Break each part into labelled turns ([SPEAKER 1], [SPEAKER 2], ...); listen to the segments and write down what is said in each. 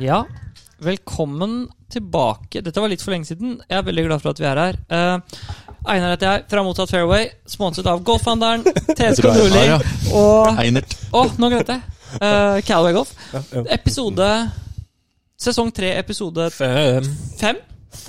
[SPEAKER 1] Ja, velkommen tilbake. Dette var litt for lenge siden. Jeg er veldig glad for at vi er her. Eh, Einar heter jeg, fra Mottatt Fairway. Sponset av Golfhandelen, TSK
[SPEAKER 2] tror jeg
[SPEAKER 1] Nordli
[SPEAKER 2] er
[SPEAKER 1] og Å,
[SPEAKER 2] Einert.
[SPEAKER 1] nå glemte jeg! Eh, Calaway Golf. Episode Sesong tre, episode
[SPEAKER 3] Fem.
[SPEAKER 1] fem.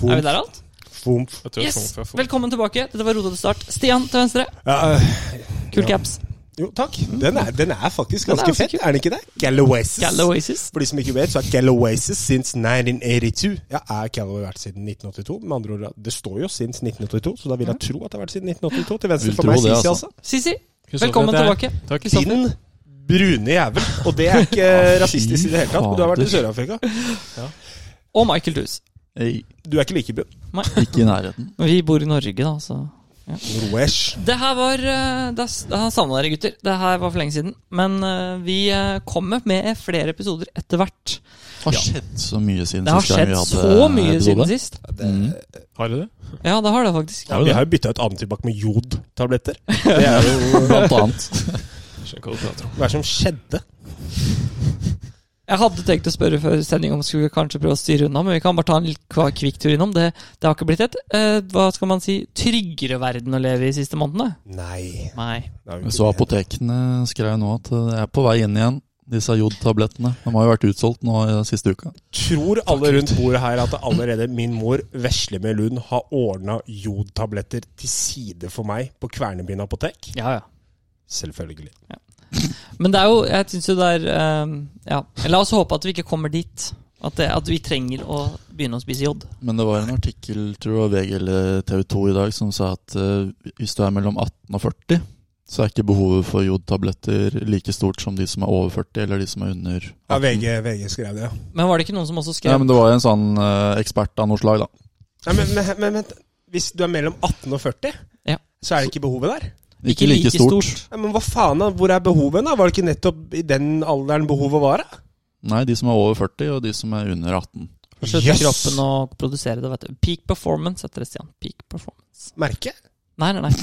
[SPEAKER 1] Er vi der alt?
[SPEAKER 4] Fomf.
[SPEAKER 3] Jeg tror jeg
[SPEAKER 1] Yes!
[SPEAKER 3] kom fra Fo-
[SPEAKER 1] Velkommen tilbake. Dette var rotete start. Stian til venstre.
[SPEAKER 4] Ja, øh,
[SPEAKER 1] Kul caps.
[SPEAKER 4] jo, takk. Den er, den er faktisk
[SPEAKER 1] Den er
[SPEAKER 4] ganske
[SPEAKER 1] ganske
[SPEAKER 4] fett,
[SPEAKER 1] kul.
[SPEAKER 4] er den ikke det? Gallowaces.
[SPEAKER 1] Galoasis.
[SPEAKER 4] For de som ikke vet, så er Gallowaces since 1982. Ja, er Callaway vært siden 1982? Med andre ord, det står jo since 1982, så da vil jeg tro at det har vært siden 1982. Til venstre
[SPEAKER 2] Vil
[SPEAKER 4] for
[SPEAKER 2] tro
[SPEAKER 4] meg,
[SPEAKER 2] det,
[SPEAKER 4] Sisi,
[SPEAKER 2] altså.
[SPEAKER 4] altså.
[SPEAKER 1] Sisi,
[SPEAKER 3] Kristoffer
[SPEAKER 1] velkommen
[SPEAKER 3] heter
[SPEAKER 1] tilbake.
[SPEAKER 3] jeg. Takk.
[SPEAKER 1] Kristoffer.
[SPEAKER 4] Din brune jævel. Og det er ikke rasistisk i det hele tatt, men du har vært i
[SPEAKER 2] fader.
[SPEAKER 4] Sør-Afrika.
[SPEAKER 1] Og Michael Dus.
[SPEAKER 2] Ei,
[SPEAKER 4] Du er ikke like brun.
[SPEAKER 2] ikke i nærheten.
[SPEAKER 1] Men Vi bor i Norge, da, så
[SPEAKER 4] Roesh.
[SPEAKER 1] Det her var eh, da s- da savna dere, gutter. Det her var for lenge siden. Men eh, vi eh, kommer med flere episoder etter hvert.
[SPEAKER 2] Det har skjedd så mye siden
[SPEAKER 1] Det har
[SPEAKER 2] sist gang
[SPEAKER 1] skjedd
[SPEAKER 2] vi hadde
[SPEAKER 1] så mye
[SPEAKER 2] episode.
[SPEAKER 1] siden sist.
[SPEAKER 2] Mm.
[SPEAKER 3] Har du det?
[SPEAKER 1] Ja, det har det faktisk.
[SPEAKER 4] Ja,
[SPEAKER 3] du
[SPEAKER 4] vi
[SPEAKER 3] det?
[SPEAKER 4] har jo bytta ut antibac med jodtabletter. Det er jo
[SPEAKER 2] Blant annet.
[SPEAKER 3] Skjønner hva du prater om.
[SPEAKER 4] Hva er det som skjedde?
[SPEAKER 1] Jeg hadde tenkt å spørre før sending om skulle vi kanskje prøve å styre unna, men vi kan bare ta en litt kva- kvikk tur innom. Det, det har ikke blitt et eh, hva skal man si, tryggere verden å leve i de siste månedene.
[SPEAKER 4] Nei.
[SPEAKER 1] Nei.
[SPEAKER 4] det er jo
[SPEAKER 2] Men
[SPEAKER 4] ikke
[SPEAKER 2] Så
[SPEAKER 4] det.
[SPEAKER 2] apotekene skrev nå at eh, det er på vei inn igjen, disse jodtablettene. De har jo vært utsolgt nå i siste uka.
[SPEAKER 4] Tror alle rundt bordet her at allerede min mor, vesle med Lund, har ordna jodtabletter til side for meg på Kvernebyen apotek?
[SPEAKER 1] Ja, ja.
[SPEAKER 4] Selvfølgelig.
[SPEAKER 1] Men det er jo Jeg syns jo det er eh, Ja. La oss håpe at vi ikke kommer dit. At, det, at vi trenger å begynne å spise jod.
[SPEAKER 2] Men det var en artikkel, tror jeg, VG eller TV 2 i dag, som sa at eh, hvis du er mellom 18 og 40, så er ikke behovet for jodtabletter like stort som de som er over 40, eller de som er under 18.
[SPEAKER 4] Ja, VG, VG skrev det, ja.
[SPEAKER 1] Men var det ikke noen som også skrev
[SPEAKER 2] Ja, men det var jo en sånn eh, ekspert av noe slag, da.
[SPEAKER 4] Nei, men, men, men, vent. hvis du er mellom 18 og 40,
[SPEAKER 1] Ja.
[SPEAKER 4] så er det ikke behovet der?
[SPEAKER 2] Ikke like stort.
[SPEAKER 4] Nei, men hva faen, da? Hvor er behovet, da? Var det ikke nettopp i den alderen behovet var, da?
[SPEAKER 2] Nei, de som er over 40, og de som er under 18.
[SPEAKER 1] Da slutter
[SPEAKER 4] Yes!
[SPEAKER 1] kroppen å produsere det. vet du Peak performance heter det, Stian. Peak performance.
[SPEAKER 4] Merke?
[SPEAKER 1] Nei, nei, nei.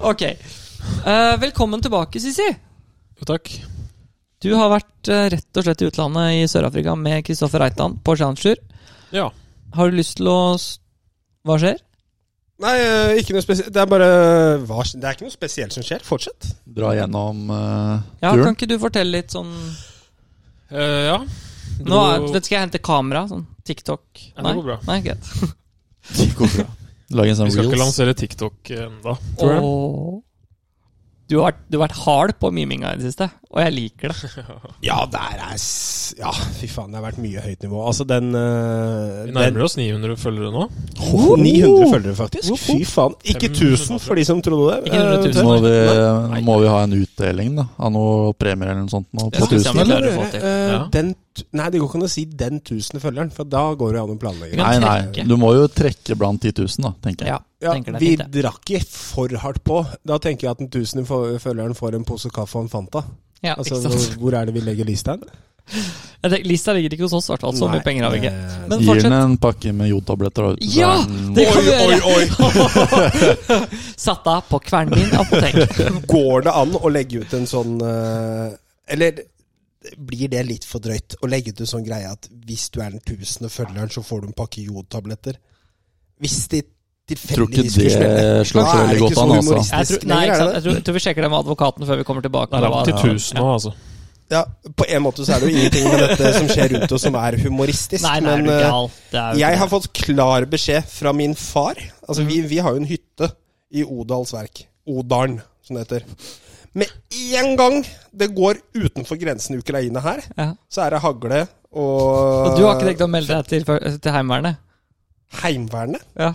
[SPEAKER 1] ok. Eh, velkommen tilbake, Sisi.
[SPEAKER 3] Jo, takk.
[SPEAKER 1] Du har vært eh, rett og slett i utlandet i Sør-Afrika med Kristoffer Reitan på Challenger.
[SPEAKER 3] Ja.
[SPEAKER 1] Har du lyst til å s- Hva skjer?
[SPEAKER 4] Nei, øh, ikke noe spesielt. Det er bare eh, hva, Det er ikke noe spesielt som skjer. Fortsett.
[SPEAKER 2] Dra gjennom eh,
[SPEAKER 1] Ja, Kan
[SPEAKER 2] turen.
[SPEAKER 1] ikke du fortelle litt sånn
[SPEAKER 3] Eh, ja.
[SPEAKER 1] Nå er, vet, du, skal jeg hente kamera. Sånn TikTok.
[SPEAKER 3] Ja, det går bra.
[SPEAKER 1] nei greit.
[SPEAKER 2] Det går bra. Lag en
[SPEAKER 3] Vi
[SPEAKER 2] sånn
[SPEAKER 3] skal ikke
[SPEAKER 2] reels.
[SPEAKER 3] lansere TikTok eh, ennå.
[SPEAKER 1] Åh. Du har, vært- du har vært hard på miminga i det siste, og jeg liker det.
[SPEAKER 4] Ja, der er s- Ja, fy faen, det har vært mye høyt nivå. Altså, den øh,
[SPEAKER 3] Vi
[SPEAKER 4] den-
[SPEAKER 3] nærmer oss 900 følgere nå.
[SPEAKER 4] 900 følgere, faktisk.
[SPEAKER 1] Woop, woop.
[SPEAKER 4] Fy faen. Ikke 1000, for de som trodde det. Eh,
[SPEAKER 1] Ikke 100
[SPEAKER 2] Nå må vi,
[SPEAKER 3] Nei.
[SPEAKER 2] må vi ha en utdeling da, av noe premier eller noe sånt. Nå,
[SPEAKER 3] Jeg
[SPEAKER 2] på
[SPEAKER 3] synes jeg
[SPEAKER 2] tusen.
[SPEAKER 3] må-
[SPEAKER 4] Eller,
[SPEAKER 3] klarer å få til.
[SPEAKER 4] eh,
[SPEAKER 3] Ja.
[SPEAKER 4] den, t- nei, det går ikke an å si 'den 1000 følgeren', for da går det an å planlegge.
[SPEAKER 1] kan
[SPEAKER 2] Nei, nei.
[SPEAKER 1] trekke.
[SPEAKER 2] Du må jo trekke blant 10 000, da, tenker jeg.
[SPEAKER 1] Ja,
[SPEAKER 4] Ja,
[SPEAKER 1] tenker det er
[SPEAKER 4] vi
[SPEAKER 1] fint, det.
[SPEAKER 4] drakk ikke for hardt på. Da tenker jeg at den 1000 fo- følgeren får en pose kaffe og en Fanta.
[SPEAKER 1] Ja,
[SPEAKER 4] Altså,
[SPEAKER 1] ikke sant?
[SPEAKER 4] hvor, hvor er det vi legger lista hen?
[SPEAKER 1] Jeg tenker, Lista ligger ikke hos oss, i hvert fall. Så mye
[SPEAKER 4] Nei,
[SPEAKER 1] penger har vi ikke.
[SPEAKER 4] eh,
[SPEAKER 1] Men
[SPEAKER 2] Gir den
[SPEAKER 1] fortsett.
[SPEAKER 2] en pakke med jodtabletter da, vet du, så
[SPEAKER 1] Ja!
[SPEAKER 2] er den-
[SPEAKER 1] Det kan vi
[SPEAKER 4] Oi,
[SPEAKER 1] gjøre.
[SPEAKER 4] oi, oi!
[SPEAKER 1] Satt av på Kvernbyen apotek.
[SPEAKER 4] Går det an å legge ut en sånn eh, Eller blir det litt for drøyt å legge ut en sånn greie at hvis du er den tusende følgeren, så får du en pakke jodtabletter? Hvis de
[SPEAKER 2] Tror ikke
[SPEAKER 4] tilfeldigvis skulle smelle.
[SPEAKER 2] det slår
[SPEAKER 4] Da
[SPEAKER 2] så
[SPEAKER 4] er det
[SPEAKER 2] veldig
[SPEAKER 4] ikke
[SPEAKER 2] godt
[SPEAKER 4] så
[SPEAKER 2] an, altså.
[SPEAKER 4] humoristisk.
[SPEAKER 1] Jeg tror, nei, ikke
[SPEAKER 4] Lenger er
[SPEAKER 1] sant? jeg
[SPEAKER 4] det.
[SPEAKER 1] tror, jeg tror vi sjekker det med advokaten før vi kommer tilbake.
[SPEAKER 3] Det er langt til
[SPEAKER 1] Hva-
[SPEAKER 3] 1000 nå, altså.
[SPEAKER 4] Ja, på en måte så er det jo ingenting med dette som skjer rundt oss som er humoristisk.
[SPEAKER 1] Nei, nei, er du
[SPEAKER 4] men eh,
[SPEAKER 1] gal? Det er jo ikke
[SPEAKER 4] jeg har
[SPEAKER 1] det. Mm.
[SPEAKER 4] fått klar beskjed fra min far. Altså, vi, vi har jo en hytte i Odals verk. Odalen, som det heter. Med en gang det går utenfor grensen i Ukraina her,
[SPEAKER 1] ja.
[SPEAKER 4] så er det hagle
[SPEAKER 1] Og
[SPEAKER 4] og
[SPEAKER 1] du har ikke tenkt å melde deg til, for- til Heimevernet?
[SPEAKER 4] Heimevernet.
[SPEAKER 1] Ja.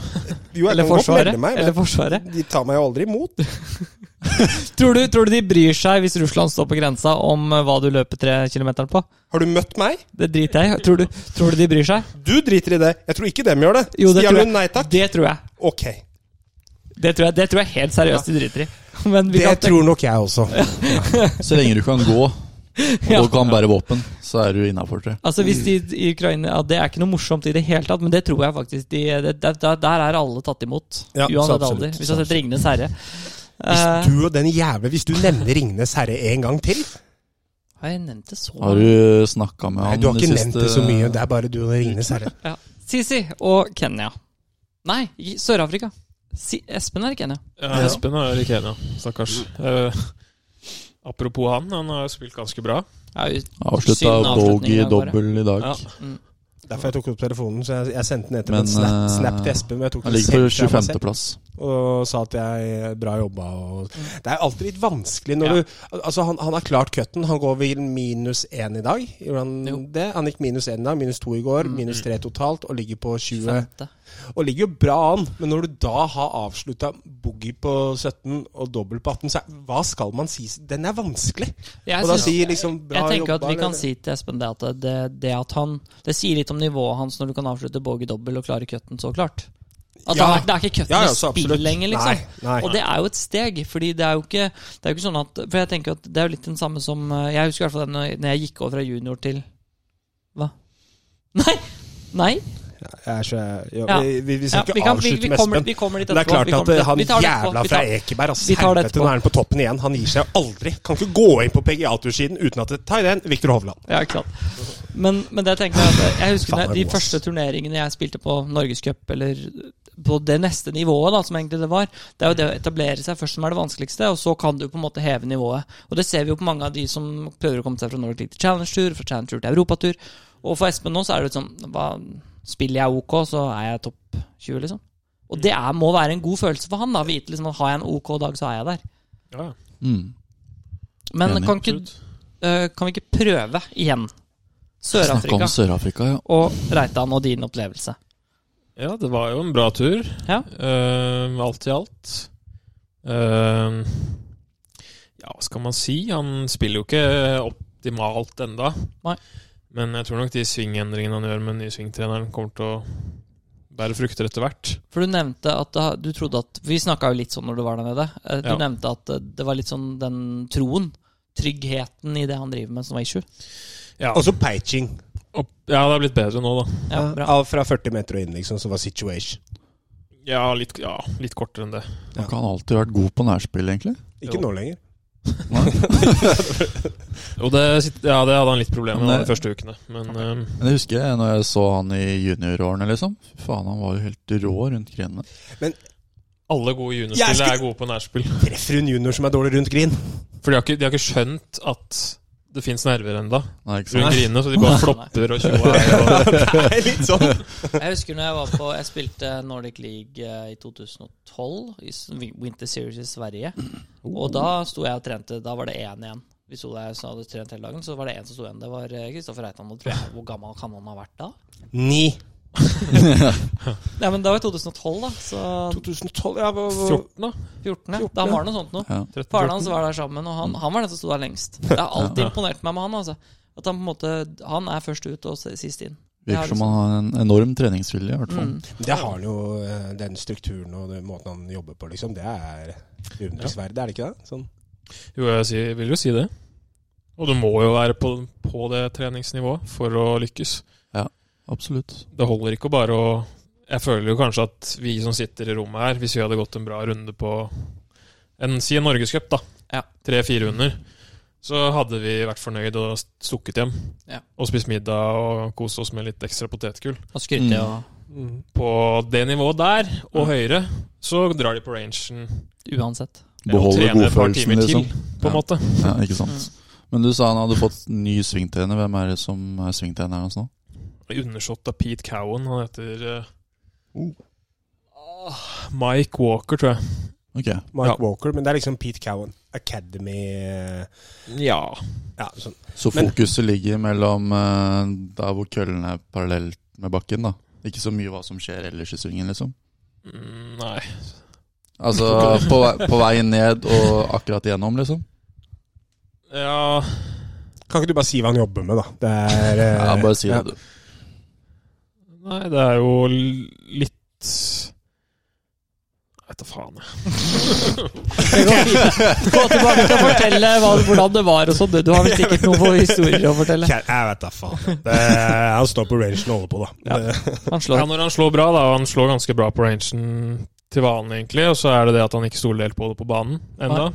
[SPEAKER 4] Jo, jeg
[SPEAKER 1] Eller
[SPEAKER 4] kan godt
[SPEAKER 1] Forsvaret?
[SPEAKER 4] melde meg,
[SPEAKER 1] Eller
[SPEAKER 4] men
[SPEAKER 1] forsvaret.
[SPEAKER 4] de tar meg jo aldri imot.
[SPEAKER 1] Tror, du, tror du de bryr seg, hvis Russland står på grensa, om eh, hva du løper tre kilometeren på?
[SPEAKER 4] Har du møtt meg?
[SPEAKER 1] Det driter jeg i. Tror, du- tror du de bryr seg?
[SPEAKER 4] Du driter i det. Jeg tror ikke dem gjør det.
[SPEAKER 1] Jo, det
[SPEAKER 4] Stian
[SPEAKER 1] tror jeg.
[SPEAKER 4] Lund, nei takk.
[SPEAKER 1] Det tror jeg.
[SPEAKER 4] Ok.
[SPEAKER 1] Det tror jeg, det tror jeg helt seriøst de driter i. Men vi
[SPEAKER 4] Det
[SPEAKER 1] kan
[SPEAKER 4] tror nok jeg også.
[SPEAKER 2] Så lenge du kan gå,
[SPEAKER 1] Ja.
[SPEAKER 2] og du kan bære våpen, så er du innafor, tror jeg.
[SPEAKER 1] Altså hvis de
[SPEAKER 4] Mm.
[SPEAKER 1] i Ukraina ja, Det er ikke noe morsomt i det hele tatt, men det tror jeg faktisk de, det, der, der er alle tatt imot.
[SPEAKER 4] Ja, så
[SPEAKER 1] uansett
[SPEAKER 4] absolutt,
[SPEAKER 1] alder. Hvis du
[SPEAKER 4] så
[SPEAKER 1] har sett 'Ringenes herre'.
[SPEAKER 4] Hvis
[SPEAKER 1] Eh,
[SPEAKER 4] du og den jævla Hvis du nevner Ringnes herre en gang til
[SPEAKER 1] har jeg nevnt det så
[SPEAKER 2] Har du snakka med
[SPEAKER 4] Nei,
[SPEAKER 2] han
[SPEAKER 4] Du har
[SPEAKER 2] de
[SPEAKER 4] ikke
[SPEAKER 2] siste-
[SPEAKER 4] nevnt det så mye. Det er bare du og Ringnes herre.
[SPEAKER 1] Ja. Sisi og Kenya. Nei, i Sør-Afrika. Si Espen er i Kenya.
[SPEAKER 3] Ja, Eh, Espen er i Kenya, stakkars. Eh, apropos han, han har spilt ganske bra.
[SPEAKER 1] Ja, ut-
[SPEAKER 2] Avslutta
[SPEAKER 1] Syvende avslutning i
[SPEAKER 2] bogey
[SPEAKER 1] dag bare.
[SPEAKER 2] dobbel i dag.
[SPEAKER 3] Ja.
[SPEAKER 1] mm.
[SPEAKER 4] Derfor jeg tok opp telefonen. Så jeg, jeg sendte den etter
[SPEAKER 2] Men,
[SPEAKER 4] en snap,
[SPEAKER 2] eh,
[SPEAKER 4] snap til Espen. Men jeg tok
[SPEAKER 2] Han
[SPEAKER 4] den
[SPEAKER 2] ligger på
[SPEAKER 4] selv fra meg selv,
[SPEAKER 2] 25.-plass.
[SPEAKER 4] Og sa at jeg eh, bra jobba. Og, det er alltid litt vanskelig når
[SPEAKER 1] Mm. Ja.
[SPEAKER 4] du Altså, han, han har klart cutten. Han går vel minus én i dag. Gjorde han
[SPEAKER 1] Jo. Mm.
[SPEAKER 4] det? Han gikk minus én i dag, minus to i går, minus tre totalt, og ligger på 20.
[SPEAKER 1] Femte.
[SPEAKER 4] Og ligger jo bra an, men når du da har avslutta boogie på 17 og dobbel på 18, så er, hva skal man si? Den er vanskelig.
[SPEAKER 1] Jeg
[SPEAKER 4] Og da
[SPEAKER 1] synes-
[SPEAKER 4] sier liksom bra
[SPEAKER 1] jeg tenker
[SPEAKER 4] jobba.
[SPEAKER 1] at vi kan
[SPEAKER 4] eller-
[SPEAKER 1] si til Espen det at det, det at han Det sier litt om nivået hans når du kan avslutte bogey dobbel og klare cutten så klart. At
[SPEAKER 4] Ja.
[SPEAKER 1] han er- Det er ikke cutten
[SPEAKER 4] Ja, ja,
[SPEAKER 1] i
[SPEAKER 4] så
[SPEAKER 1] spill
[SPEAKER 4] absolutt.
[SPEAKER 1] lenger, liksom.
[SPEAKER 4] Nei, nei.
[SPEAKER 1] Og det er jo et steg, fordi det er jo ikke Det er jo ikke sånn at For jeg tenker at det er jo litt den samme som eh, Jeg husker i hvert fall den når- når jeg gikk over fra junior til Hva? Nei! Nei!
[SPEAKER 4] Jeg er så, jo,
[SPEAKER 1] Ja.
[SPEAKER 4] vi, vi, vi
[SPEAKER 1] Ja,
[SPEAKER 4] skal
[SPEAKER 1] vi,
[SPEAKER 4] ikke
[SPEAKER 1] kan, vi,
[SPEAKER 4] avslutte
[SPEAKER 1] vi,
[SPEAKER 4] med
[SPEAKER 1] kommer,
[SPEAKER 4] Espen.
[SPEAKER 1] vi kommer dit
[SPEAKER 4] Men det er
[SPEAKER 1] etterpå.
[SPEAKER 4] klart
[SPEAKER 1] vi kommer
[SPEAKER 4] at
[SPEAKER 1] dit etterpå.
[SPEAKER 4] eh, han
[SPEAKER 1] Vi tar det etterpå,
[SPEAKER 4] jævla
[SPEAKER 1] vi
[SPEAKER 4] fra
[SPEAKER 1] tar-
[SPEAKER 4] Ekeberg, ass.
[SPEAKER 1] vi tar det
[SPEAKER 4] Helvete, nå er han på toppen igjen. Han gir seg aldri. Kan ikke gå inn på PGA-tursiden uten at det tar den. Viktor Hovland.
[SPEAKER 1] Ja, ikke sant. Men, men det jeg tenker er at jeg husker
[SPEAKER 4] Faen,
[SPEAKER 1] når
[SPEAKER 4] det
[SPEAKER 1] de
[SPEAKER 4] er god, ass.
[SPEAKER 1] første turneringene jeg spilte på Norgescup, eller på det neste nivået, da, som egentlig det var, det er jo det å etablere seg først som er det vanskeligste, og så kan du på en måte heve nivået. Og det ser vi jo på mange av de som prøver å komme seg fra Nordic League til Challenge Tour, fra Challenge Tour til Europatur. Og for Espen nå så er det litt sånn hva, Spiller jeg OK, så er jeg topp 20, liksom. Og det er, må være en god følelse for han, da. Vite liksom at har jeg en OK dag, så er jeg der.
[SPEAKER 3] Ja,
[SPEAKER 2] Mm.
[SPEAKER 1] Men
[SPEAKER 2] Enig.
[SPEAKER 1] kan, ikke,
[SPEAKER 3] absolutt.
[SPEAKER 1] øh, kan vi ikke prøve igjen?
[SPEAKER 2] Snakka
[SPEAKER 1] Sør-Afrika
[SPEAKER 2] om Sør-Afrika, ja.
[SPEAKER 1] og Reitan og din opplevelse.
[SPEAKER 3] Ja, det var jo en bra tur.
[SPEAKER 1] Ja.
[SPEAKER 3] Eh, alt i alt. Eh, ja, hva skal man si? Han spiller jo ikke optimalt enda.
[SPEAKER 1] Nei.
[SPEAKER 3] Men jeg tror nok de svingendringene han gjør med den nye svingtreneren, kommer til å bære frukter etter hvert.
[SPEAKER 1] For du nevnte at da, du trodde at Vi snakka jo litt sånn når du var der nede. Eh, Du
[SPEAKER 3] Ja.
[SPEAKER 1] nevnte at eh, det var litt sånn den troen, tryggheten i det han driver med, som var issue.
[SPEAKER 3] Ja,
[SPEAKER 4] Og så peitching.
[SPEAKER 3] opp, ja det har blitt bedre nå, da.
[SPEAKER 1] Ja, bra.
[SPEAKER 4] Av- Fra 40 meter og inn, liksom, så var situation.
[SPEAKER 3] Ja, litt, ja, litt kortere enn det.
[SPEAKER 2] Har ikke han alltid vært god på nærspill, egentlig?
[SPEAKER 4] Ikke
[SPEAKER 3] Jo.
[SPEAKER 4] nå lenger.
[SPEAKER 3] Og det, sit- ja, det hadde han litt problemer med
[SPEAKER 2] Men
[SPEAKER 3] de
[SPEAKER 2] det-
[SPEAKER 3] første ukene. Men eh,
[SPEAKER 2] Men jeg husker jeg, når jeg så han i juniorårene, liksom. Fy faen, han var jo helt rå rundt grenene.
[SPEAKER 3] alle gode juniorspillere
[SPEAKER 4] Jeg skulle-
[SPEAKER 3] er gode på nærspill.
[SPEAKER 4] Treffer hun junior som er dårlig rundt grin?
[SPEAKER 3] For de har ikke, de har ikke skjønt at det fins nerver enda
[SPEAKER 2] Nei, ikke sant?
[SPEAKER 3] rundt grinene, så de bare flopper og tjoer.
[SPEAKER 4] Det er litt sånn.
[SPEAKER 1] Jeg husker når jeg var på Jeg spilte Nordic League eh, i 2012, i s- Winter Series i Sverige. Og da sto jeg og trente. Da var det én igjen. Vi sto der som hadde trent hele dagen, så var det én som sto igjen. Det var eh, Kristoffer Reitan. Og tror jeg, hvor gammel kan han ha vært da?
[SPEAKER 4] Ni.
[SPEAKER 1] Nei, men Det var i 2012, da. Så
[SPEAKER 4] 2012, ja. hva- hva-
[SPEAKER 3] 14, da?
[SPEAKER 1] 14, ja.
[SPEAKER 4] 14,
[SPEAKER 1] Da
[SPEAKER 4] ja.
[SPEAKER 1] var det noe sånt noe.
[SPEAKER 2] Ja.
[SPEAKER 1] Faren hans var der sammen, og han, han var den som sto der lengst. Det har alltid
[SPEAKER 3] Ja.
[SPEAKER 1] imponert meg med han. altså At Han på en måte Han er først ut og s- sist inn. Det har
[SPEAKER 2] Virker som han har en enorm treningsvilje, i hvert fall.
[SPEAKER 1] Mm.
[SPEAKER 4] Det har han jo, eh, den strukturen og den måten han jobber på, liksom. Det er beundringsverdig, er det ikke det? Sånn.
[SPEAKER 3] Jo, jeg sier, vil jo si det. Og du må jo være på, på det treningsnivået for å lykkes.
[SPEAKER 2] Absolutt.
[SPEAKER 3] Det holder ikke å bare å Jeg føler jo kanskje at vi som sitter i rommet her, hvis vi hadde gått en bra runde på en, Si en norgescup, da.
[SPEAKER 1] Ja.
[SPEAKER 3] Tre-fire under. Så hadde vi vært fornøyd og stukket hjem.
[SPEAKER 1] Ja.
[SPEAKER 3] Og spist middag og kost oss med litt ekstra potetgull.
[SPEAKER 1] Og skryter og
[SPEAKER 2] Mm.
[SPEAKER 3] På det nivået der, og
[SPEAKER 1] Ja.
[SPEAKER 3] høyere, så drar de på rangen
[SPEAKER 1] Uansett.
[SPEAKER 3] og
[SPEAKER 2] Beholde
[SPEAKER 3] trener et par
[SPEAKER 2] godfølelsen,
[SPEAKER 3] timer
[SPEAKER 2] liksom.
[SPEAKER 3] til, Mm. på en
[SPEAKER 2] Ja.
[SPEAKER 3] måte.
[SPEAKER 2] Ja, ikke
[SPEAKER 1] Mm.
[SPEAKER 2] sant. Men du sa han hadde fått ny svingtrener. Hvem er det som er svingtreneren hans nå?
[SPEAKER 3] Undersått av Pete Cowan. Han heter eh,
[SPEAKER 2] Oh.
[SPEAKER 3] ah, Mike Walker, tror jeg.
[SPEAKER 2] Ok.
[SPEAKER 4] Mark
[SPEAKER 3] Ja.
[SPEAKER 4] Walker, men det er liksom Pete Cowan Academy eh,
[SPEAKER 3] Ja.
[SPEAKER 4] Ja, sånn.
[SPEAKER 2] Så
[SPEAKER 4] Men-
[SPEAKER 2] fokuset ligger mellom eh, der hvor køllen er parallelt med bakken, da. Ikke så mye hva som skjer ellers i svingen, liksom.
[SPEAKER 3] Mm, nei.
[SPEAKER 2] Altså på vei, på vei ned og akkurat igjennom, liksom.
[SPEAKER 3] Ja
[SPEAKER 4] Kan ikke du bare si hva han jobber med, da? Det er eh,
[SPEAKER 2] Ja, bare si
[SPEAKER 4] ja.
[SPEAKER 2] det, du.
[SPEAKER 3] Nei, det er jo l- litt Jeg vet da faen, jeg.
[SPEAKER 1] Gå tilbake til å fortelle hva, hvordan det var og sånn. Du har vel sikkert noen historier å fortelle.
[SPEAKER 4] Kjære- Jeg vet da faen. Det er, han står på rangen og holder på, da.
[SPEAKER 1] Ja.
[SPEAKER 4] Det-
[SPEAKER 1] Han
[SPEAKER 3] Ja,
[SPEAKER 1] slår.
[SPEAKER 3] når han slår bra, da. og Han slår ganske bra på rangen til vanen, egentlig. Og så er det det at han ikke stoler helt på det på banen ennå.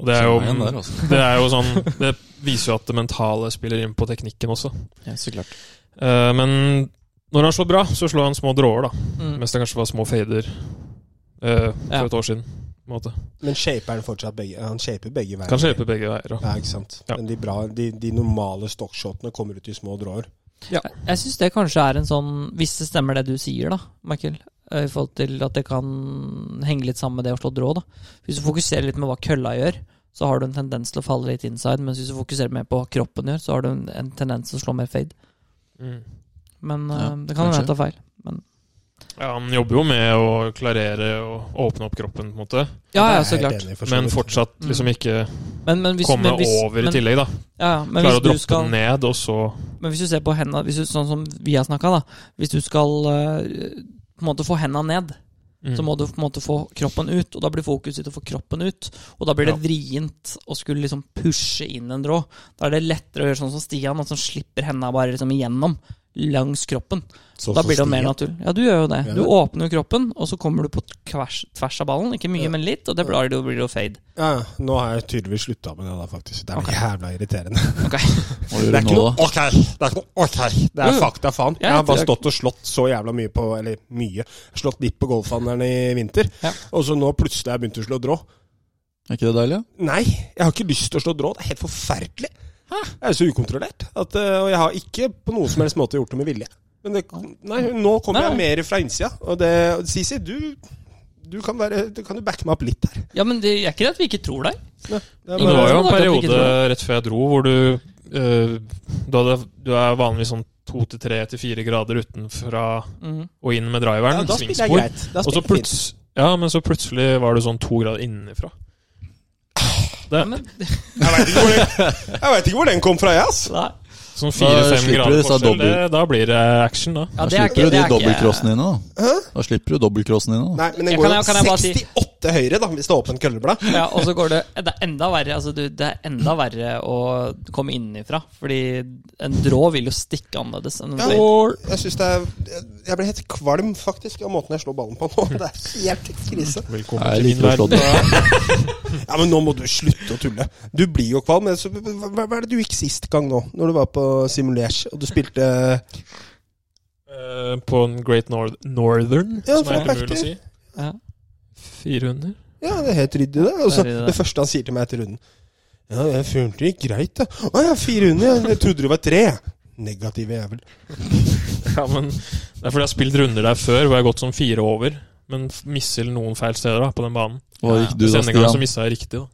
[SPEAKER 3] Og det er jo,
[SPEAKER 2] Kjenner jeg igjen der, altså.
[SPEAKER 3] det er jo sånn Det viser jo at det mentale spiller inn på teknikken også.
[SPEAKER 2] Ja, så klart.
[SPEAKER 3] Eh, men når han slår bra, så slår han små dråer, da.
[SPEAKER 1] Mm.
[SPEAKER 3] Mens det kanskje var små fader eh, for
[SPEAKER 1] Ja.
[SPEAKER 3] et år siden. På en måte.
[SPEAKER 4] Men shaper han fortsatt begge Han shaper begge veier.
[SPEAKER 3] Kan skjepe begge veier. Da.
[SPEAKER 4] Ja, ikke sant.
[SPEAKER 3] Ja.
[SPEAKER 4] Men de, bra, de, de normale stockshotene kommer ut i små dråer.
[SPEAKER 1] Jeg syns det kanskje er en sånn Hvis det stemmer det du sier, da, Michael, eh, i forhold til at det kan henge litt sammen med det å slå drå, da. Hvis du fokuserer litt med hva kølla gjør, så har du en tendens til å falle litt inside, mens hvis du fokuserer mer på hva kroppen gjør, så har du en, en tendens til å slå mer fade.
[SPEAKER 3] Mm.
[SPEAKER 1] Men
[SPEAKER 2] Ja,
[SPEAKER 1] eh, det kan hende jeg
[SPEAKER 2] kanskje.
[SPEAKER 1] tar feil.
[SPEAKER 3] Ja, han jobber jo med å klarere og åpne opp kroppen, på en måte.
[SPEAKER 1] Ja, ja,
[SPEAKER 4] Det er jeg
[SPEAKER 1] så
[SPEAKER 4] helt
[SPEAKER 1] klart.
[SPEAKER 4] enig i, for så
[SPEAKER 3] Men
[SPEAKER 4] vidt.
[SPEAKER 3] fortsatt liksom ikke
[SPEAKER 1] Mm. Men, men hvis,
[SPEAKER 3] komme
[SPEAKER 1] men hvis,
[SPEAKER 3] over i
[SPEAKER 1] men,
[SPEAKER 3] tillegg, da.
[SPEAKER 1] Ja, ja, men
[SPEAKER 3] Klare
[SPEAKER 1] hvis
[SPEAKER 3] å
[SPEAKER 1] du
[SPEAKER 3] droppe
[SPEAKER 1] skal
[SPEAKER 3] den ned, og så
[SPEAKER 1] Men hvis du ser på henda hvis du, Sånn som vi har snakka, da. Hvis du skal eh, på en måte få henda ned, Mm.
[SPEAKER 3] Mm.
[SPEAKER 4] Mm.
[SPEAKER 1] så må du på en måte få kroppen ut. Og da blir fokuset ditt å få kroppen ut. Og da blir det
[SPEAKER 3] Ja.
[SPEAKER 1] vrient å skulle liksom pushe inn en drå. Da er det lettere å gjøre sånn som Stian, at han slipper henda bare liksom igjennom. Langs kroppen.
[SPEAKER 4] Sånn
[SPEAKER 1] da
[SPEAKER 4] som
[SPEAKER 1] blir det jo mer
[SPEAKER 4] Stian.
[SPEAKER 1] naturlig. Ja, du gjør jo det.
[SPEAKER 4] Ja.
[SPEAKER 1] Du åpner jo kroppen, og så kommer du på tvers, tvers av ballen. Ikke mye,
[SPEAKER 4] Ja.
[SPEAKER 1] men litt, og det blir det jo- blir det jo fade.
[SPEAKER 4] Ja, ja. nå har jeg tydeligvis slutta med det, da, faktisk. Det er jævla irriterende.
[SPEAKER 2] Hva
[SPEAKER 4] Det
[SPEAKER 2] gjør
[SPEAKER 4] er
[SPEAKER 2] du
[SPEAKER 4] ikke
[SPEAKER 2] nå,
[SPEAKER 4] noe
[SPEAKER 2] da?
[SPEAKER 4] ork her! Det er ikke noe ork her! Det
[SPEAKER 1] Jo,
[SPEAKER 4] er
[SPEAKER 1] jo.
[SPEAKER 4] fakta, faen.
[SPEAKER 1] Ja,
[SPEAKER 4] Jeg har bare
[SPEAKER 1] det er-
[SPEAKER 4] stått og slått så jævla mye på Eller mye. Slått litt på golfhandelen i vinter.
[SPEAKER 1] Ja.
[SPEAKER 4] Og så nå plutselig har jeg begynt å slå drå.
[SPEAKER 2] Er ikke det deilig? ja?
[SPEAKER 4] Nei, jeg har ikke lyst til å slå drå. Det er helt forferdelig. Jeg er så ukontrollert. At, eh, og jeg har ikke på noen som helst måte gjort det med vilje. Men det, nei, nå kommer jeg
[SPEAKER 1] Nei.
[SPEAKER 4] mer fra innsida. Og det Sisi, du, du kan være Du kan jo backe meg opp litt her.
[SPEAKER 1] Ja, men det er ikke det at vi ikke tror deg.
[SPEAKER 4] Ja, det er sånn
[SPEAKER 3] Men det var jo en
[SPEAKER 1] Akkurat ikke
[SPEAKER 3] periode
[SPEAKER 1] tror
[SPEAKER 3] rett før jeg dro, hvor du eh, Du, hadde, du er vanligvis sånn to til tre til fire grader utenfra
[SPEAKER 4] Mm.
[SPEAKER 1] Mhm.
[SPEAKER 3] og inn med driveren.
[SPEAKER 4] Ja, da spiller jeg
[SPEAKER 3] svingspor.
[SPEAKER 4] greit. Da
[SPEAKER 3] Og så
[SPEAKER 4] spiller jeg fint.
[SPEAKER 3] plutselig Ja, men så plutselig var du sånn to grader innenfra.
[SPEAKER 1] Ja, men,
[SPEAKER 4] Jeg veit ikke, hvor den- jeg vet ikke hvor den kom fra, jeg, ass.
[SPEAKER 1] nei.
[SPEAKER 3] Sånn fire-fem
[SPEAKER 2] slipper du
[SPEAKER 3] grader
[SPEAKER 2] disse
[SPEAKER 3] forskjell, det,
[SPEAKER 2] dobbel-
[SPEAKER 3] da blir det action, da.
[SPEAKER 1] Ja,
[SPEAKER 2] Da
[SPEAKER 1] det er
[SPEAKER 2] slipper
[SPEAKER 1] ikke,
[SPEAKER 2] du
[SPEAKER 1] det
[SPEAKER 2] de
[SPEAKER 1] er ikke
[SPEAKER 2] dobbeltcrossene dine, da. Da slipper du dobbeltcrossen dine. da.
[SPEAKER 4] Nei, men den
[SPEAKER 1] Jeg
[SPEAKER 4] går
[SPEAKER 1] kan-
[SPEAKER 4] jo
[SPEAKER 1] kan jeg bare si-
[SPEAKER 4] 68 høyre, da, hvis det er åpen kølleblad.
[SPEAKER 1] Ja, og så går det Det er enda verre altså, du, Det er enda verre å komme innenfra. Fordi en drå vil jo stikke annerledes enn en
[SPEAKER 4] Ja.
[SPEAKER 1] fløyte.
[SPEAKER 4] Jeg synes det er jeg- Jeg ble helt kvalm, faktisk, av måten jeg slår ballen på nå. Det er helt krise.
[SPEAKER 3] Velkommen
[SPEAKER 2] Nei, jeg
[SPEAKER 3] til min
[SPEAKER 2] liker å slå
[SPEAKER 3] verden.
[SPEAKER 2] det.
[SPEAKER 4] Ja, men nå må du slutte å tulle. Du blir jo kvalm. men Så, hva, hva er det du gikk sist gang nå, når du var på Simulers og du spilte
[SPEAKER 3] Eh, på en Great Nor Northern, som er
[SPEAKER 4] Ja, for
[SPEAKER 3] helt umulig å si.
[SPEAKER 4] riktig.
[SPEAKER 1] Ja.
[SPEAKER 3] 400?
[SPEAKER 4] Ja, det er helt ryddig, det. Og så
[SPEAKER 1] Det er ryddig, det.
[SPEAKER 4] det første han sier til meg etter runden Ja, jeg følte det gikk greit, da. Å ja, fire under. Jeg trodde det var tre. Negative jævel.
[SPEAKER 3] Ja, men Det er fordi jeg har spilt runder der før hvor jeg har gått som fire over, men f- misser noen feil steder da, på den banen.
[SPEAKER 2] Hva gikk du
[SPEAKER 3] Hvis
[SPEAKER 2] da,
[SPEAKER 3] denne gangen så
[SPEAKER 2] Stian?
[SPEAKER 3] missa jeg riktig, da.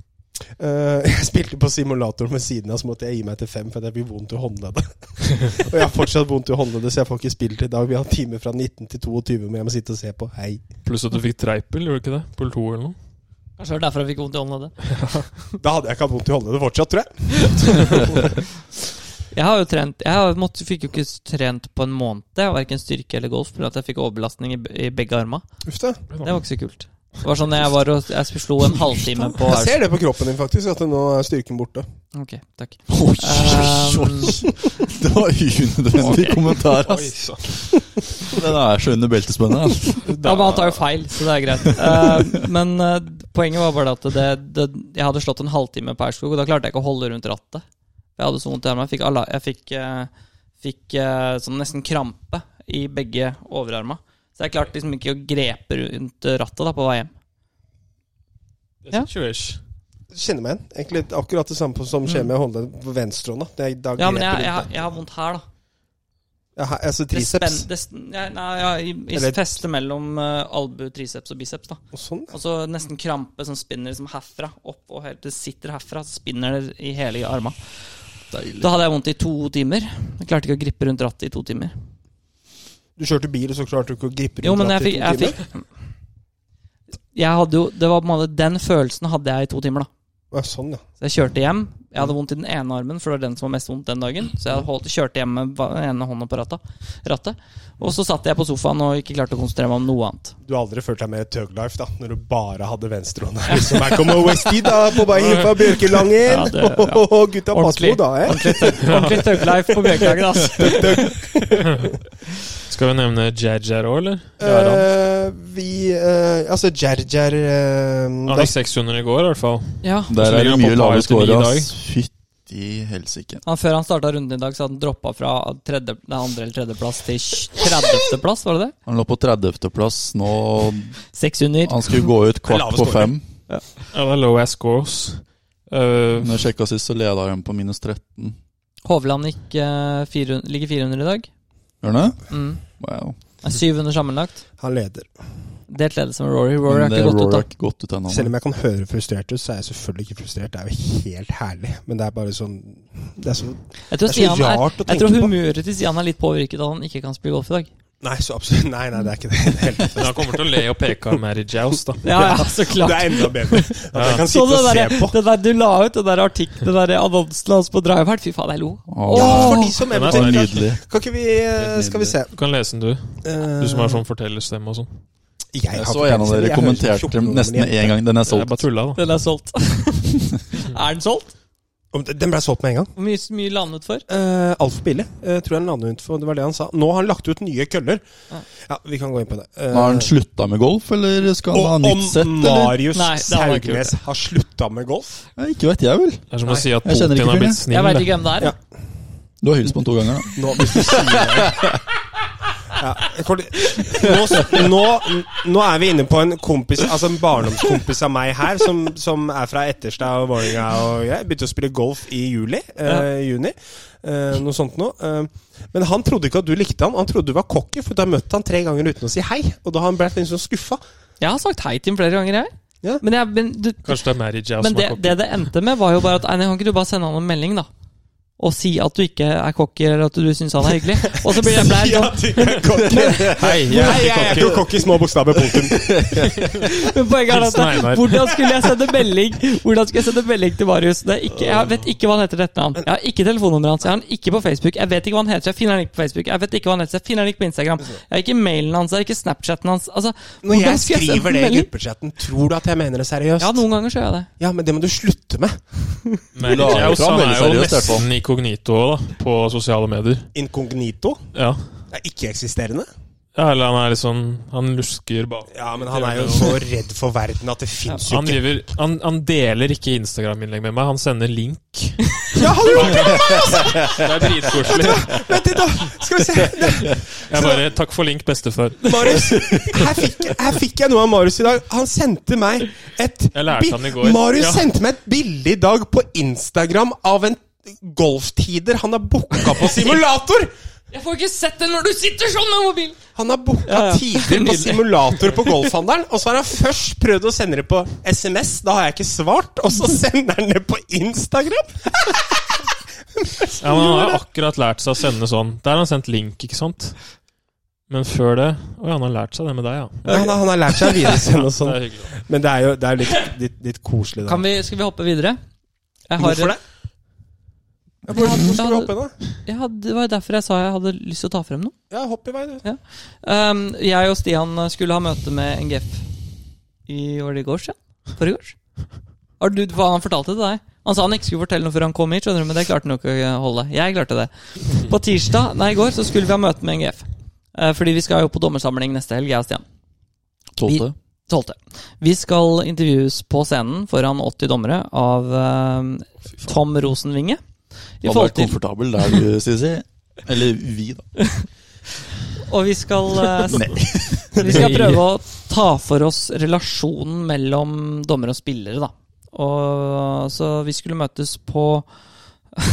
[SPEAKER 4] Eh, jeg spilte på simulator ved siden av, så måtte jeg gi meg til fem fordi jeg fikk vondt i håndleddet. og jeg har fortsatt vondt i håndleddet, så jeg får ikke spilt i dag. Vi har en time fra 19 til 22, men jeg må sitte og se på. Hei.
[SPEAKER 3] Pluss at du fikk treipel, gjorde du ikke det? Pull 2 eller noe?
[SPEAKER 1] Kanskje det var derfor jeg fikk vondt i håndleddet.
[SPEAKER 4] Da hadde jeg ikke hatt vondt i håndleddet fortsatt, tror jeg.
[SPEAKER 1] Jeg har jo trent Jeg har mått, fikk jo ikke trent på en måned, verken styrke eller golf, fordi at jeg fikk overbelastning i, i begge arma.
[SPEAKER 4] Uff da.
[SPEAKER 1] Det var ikke så kult. Det var sånn jeg var og Jeg slo en halvtime på
[SPEAKER 4] Jeg ser det på kroppen din, faktisk, at nå er styrken borte.
[SPEAKER 1] Ok, takk.
[SPEAKER 2] Oi,
[SPEAKER 1] Um,
[SPEAKER 2] oi, oi. Det var unødvendig kommentar, ass. Den er så under beltespennet. ass.
[SPEAKER 1] Ja, men han tar jo feil, så det er greit. Eh, men eh, poenget var bare at det, det, jeg hadde slått en halvtime på Aurskog, og da klarte jeg ikke å holde rundt rattet. Jeg hadde så vondt i armene. Jeg fikk, ala- jeg fikk, eh, fikk eh, sånn nesten krampe i begge overarmene. Så jeg klarte liksom ikke å grepe rundt rattet da på vei hjem. Ja.
[SPEAKER 3] Ja.
[SPEAKER 4] Kjenner meg igjen. Egentlig litt akkurat det samme på- som skjer med håndleddet på venstrehånda. Det er da
[SPEAKER 1] Ja, men
[SPEAKER 4] grep
[SPEAKER 1] jeg,
[SPEAKER 4] rundt
[SPEAKER 1] jeg,
[SPEAKER 4] det.
[SPEAKER 1] jeg har vondt her, da.
[SPEAKER 4] Ja, her- altså
[SPEAKER 1] Det
[SPEAKER 4] triceps.
[SPEAKER 1] spen- det sn- ja, nei, ja, i, i
[SPEAKER 4] Eller-
[SPEAKER 1] festet mellom eh, albu, triceps og biceps, da.
[SPEAKER 4] Og sånn.
[SPEAKER 1] Og så nesten krampe som spinner liksom herfra opp, og helt, det sitter herfra, spinner det i hele armene. Da hadde jeg vondt i to timer. Jeg klarte ikke å gripe rundt rattet i to timer.
[SPEAKER 4] Du kjørte bil, og så klarte du ikke å gripe rundt
[SPEAKER 1] Jo, men jeg
[SPEAKER 4] rattet i
[SPEAKER 1] fikk,
[SPEAKER 4] to
[SPEAKER 1] jeg
[SPEAKER 4] timer?
[SPEAKER 1] fikk jeg hadde jo, det var på en måte Den følelsen hadde jeg i to timer. da
[SPEAKER 4] Ja, sånn, ja.
[SPEAKER 1] Så Jeg kjørte hjem. Jeg hadde vondt i den ene armen, for det var den som var mest vondt den dagen. Så jeg holdt, kjørte hjem med va- den ene hånda på rattet, rattet. Og så satt jeg på sofaen og ikke klarte å konsentrere meg om noe annet.
[SPEAKER 4] Du har aldri følt deg mer Tug Life, da, når du bare hadde venstrehånda. Liksom, her kommer Westie, da, på vei hit fra Bjørkelangen!
[SPEAKER 1] Ja, det- ja.
[SPEAKER 4] Åhåhå, gutta, pass
[SPEAKER 1] Ordentlig.
[SPEAKER 4] på, da! Eh?
[SPEAKER 1] Ordentlig tøgg-life på Bjørklagen, altså.
[SPEAKER 3] Skal vi nevne Jajar òg, eller? Jaran.
[SPEAKER 4] Eh, vi eh, Altså, Jerjer
[SPEAKER 3] Han
[SPEAKER 4] uh,
[SPEAKER 3] gikk 600 i går, i hvert fall.
[SPEAKER 1] Ja.
[SPEAKER 2] Der
[SPEAKER 3] ligger
[SPEAKER 2] er det
[SPEAKER 3] han på
[SPEAKER 2] mye
[SPEAKER 3] par
[SPEAKER 2] lave
[SPEAKER 3] til ni i
[SPEAKER 2] scorer,
[SPEAKER 3] dag.
[SPEAKER 2] ass. Fytti helsike.
[SPEAKER 1] Han, før han starta runden i dag, så hadde han droppa fra tredje, nei, andre eller tredjeplass til 30.-plass, var det det?
[SPEAKER 2] Han lå på 30.-plass nå.
[SPEAKER 1] Seks under.
[SPEAKER 2] Han skulle gå ut kvart
[SPEAKER 3] Lave
[SPEAKER 2] på
[SPEAKER 3] scorer.
[SPEAKER 2] fem.
[SPEAKER 3] Ja, det er low ass scores. Eh,
[SPEAKER 2] Når jeg sjekka sist, så leda han på minus 13.
[SPEAKER 1] Hovland gikk, eh, 400, ligger 400 i dag.
[SPEAKER 2] Gjør han det?
[SPEAKER 1] Mm.
[SPEAKER 2] Wow.
[SPEAKER 1] Er 700 sammenlagt.
[SPEAKER 4] Han leder.
[SPEAKER 1] Delt ledelse med Rory. Rory
[SPEAKER 2] Men
[SPEAKER 1] har
[SPEAKER 2] det
[SPEAKER 1] ikke gått ut,
[SPEAKER 2] Rory
[SPEAKER 1] da.
[SPEAKER 2] har ikke gått ut ennå.
[SPEAKER 4] Selv om jeg kan høre frustrert ut, så er jeg selvfølgelig ikke frustrert. Det er jo helt herlig. Men det er bare sånn Det er så,
[SPEAKER 1] Jeg
[SPEAKER 4] det
[SPEAKER 1] tror,
[SPEAKER 4] er så
[SPEAKER 1] Stian er,
[SPEAKER 4] rart å
[SPEAKER 1] jeg tror
[SPEAKER 4] tenke på.
[SPEAKER 1] humøret til Stian er litt påvirket av at han ikke kan spille golf i dag.
[SPEAKER 4] Nei, så absolutt. Nei, nei, det er ikke det. i det. hele tatt.
[SPEAKER 3] men han kommer til å le og peke av Mary Jouse, da.
[SPEAKER 1] Ja, ja, så klart.
[SPEAKER 4] Det er enda bedre. At jeg kan
[SPEAKER 1] Så
[SPEAKER 4] sitte
[SPEAKER 1] det
[SPEAKER 4] og
[SPEAKER 1] der,
[SPEAKER 4] se på.
[SPEAKER 1] det der du la ut, den der artikkelen, den der annonsen hans på Drivehard, fy faen, jeg lo.
[SPEAKER 2] Åh,
[SPEAKER 4] Ja, for de som
[SPEAKER 3] Den er
[SPEAKER 2] det var
[SPEAKER 4] eventuelt
[SPEAKER 2] nydelig.
[SPEAKER 4] Kan ikke vi eh, Skal vi se. Eh,
[SPEAKER 3] Du kan lese den, du. Du som har sånn fortellerstemme og sånn.
[SPEAKER 2] Jeg så en av dere kommenterte nesten én gang. Den er
[SPEAKER 3] Jeg
[SPEAKER 2] solgt.
[SPEAKER 3] bare tulla, da.
[SPEAKER 1] Den er solgt. er den solgt?
[SPEAKER 4] Den ble solgt med en gang.
[SPEAKER 1] Hvor mye, mye landet for?
[SPEAKER 4] Uh, Altfor billig, eh, tror jeg han landet ut for. Det var det han sa. Nå har han lagt ut nye køller.
[SPEAKER 1] Ja.
[SPEAKER 4] Ja, vi kan gå inn på det. Eh,
[SPEAKER 2] Har han slutta med golf, eller skal
[SPEAKER 4] og
[SPEAKER 2] han ha
[SPEAKER 4] om
[SPEAKER 2] nytt sett, eller?
[SPEAKER 4] Marius
[SPEAKER 1] Nei, det har han ikke gjort.
[SPEAKER 4] Saugnes har slutta med golf?
[SPEAKER 2] Nei, ikke vet jeg, vel.
[SPEAKER 3] Det er som å si at
[SPEAKER 2] jeg kjenner ikke
[SPEAKER 3] Putin har
[SPEAKER 2] fyren,
[SPEAKER 1] Jeg
[SPEAKER 2] jeg.
[SPEAKER 3] blitt snill.
[SPEAKER 1] veit
[SPEAKER 3] da.
[SPEAKER 1] ikke hvem det er.
[SPEAKER 4] Ja.
[SPEAKER 2] Du har hilst på ham to ganger, da.
[SPEAKER 4] Nå, hvis du sier det ja, jeg kommer til- nå, s- nå, nå er vi inne på en kompis Altså en barndomskompis av meg her, som, som er fra Etterstad og Vålerenga. Og jeg begynte å spille golf i juli. Eh, juni. Eh, noe sånt noe. Eh, men han trodde ikke at du likte ham. Han trodde du var cocky, for da møtte han tre ganger uten å si hei. Og da har han blitt litt sånn skuffa.
[SPEAKER 1] Jeg har sagt hei til ham flere ganger, jeg.
[SPEAKER 4] Ja.
[SPEAKER 1] Men, jeg, men, du,
[SPEAKER 3] Kanskje det er Mary Jouse
[SPEAKER 1] men
[SPEAKER 3] som
[SPEAKER 1] det,
[SPEAKER 3] er cocky.
[SPEAKER 1] det det endte med, var jo bare at Nei, kan ikke du bare sende han en melding, da? Og si at du ikke er cocky, eller at du syns han er hyggelig. Og så blir jeg blei sånn.
[SPEAKER 3] Hei, jeg
[SPEAKER 4] Nei, jeg er
[SPEAKER 3] er
[SPEAKER 4] ikke
[SPEAKER 3] ikke cocky.
[SPEAKER 4] cocky, små bokstaver, punktum.
[SPEAKER 1] Men poenget er sånn, at
[SPEAKER 3] Hilsen Einar.
[SPEAKER 1] hvordan skulle jeg sende melding Hvordan skulle jeg sende melding til Marius? Det er ikke, jeg vet ikke hva han heter til etternavn. Jeg har ikke telefonnummeret hans. Jeg har han ikke på Facebook. Jeg vet ikke hva han heter. så Jeg finner han ikke på Facebook. Jeg vet ikke hva han heter. så Jeg finner han ikke på Instagram. Jeg har ikke mailen hans. Jeg har ikke Snapchatten hans. Altså,
[SPEAKER 4] Når
[SPEAKER 1] hvordan
[SPEAKER 4] jeg
[SPEAKER 1] skal sende
[SPEAKER 4] skriver det i
[SPEAKER 1] melding?
[SPEAKER 4] gruppechatten, tror du at jeg mener det seriøst?
[SPEAKER 1] Ja, noen ganger så gjør jeg det.
[SPEAKER 4] Ja, men det må du slutte med.
[SPEAKER 3] Mary
[SPEAKER 2] Du la det
[SPEAKER 3] Jouse
[SPEAKER 2] fram
[SPEAKER 3] han
[SPEAKER 2] veldig
[SPEAKER 3] er jo
[SPEAKER 2] seriøst, i hvert fall.
[SPEAKER 3] nesten inkognito også, da, på sosiale medier.
[SPEAKER 4] Incognito
[SPEAKER 3] Ja.
[SPEAKER 4] er ikke-eksisterende.
[SPEAKER 3] ja, eller han er litt sånn Han lusker bak
[SPEAKER 4] Ja, men han er jo så redd for verden at det fins jo
[SPEAKER 3] Han,
[SPEAKER 4] ikke.
[SPEAKER 3] driver, han, han deler ikke Instagram-innlegg med meg, han sender link.
[SPEAKER 4] Ja, han gjorde det!
[SPEAKER 3] Det er dritkoselig.
[SPEAKER 4] Vent litt, da! Skal vi se. Det-
[SPEAKER 3] Jeg bare Takk for link, bestefar.
[SPEAKER 4] Marius. Her fikk, her fikk jeg noe av Marius i dag. Han sendte meg et
[SPEAKER 3] Jeg lærte
[SPEAKER 4] bi-
[SPEAKER 3] han i går.
[SPEAKER 4] Marius
[SPEAKER 3] Ja.
[SPEAKER 4] sendte meg et bilde i dag på Instagram av en golftider han har booka på simulator!
[SPEAKER 1] Jeg får ikke sett det når du sitter sånn med mobilen!
[SPEAKER 4] Han har booka
[SPEAKER 1] Ja, ja.
[SPEAKER 4] tider på
[SPEAKER 1] Nydelig.
[SPEAKER 4] simulator på golfhandelen, og så har han først prøvd å sende det på SMS. Da har jeg ikke svart, og så sender han det på Instagram!
[SPEAKER 3] Ja, men Han har akkurat lært seg å sende sånn. Der har han sendt link, ikke sant? Men før det Å ja, han har lært seg det med deg, ja.
[SPEAKER 4] Ja, han, har, han har lært seg å videresende og
[SPEAKER 3] Det
[SPEAKER 4] sånn.
[SPEAKER 3] er hyggelig. da.
[SPEAKER 4] Men det er jo det er jo litt, litt, litt koselig, da.
[SPEAKER 1] Kan vi, skal vi hoppe videre? Jeg har-
[SPEAKER 4] Hvorfor det? Ja, hvorfor skal vi hoppe i da?
[SPEAKER 1] Ja, det var jo derfor jeg sa jeg hadde lyst til å ta frem noe.
[SPEAKER 4] Ja, hopp i vei, du.
[SPEAKER 1] Um, jeg og Stian skulle ha møte med NGF i var det i går siden? Forrige gårs? Har du, hva han fortalte til deg? Han sa han ikke skulle fortelle noe før han kom hit, skjønner du, men det klarte han jo ikke å holde. Jeg klarte det. På tirsdag, nei, i går, så skulle vi ha møte med NGF. Eh, fordi vi skal jo på dommersamling neste helg, jeg og Stian.
[SPEAKER 2] Tolvte.
[SPEAKER 1] 12. Vi skal intervjues på scenen foran 80 dommere av eh, Tom Rosenvinge. I
[SPEAKER 2] Han
[SPEAKER 1] forhold
[SPEAKER 2] var
[SPEAKER 1] til
[SPEAKER 2] komfortabel der, du, Sisi. Eller vi, da.
[SPEAKER 1] Og vi skal, eh, s-
[SPEAKER 2] Nei.
[SPEAKER 1] vi skal prøve å ta for oss relasjonen mellom dommer og spillere, da. Og, så vi skulle møtes på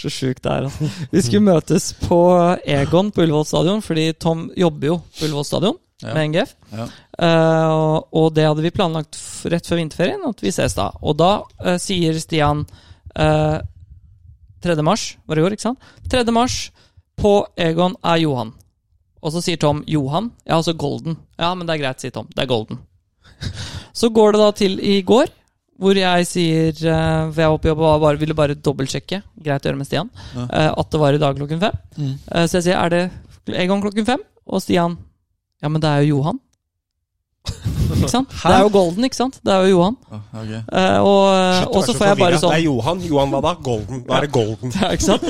[SPEAKER 1] Så sjukt det er, altså. Vi skulle møtes på Egon på Ullevål stadion, fordi Tom jobber jo på Ullevål stadion
[SPEAKER 2] Ja.
[SPEAKER 1] med NGF.
[SPEAKER 2] Ja.
[SPEAKER 1] Eh, og- og det hadde vi planlagt f rett før vinterferien, at vi ses da. Og da eh, sier Stian eh, 3. mars, var det i går, ikke sant? 3. mars på Egon er Johan. Og så sier Tom 'Johan'. Ja, altså Golden. Ja, men det er greit, sier Tom. Det er Golden. Så går det da til i går, hvor jeg sier eh, For jeg var på jobb og var bare, ville bare dobbeltsjekke, greit å gjøre med Stian,
[SPEAKER 2] Ja.
[SPEAKER 1] eh, at det var i dag klokken fem.
[SPEAKER 2] Mm.
[SPEAKER 1] Eh, Så jeg sier 'Er det Egon klokken fem?' Og Stian 'Ja, men det er jo Johan'. Ikke sant? Det er jo Golden, ikke sant? Det er jo Johan.
[SPEAKER 2] Ja, ok.
[SPEAKER 1] Eh, og, og så får jeg bare
[SPEAKER 4] Det er
[SPEAKER 1] sånn
[SPEAKER 4] Johan. Johan hva da? Golden. Da er det Golden.
[SPEAKER 1] ja, ikke sant?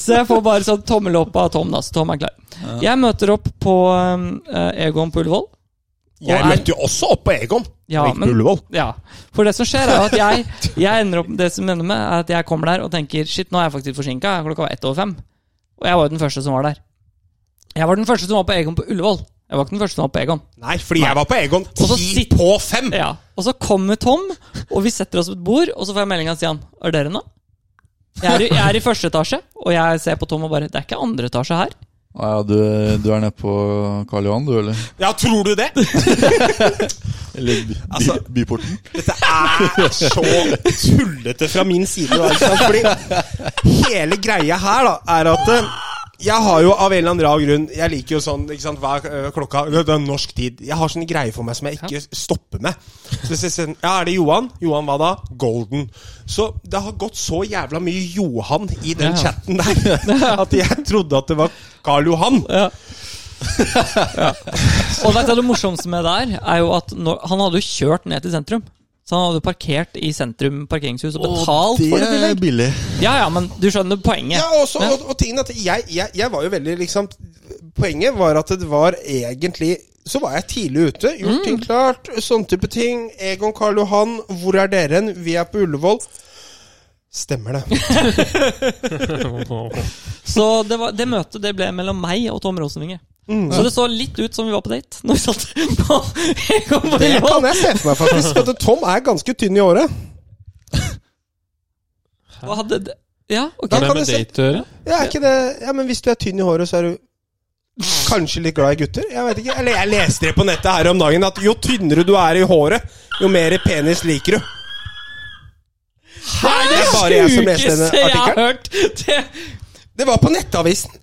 [SPEAKER 1] Så jeg får bare sånn tommel opp av Tom, da. Så Tom er klar. Jeg møter opp på eh, Egon på Ullevål. Og
[SPEAKER 4] Jeg
[SPEAKER 1] er-
[SPEAKER 4] møtte jo også opp på Egon.
[SPEAKER 1] Ja,
[SPEAKER 4] Jeg gikk på
[SPEAKER 1] men-
[SPEAKER 4] Ullevål.
[SPEAKER 1] Ja. For det som skjer, er jo at jeg, jeg ender opp Det som ender med, er at jeg kommer der og tenker Shit, nå er jeg faktisk forsinka. Klokka var ett over fem. Og jeg var jo den første som var der. Jeg var den første som var på Egon på Ullevål. Jeg var ikke den første som var på Egon.
[SPEAKER 4] Nei, fordi jeg var på Egon
[SPEAKER 1] så
[SPEAKER 4] ti
[SPEAKER 1] sitt-
[SPEAKER 4] på fem!
[SPEAKER 1] Ja. Og så kommer Tom, og vi setter oss ved et bord, og så får jeg melding av Stian. Er dere nå? Jeg er, i- jeg er i første etasje, og jeg ser på Tom og bare Det er ikke andre etasje her.
[SPEAKER 2] Ah, ja, du, du er nede på Karl Johan, du, eller?
[SPEAKER 4] Ja, tror du det?
[SPEAKER 2] Eller by,
[SPEAKER 4] Altså-
[SPEAKER 2] by, Byporten?
[SPEAKER 4] Dette er så tullete fra min side. Da, ikke sant? Fordi hele greia her da, er at eh, jeg har jo av en eller annen rar grunn Jeg liker jo sånn ikke sant, Hva er eh, klokka? Det er norsk tid. Jeg har sånn greie for meg som jeg ikke stopper med. Så hvis jeg sier, ja, er det Johan? Johan hva da? Golden. Så det har gått så jævla mye Johan i
[SPEAKER 1] Ja.
[SPEAKER 4] den chatten der at jeg trodde at det var Karl Johan.
[SPEAKER 1] Og vet du hva det morsomste med der er jo at når, han hadde jo kjørt ned til sentrum. Så han hadde jo parkert i sentrum parkeringshus og betalt for det. i
[SPEAKER 2] det er
[SPEAKER 1] tillegg.
[SPEAKER 2] billig.
[SPEAKER 1] Ja, ja, men du skjønner poenget.
[SPEAKER 4] Ja, og, så, og, og tingen er at jeg, jeg, jeg var jo veldig liksom Poenget var at det var egentlig Så var jeg tidlig ute, gjort ting klart, sånne type ting. Egon Karl Johan, hvor er dere hen? Vi er på Ullevål. Stemmer det.
[SPEAKER 1] Så det, var, det møtet det ble mellom meg og Tom Rosenvinge.
[SPEAKER 4] Mm.
[SPEAKER 1] Så det så litt ut som vi var på date. Når vi satt på Egon på
[SPEAKER 4] Det kan
[SPEAKER 1] Ullevål.
[SPEAKER 4] jeg se for meg, faktisk. At Tom er ganske tynn i håret.
[SPEAKER 1] Og hadde det- Ja, ok.
[SPEAKER 4] Da
[SPEAKER 3] Hva er det
[SPEAKER 4] kan
[SPEAKER 3] med
[SPEAKER 4] jeg se-
[SPEAKER 3] date å gjøre?
[SPEAKER 4] Ja, er ikke det Ja, men hvis du er tynn i håret, så er du Kanskje litt glad i gutter? Jeg vet ikke. Eller jeg leste det på nettet her om dagen at jo tynnere du er i håret, jo mer penis liker du.
[SPEAKER 1] Det
[SPEAKER 4] Det er bare jeg som leste denne
[SPEAKER 1] sjukeste jeg har
[SPEAKER 4] artikkelen.
[SPEAKER 1] hørt! Det,
[SPEAKER 4] Det var på Nettavisen.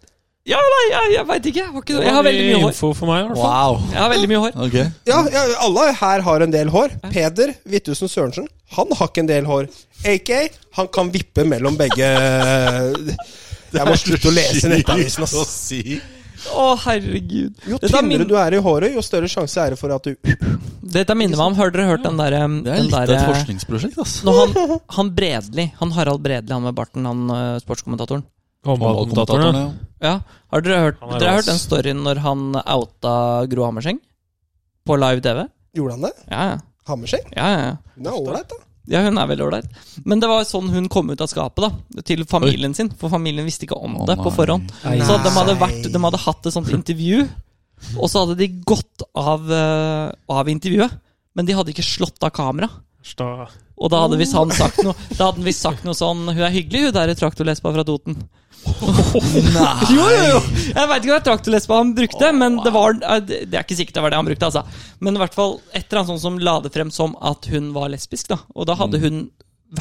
[SPEAKER 1] ja, nei, jeg, jeg veit ikke. Jeg, var ikke, jeg har veldig mye hår.
[SPEAKER 3] Info for meg, i hvert fall.
[SPEAKER 2] Wow.
[SPEAKER 1] Jeg har veldig mye hår.
[SPEAKER 2] Ok.
[SPEAKER 4] Ja, ja, alle her har en del hår. Peder Hvittusen Sørensen, han har ikke en del hår. AK, han kan vippe mellom begge Jeg må slutte å lese Nettavisen, ass.
[SPEAKER 1] Å, herregud.
[SPEAKER 4] Jo
[SPEAKER 1] Dette er min-
[SPEAKER 4] tynnere du er i håret, jo større sjanse er det for at du
[SPEAKER 1] Dette minner meg om Har dere hørt den derre
[SPEAKER 2] Det er
[SPEAKER 1] den eh,
[SPEAKER 2] litt av et
[SPEAKER 1] derre-
[SPEAKER 2] forskningsprosjekt, ass.
[SPEAKER 1] Når han, han Bredli, han Harald Bredli, han med barten, han eh, sportskommentatoren
[SPEAKER 3] Håndballkommentatoren, ja.
[SPEAKER 1] Ja, Har dere hørt,
[SPEAKER 3] Han er
[SPEAKER 1] dere har
[SPEAKER 3] ras.
[SPEAKER 1] hørt den storyen når han outa Gro Hammerseng? På live TV?
[SPEAKER 4] Gjorde han det?
[SPEAKER 1] Ja, ja.
[SPEAKER 4] Hammerseng?
[SPEAKER 1] ja, ja, ja.
[SPEAKER 4] Hun er ålreit, da.
[SPEAKER 1] Ja, hun er veldig ålreit. Men det var sånn hun kom ut av skapet, da. Til familien sin. For familien visste ikke om
[SPEAKER 2] Å,
[SPEAKER 1] det på
[SPEAKER 2] nei.
[SPEAKER 1] forhånd.
[SPEAKER 4] Nei.
[SPEAKER 1] Så de hadde, vært, de hadde hatt et sånt intervju, og så hadde de gått av, eh, av intervjuet. Men de hadde ikke slått av kamera.
[SPEAKER 3] Sta-
[SPEAKER 1] Og da hadde visst han sagt noe Da hadde han visst sagt noe sånn Hun er hyggelig, hun der traktorlespa fra Toten. Nei Jo, jo, jo! Jeg veit ikke hva traktorlespa han brukte, men det var eh, Det det er ikke sikkert det var det han brukte, altså. Men i hvert fall et eller annet sånt som la det frem som at hun var lesbisk, da. Og da hadde hun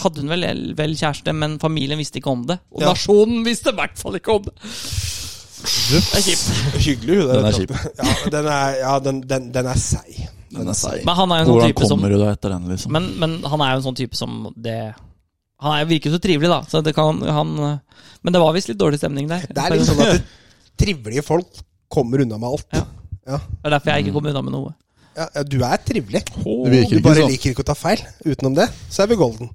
[SPEAKER 1] hadde hun vel, vel kjæreste, men familien visste ikke om det. Og
[SPEAKER 4] Ja.
[SPEAKER 1] nasjonen visste i hvert fall ikke om det. Det er kjipt.
[SPEAKER 4] Hyggelig, hun der.
[SPEAKER 2] Den er kjip.
[SPEAKER 4] Ja, den er, ja, den, den, den er seig.
[SPEAKER 2] Den er seig.
[SPEAKER 1] Men han er jo en sånn
[SPEAKER 2] Hvordan
[SPEAKER 1] type som
[SPEAKER 2] kommer du deg etter den, liksom?
[SPEAKER 1] men, men han er jo en sånn type som det Han er, virker jo så trivelig, da. Så det kan, han, men det var visst litt dårlig stemning der.
[SPEAKER 4] Det er litt sånn at trivelige folk kommer unna med alt.
[SPEAKER 1] Ja.
[SPEAKER 4] Ja.
[SPEAKER 1] Det er derfor jeg ikke kom unna med noe.
[SPEAKER 4] Ja, ja, du er trivelig.
[SPEAKER 2] Det virker
[SPEAKER 4] Du
[SPEAKER 2] ikke
[SPEAKER 4] bare
[SPEAKER 2] sånn.
[SPEAKER 4] liker ikke å ta feil. Utenom det, så er vi golden.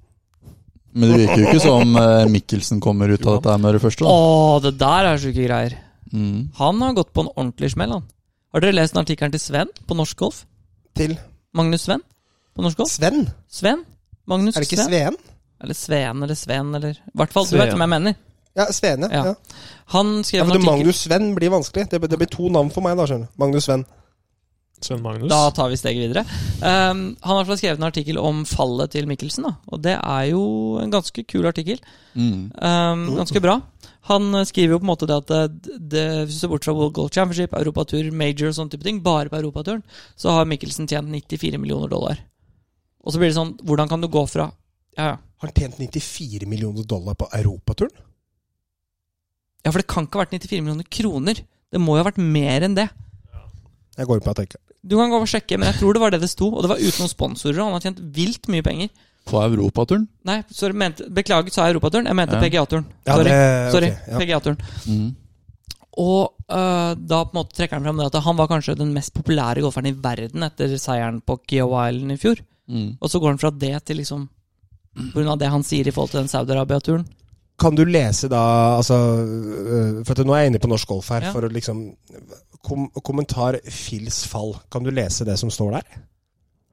[SPEAKER 2] Men det virker jo ikke som eh, Mikkelsen kommer ut av dette her med det første.
[SPEAKER 1] Å,
[SPEAKER 2] Da.
[SPEAKER 1] det der er sjuke greier.
[SPEAKER 2] Mm.
[SPEAKER 1] Han har gått på en ordentlig smell, han. Har dere lest den artikkelen til Sven på Norsk Golf?
[SPEAKER 4] Til
[SPEAKER 1] Magnus Sven på Norsk Golf?
[SPEAKER 4] Sven.
[SPEAKER 1] Sven? Magnus
[SPEAKER 4] Er det ikke
[SPEAKER 1] Sven?
[SPEAKER 4] Sveen?
[SPEAKER 1] Eller Sveen eller Sven eller I hvert fall, du vet hvem jeg mener.
[SPEAKER 4] Ja, Sveen, ja.
[SPEAKER 1] Ja.
[SPEAKER 4] ja.
[SPEAKER 1] Han skrev
[SPEAKER 4] Ja,
[SPEAKER 1] en
[SPEAKER 4] for det
[SPEAKER 1] artikkel
[SPEAKER 4] Magnus Sven blir vanskelig. Det, det blir to navn for meg, da. skjønner du Magnus Sven.
[SPEAKER 3] Sven Magnus.
[SPEAKER 1] Da tar vi steget videre. Um, han har i hvert fall skrevet en artikkel om fallet til Mikkelsen, da. og det er jo en ganske kul artikkel.
[SPEAKER 2] Mm.
[SPEAKER 1] Um, ganske bra. Han eh, skriver jo på en måte det at det, det, hvis du ser bort fra World Golf Championship, Europatur, Major og sånne type ting, bare på Europaturen, så har Mikkelsen tjent 94 millioner dollar. Og så blir det sånn, hvordan kan du gå fra Ja, ja.
[SPEAKER 4] Har han tjent 94 millioner dollar på europaturen?
[SPEAKER 1] ja for det kan ikke ha vært 94 millioner kroner. Det må jo ha vært mer enn det.
[SPEAKER 4] Jeg går på at jeg ikke
[SPEAKER 1] Du kan gå og sjekke, men jeg tror det var det det sto. Og det var uten noen sponsorer, og han har tjent vilt mye penger.
[SPEAKER 2] På europaturen.
[SPEAKER 1] Nei, sorry, mente, beklager, sa jeg Europaturen. Jeg mente
[SPEAKER 2] Ja.
[SPEAKER 1] PGA-turen.
[SPEAKER 4] Ja,
[SPEAKER 1] Sorry.
[SPEAKER 4] det-
[SPEAKER 1] sorry
[SPEAKER 4] ok, ja.
[SPEAKER 1] PGA-turen.
[SPEAKER 2] Mm.
[SPEAKER 1] Og eh, da på en måte trekker han frem det at han var kanskje den mest populære golferen i verden etter seieren på Kiowa Island i fjor.
[SPEAKER 2] Mm.
[SPEAKER 1] Og så går han fra det til liksom På grunn av det han sier i forhold til den Saudi-Arabia-turen.
[SPEAKER 4] Kan du lese da altså, øh, For at nå er jeg inne på norsk golf her.
[SPEAKER 1] Ja.
[SPEAKER 4] For å liksom kom, Kommentar Phils fall. Kan du lese det som står der?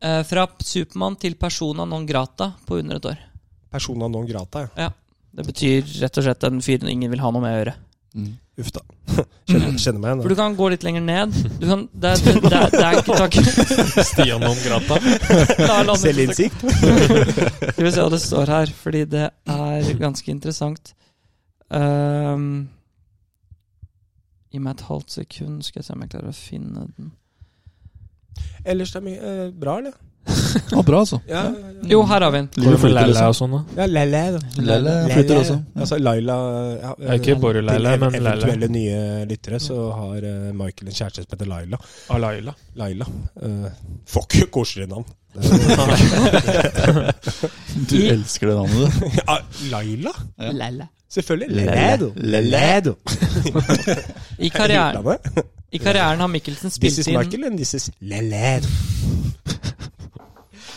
[SPEAKER 1] Eh, fra Supermann til persona non grata på under et år.
[SPEAKER 4] Persona non grata. ja.
[SPEAKER 1] Det betyr rett og slett en fyr ingen vil ha noe med å gjøre.
[SPEAKER 2] Mm.
[SPEAKER 4] Uff da. Kjenner, kjenner meg
[SPEAKER 1] For du
[SPEAKER 4] igjen. da.
[SPEAKER 1] kan gå litt lenger ned. Du kan, det, er- det, det, er- det er ikke takk.
[SPEAKER 3] Stian om grata.
[SPEAKER 1] La- la-
[SPEAKER 4] Selvinnsikt.
[SPEAKER 1] Skal vi se hva det står her, fordi det er ganske interessant. Ehm, Gi meg et halvt sekund, skal jeg se om jeg klarer å finne den.
[SPEAKER 4] Ellers det er mye øh, bra, eller?
[SPEAKER 2] Ah, bra, altså.
[SPEAKER 4] Ja,
[SPEAKER 1] Jo, her har vi den.
[SPEAKER 3] Går det for
[SPEAKER 2] flyter,
[SPEAKER 3] Leila
[SPEAKER 2] liksom.
[SPEAKER 3] og sånn, da?
[SPEAKER 4] ja Lele. da.
[SPEAKER 2] Lele flytter også. Ja.
[SPEAKER 4] Altså Laila ja,
[SPEAKER 3] Det er ikke bare Leila,
[SPEAKER 4] til
[SPEAKER 3] men Leila.
[SPEAKER 4] eventuelle nye lyttere så har eh, Michael en kjæreste som heter Laila.
[SPEAKER 3] Alaila.
[SPEAKER 4] Laila. Uh, Fuck, koseligere navn. Det
[SPEAKER 2] Du elsker det navnet, du.
[SPEAKER 4] er- Ja, Ah, Laila?
[SPEAKER 2] Ja.
[SPEAKER 1] Lelle.
[SPEAKER 4] Selvfølgelig.
[SPEAKER 2] Lele.
[SPEAKER 4] Leledo.
[SPEAKER 2] Lele.
[SPEAKER 4] Leledo.
[SPEAKER 1] I
[SPEAKER 4] I
[SPEAKER 1] karrieren,
[SPEAKER 4] utlandet.
[SPEAKER 1] I karrieren har Mikkelsen
[SPEAKER 4] This
[SPEAKER 1] spilt
[SPEAKER 4] is
[SPEAKER 1] inn
[SPEAKER 4] Michael, and this is Leledo.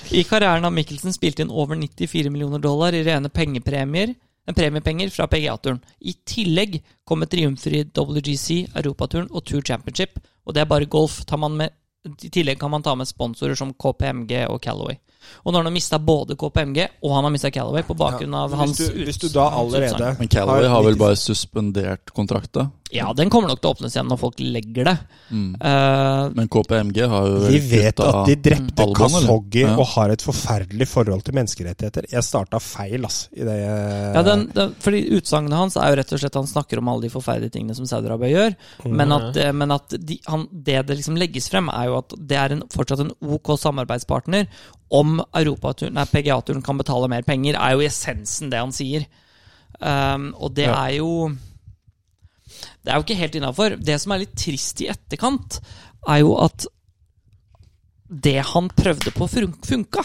[SPEAKER 1] I karrieren har Mikkelsen spilt inn over 94 millioner dollar i rene pengepremier eh, premiepenger fra PGA-turen. I tillegg kommer triumfer i WGC, Europaturen og Tour Championship. Og det er bare golf. Tar man med, I tillegg kan man ta med sponsorer som KPMG og Callaway. Og nå har han mista både KPMG og han har mista Callaway på bakgrunn av
[SPEAKER 4] Hvis
[SPEAKER 1] hans
[SPEAKER 4] du,
[SPEAKER 1] ut-
[SPEAKER 4] hvis du da
[SPEAKER 1] hans
[SPEAKER 4] allerede
[SPEAKER 1] utsagn.
[SPEAKER 2] Men Calaway har vel
[SPEAKER 4] 90
[SPEAKER 2] bare suspendert kontrakta.
[SPEAKER 1] Ja, den kommer nok til å åpnes igjen når folk legger det.
[SPEAKER 2] Mm.
[SPEAKER 1] Eh,
[SPEAKER 2] Men KPMG har jo
[SPEAKER 4] De vet
[SPEAKER 2] kutta-
[SPEAKER 4] at de drepte
[SPEAKER 2] Alban, eller?
[SPEAKER 4] Khashoggi
[SPEAKER 2] Ja.
[SPEAKER 4] og har et forferdelig forhold til menneskerettigheter. Jeg starta feil, ass. I det
[SPEAKER 1] ja, den, den, fordi Utsagnet hans er jo rett og slett han snakker om alle de forferdelige tingene som Saudi-Arabia gjør. Men at, eh, men at de, han, det det liksom legges frem, er jo at det er en, fortsatt en OK samarbeidspartner. Om Europaturen- nei, PGA-turen kan betale mer penger, er jo i essensen det han sier. Um, og det
[SPEAKER 3] Ja.
[SPEAKER 1] er jo Det er jo ikke helt innafor. Det som er litt trist i etterkant, er jo at det han prøvde på, fun- funka.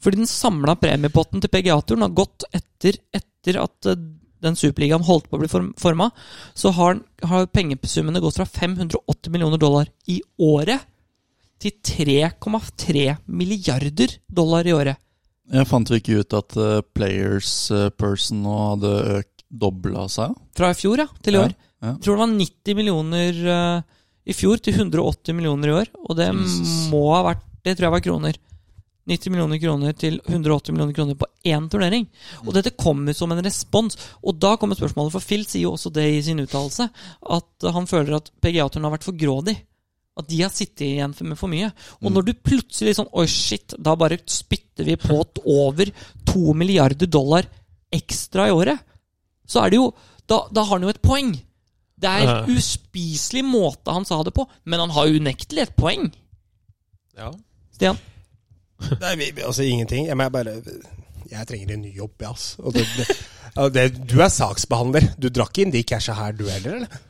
[SPEAKER 1] Fordi den samla premiepotten til PGA-turen har gått etter, etter at eh, den superligaen holdt på å bli forma, så har, har pengesummene gått fra 580 millioner dollar i året til 3,3 milliarder dollar i året.
[SPEAKER 2] Jeg fant vi ikke ut at eh, players eh, person nå hadde økt dobla seg?
[SPEAKER 1] Fra i fjor ja, til i
[SPEAKER 2] Ja,
[SPEAKER 1] år.
[SPEAKER 2] ja.
[SPEAKER 1] Jeg tror det var 90 millioner eh, i fjor til 180 millioner i år. Og det
[SPEAKER 2] Jesus.
[SPEAKER 1] må ha vært Det tror jeg var kroner. 90 millioner kroner til 180 millioner kroner på én turnering. Og dette kommer som en respons. Og da kommer spørsmålet, for Phil sier jo også det i sin uttalelse, at han føler at PGA-turen har vært for grådig. At de har sittet igjen for- med for mye. Og når du plutselig sånn Oi, shit, da bare spytter vi på t- over to milliarder dollar ekstra i året. Så er det jo Da, da har han jo et poeng. Det er
[SPEAKER 3] Ja.
[SPEAKER 1] en uspiselig måte han sa det på, men han har jo unektelig et poeng.
[SPEAKER 3] Ja.
[SPEAKER 1] Stian?
[SPEAKER 4] Nei, vi, vi- altså ingenting. Jeg, må bare, jeg trenger en ny jobb, jeg, ass. Og det, det, og det, du er saksbehandler. Du drakk inn de casha her, du heller, eller?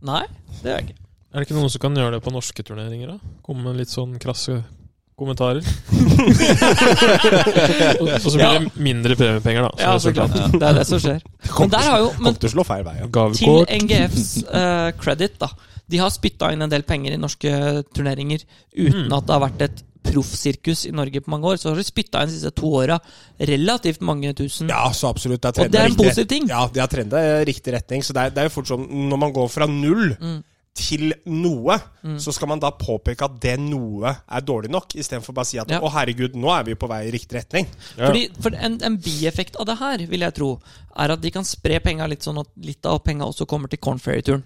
[SPEAKER 1] Nei, det er jeg ikke.
[SPEAKER 3] Er det ikke noen som kan gjøre det på norske turneringer, da? Komme med litt sånn krasse kommentarer? og, og så blir det mindre premiepenger, da.
[SPEAKER 1] Ja, så klart. Det er det som skjer. Men der har jo men
[SPEAKER 4] Kom til å slå feil vei. Ja.
[SPEAKER 1] Til
[SPEAKER 3] Gavekort.
[SPEAKER 1] NGFs eh, credit, da. De har spytta inn en del penger i norske turneringer uten
[SPEAKER 3] Mm.
[SPEAKER 1] at det har vært et proffsirkus i Norge på mange år. Så har de spytta inn de siste to åra relativt mange tusen.
[SPEAKER 4] Ja, så absolutt. Det er,
[SPEAKER 1] Og det er en
[SPEAKER 4] trendet i riktig-
[SPEAKER 1] positiv ting.
[SPEAKER 4] Ja, det har trenda i riktig retning. Så det er, det er jo fort sånn når man går fra null
[SPEAKER 1] Mm.
[SPEAKER 4] til noe, så skal man da påpeke at det noe er dårlig nok, istedenfor bare å si at
[SPEAKER 1] Ja.
[SPEAKER 4] å herregud, nå er vi på vei i riktig retning.
[SPEAKER 3] Ja.
[SPEAKER 1] Fordi, for en, en bieffekt av det her, vil jeg tro, er at de kan spre penga litt sånn at litt av penga også kommer til Cornferry-turen.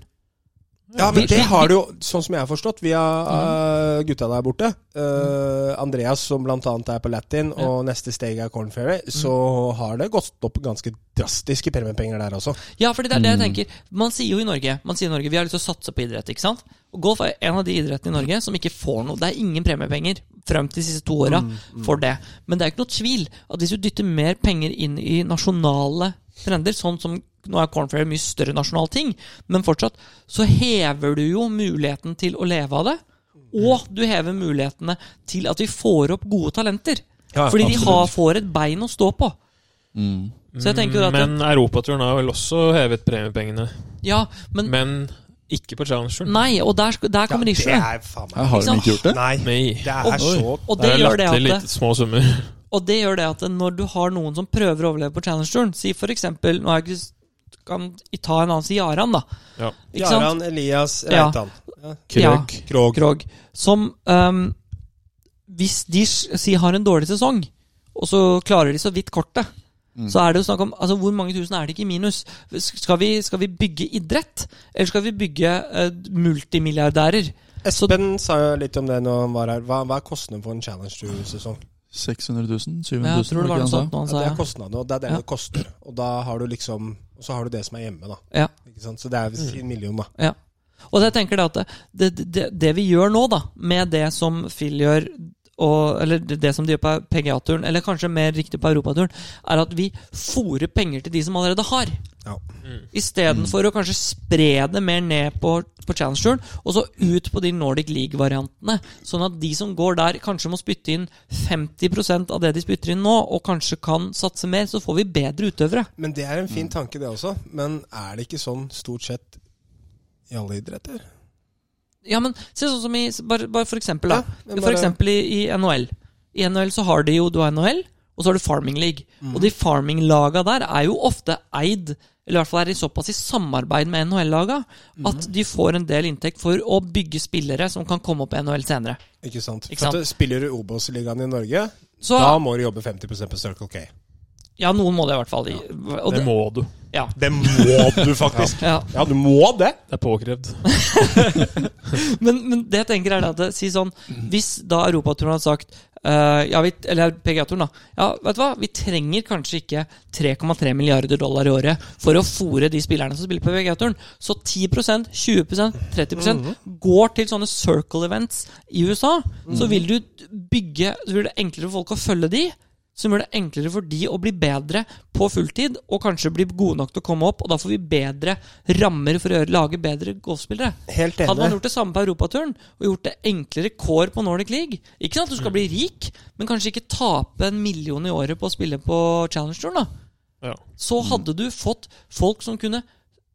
[SPEAKER 4] Ja, men
[SPEAKER 1] Vi-
[SPEAKER 4] det
[SPEAKER 1] vi-
[SPEAKER 4] har du jo, sånn som jeg har forstått, via eh, gutta der borte eh, Andreas, som blant annet er på Latin, og neste steg er Corn Ferry, så har det gått opp ganske drastiske premiepenger der også.
[SPEAKER 1] Ja, fordi det er
[SPEAKER 4] Mm.
[SPEAKER 1] det jeg tenker. Man sier jo i Norge man sier i Norge, vi har lyst til å satse på idrett. ikke sant? Og Golf er en av de idrettene i Norge som ikke får noe. Det er ingen premiepenger frem til de siste to åra
[SPEAKER 4] Mm,
[SPEAKER 1] for det. Men det er ikke noe tvil at hvis du dytter mer penger inn i nasjonale trender, sånn som nå er Cornfair en mye større nasjonal ting, men fortsatt, så hever du jo muligheten til å leve av det. Og du hever mulighetene til at vi får opp gode talenter.
[SPEAKER 4] Ja,
[SPEAKER 1] fordi de har, får et bein å stå på.
[SPEAKER 2] Mm.
[SPEAKER 1] Så jeg tenker jo at
[SPEAKER 3] Men Europaturen har vel også hevet premiepengene.
[SPEAKER 1] Ja, men,
[SPEAKER 3] Men ikke på Challengeren.
[SPEAKER 1] Nei, og der, sk- der kommer
[SPEAKER 4] det
[SPEAKER 1] Isher.
[SPEAKER 4] er faen meg
[SPEAKER 2] Jeg har de ikke gjort det.
[SPEAKER 4] Nei,
[SPEAKER 3] Nei.
[SPEAKER 4] det er så
[SPEAKER 1] Og det, gjør det, at
[SPEAKER 3] litt små summer.
[SPEAKER 1] og det gjør det at når du har noen som prøver å overleve på Challenge-turen Si for eksempel Nå har jeg ikke kan ta en annen si Jaran, da.
[SPEAKER 3] Ja.
[SPEAKER 1] Ikke sant?
[SPEAKER 4] Jaran Elias
[SPEAKER 1] Ja.
[SPEAKER 4] Reitan.
[SPEAKER 1] Ja.
[SPEAKER 3] Krøk.
[SPEAKER 4] Krog.
[SPEAKER 1] Krog. Som ehm, Hvis de s- si har en dårlig sesong, og så klarer de så vidt kortet,
[SPEAKER 2] Mm.
[SPEAKER 1] så er det jo snakk om altså, Hvor mange tusen er det ikke i minus? Skal vi, skal vi bygge idrett, eller skal vi bygge eh, multimilliardærer? Så-
[SPEAKER 4] Espen sa jo litt om det når han var her. Hva, hva er kostnaden for en Challenge Tour-sesong?
[SPEAKER 2] 600 000? 700 000?
[SPEAKER 1] Jeg tror det
[SPEAKER 2] ikke
[SPEAKER 1] var
[SPEAKER 2] han
[SPEAKER 1] noe
[SPEAKER 2] sa?
[SPEAKER 1] sånt nå, han
[SPEAKER 4] Ja,
[SPEAKER 1] sa.
[SPEAKER 4] det er
[SPEAKER 1] Ja.
[SPEAKER 4] kostnadene, og det er det
[SPEAKER 1] Ja.
[SPEAKER 4] det koster. Og da har du liksom Og så har du det som er hjemme, da.
[SPEAKER 1] Ja. Mm.
[SPEAKER 4] Ikke sant? Så det er en million, da.
[SPEAKER 1] Og jeg tenker det at det, det, det vi gjør nå, da, med det som Phil gjør og, eller det det som de gjør på PGA-turen, eller kanskje mer riktig på Europaturen, er at vi fòrer penger til de som allerede har.
[SPEAKER 4] Ja.
[SPEAKER 1] Istedenfor å kanskje spre det mer ned på, på Challenge-turen, og så ut på de Nordic League-variantene. Sånn at de som går der, kanskje må spytte inn 50 av det de spytter inn nå, og kanskje kan satse mer. Så får vi bedre utøvere.
[SPEAKER 4] Men det er en fin tanke, det også. Men er det ikke sånn stort sett i alle idretter?
[SPEAKER 1] Ja, men se sånn som i Bare, bare for eksempel, da.
[SPEAKER 4] Ja, men
[SPEAKER 1] For
[SPEAKER 4] bare-
[SPEAKER 1] eksempel i, i NHL. I NHL så har de jo Du har NHL, og så har du Farming League.
[SPEAKER 4] Mm.
[SPEAKER 1] Og de farming-laga der er jo ofte eid Eller i hvert fall er de såpass i samarbeid med NHL-laga
[SPEAKER 4] Mm.
[SPEAKER 1] at de får en del inntekt for å bygge spillere som kan komme opp i NHL senere.
[SPEAKER 4] Ikke sant?
[SPEAKER 1] Ikke
[SPEAKER 4] For at
[SPEAKER 1] sant?
[SPEAKER 4] du spiller du Obos-ligaen i Norge,
[SPEAKER 1] Så
[SPEAKER 4] da må du jobbe 50 på Circle K.
[SPEAKER 1] ja, noen må det i hvert fall. Og
[SPEAKER 3] Det
[SPEAKER 1] det,
[SPEAKER 3] må du.
[SPEAKER 1] ja,
[SPEAKER 4] Det må du faktisk!
[SPEAKER 1] ja.
[SPEAKER 4] ja, du må det!
[SPEAKER 3] Det er påkrevd.
[SPEAKER 1] Men, men det jeg tenker er at si sånn, Hvis da Europaturen hadde sagt eh, ja, vi, Eller PGA-turen, da. Ja, vet du hva? Vi trenger kanskje ikke 3,3 milliarder dollar i året for å fòre de spillerne som spiller på PGA-turen. Så 10 20 30 går til sånne circle events i USA. Så vil du bygge Så blir det enklere for folk å følge de. Som gjør det enklere for de å bli bedre på fulltid, og kanskje bli gode nok til å komme opp. Og da får vi bedre rammer for å gjøre, lage bedre golfspillere.
[SPEAKER 4] Helt
[SPEAKER 1] Hadde man
[SPEAKER 4] enig.
[SPEAKER 1] gjort det samme på europaturen og gjort det enklere kår på Nordic League Ikke sånn at du skal bli rik, men kanskje ikke tape en million i året på å spille på Challenge-turen. da
[SPEAKER 3] Ja.
[SPEAKER 1] Så hadde du fått folk som kunne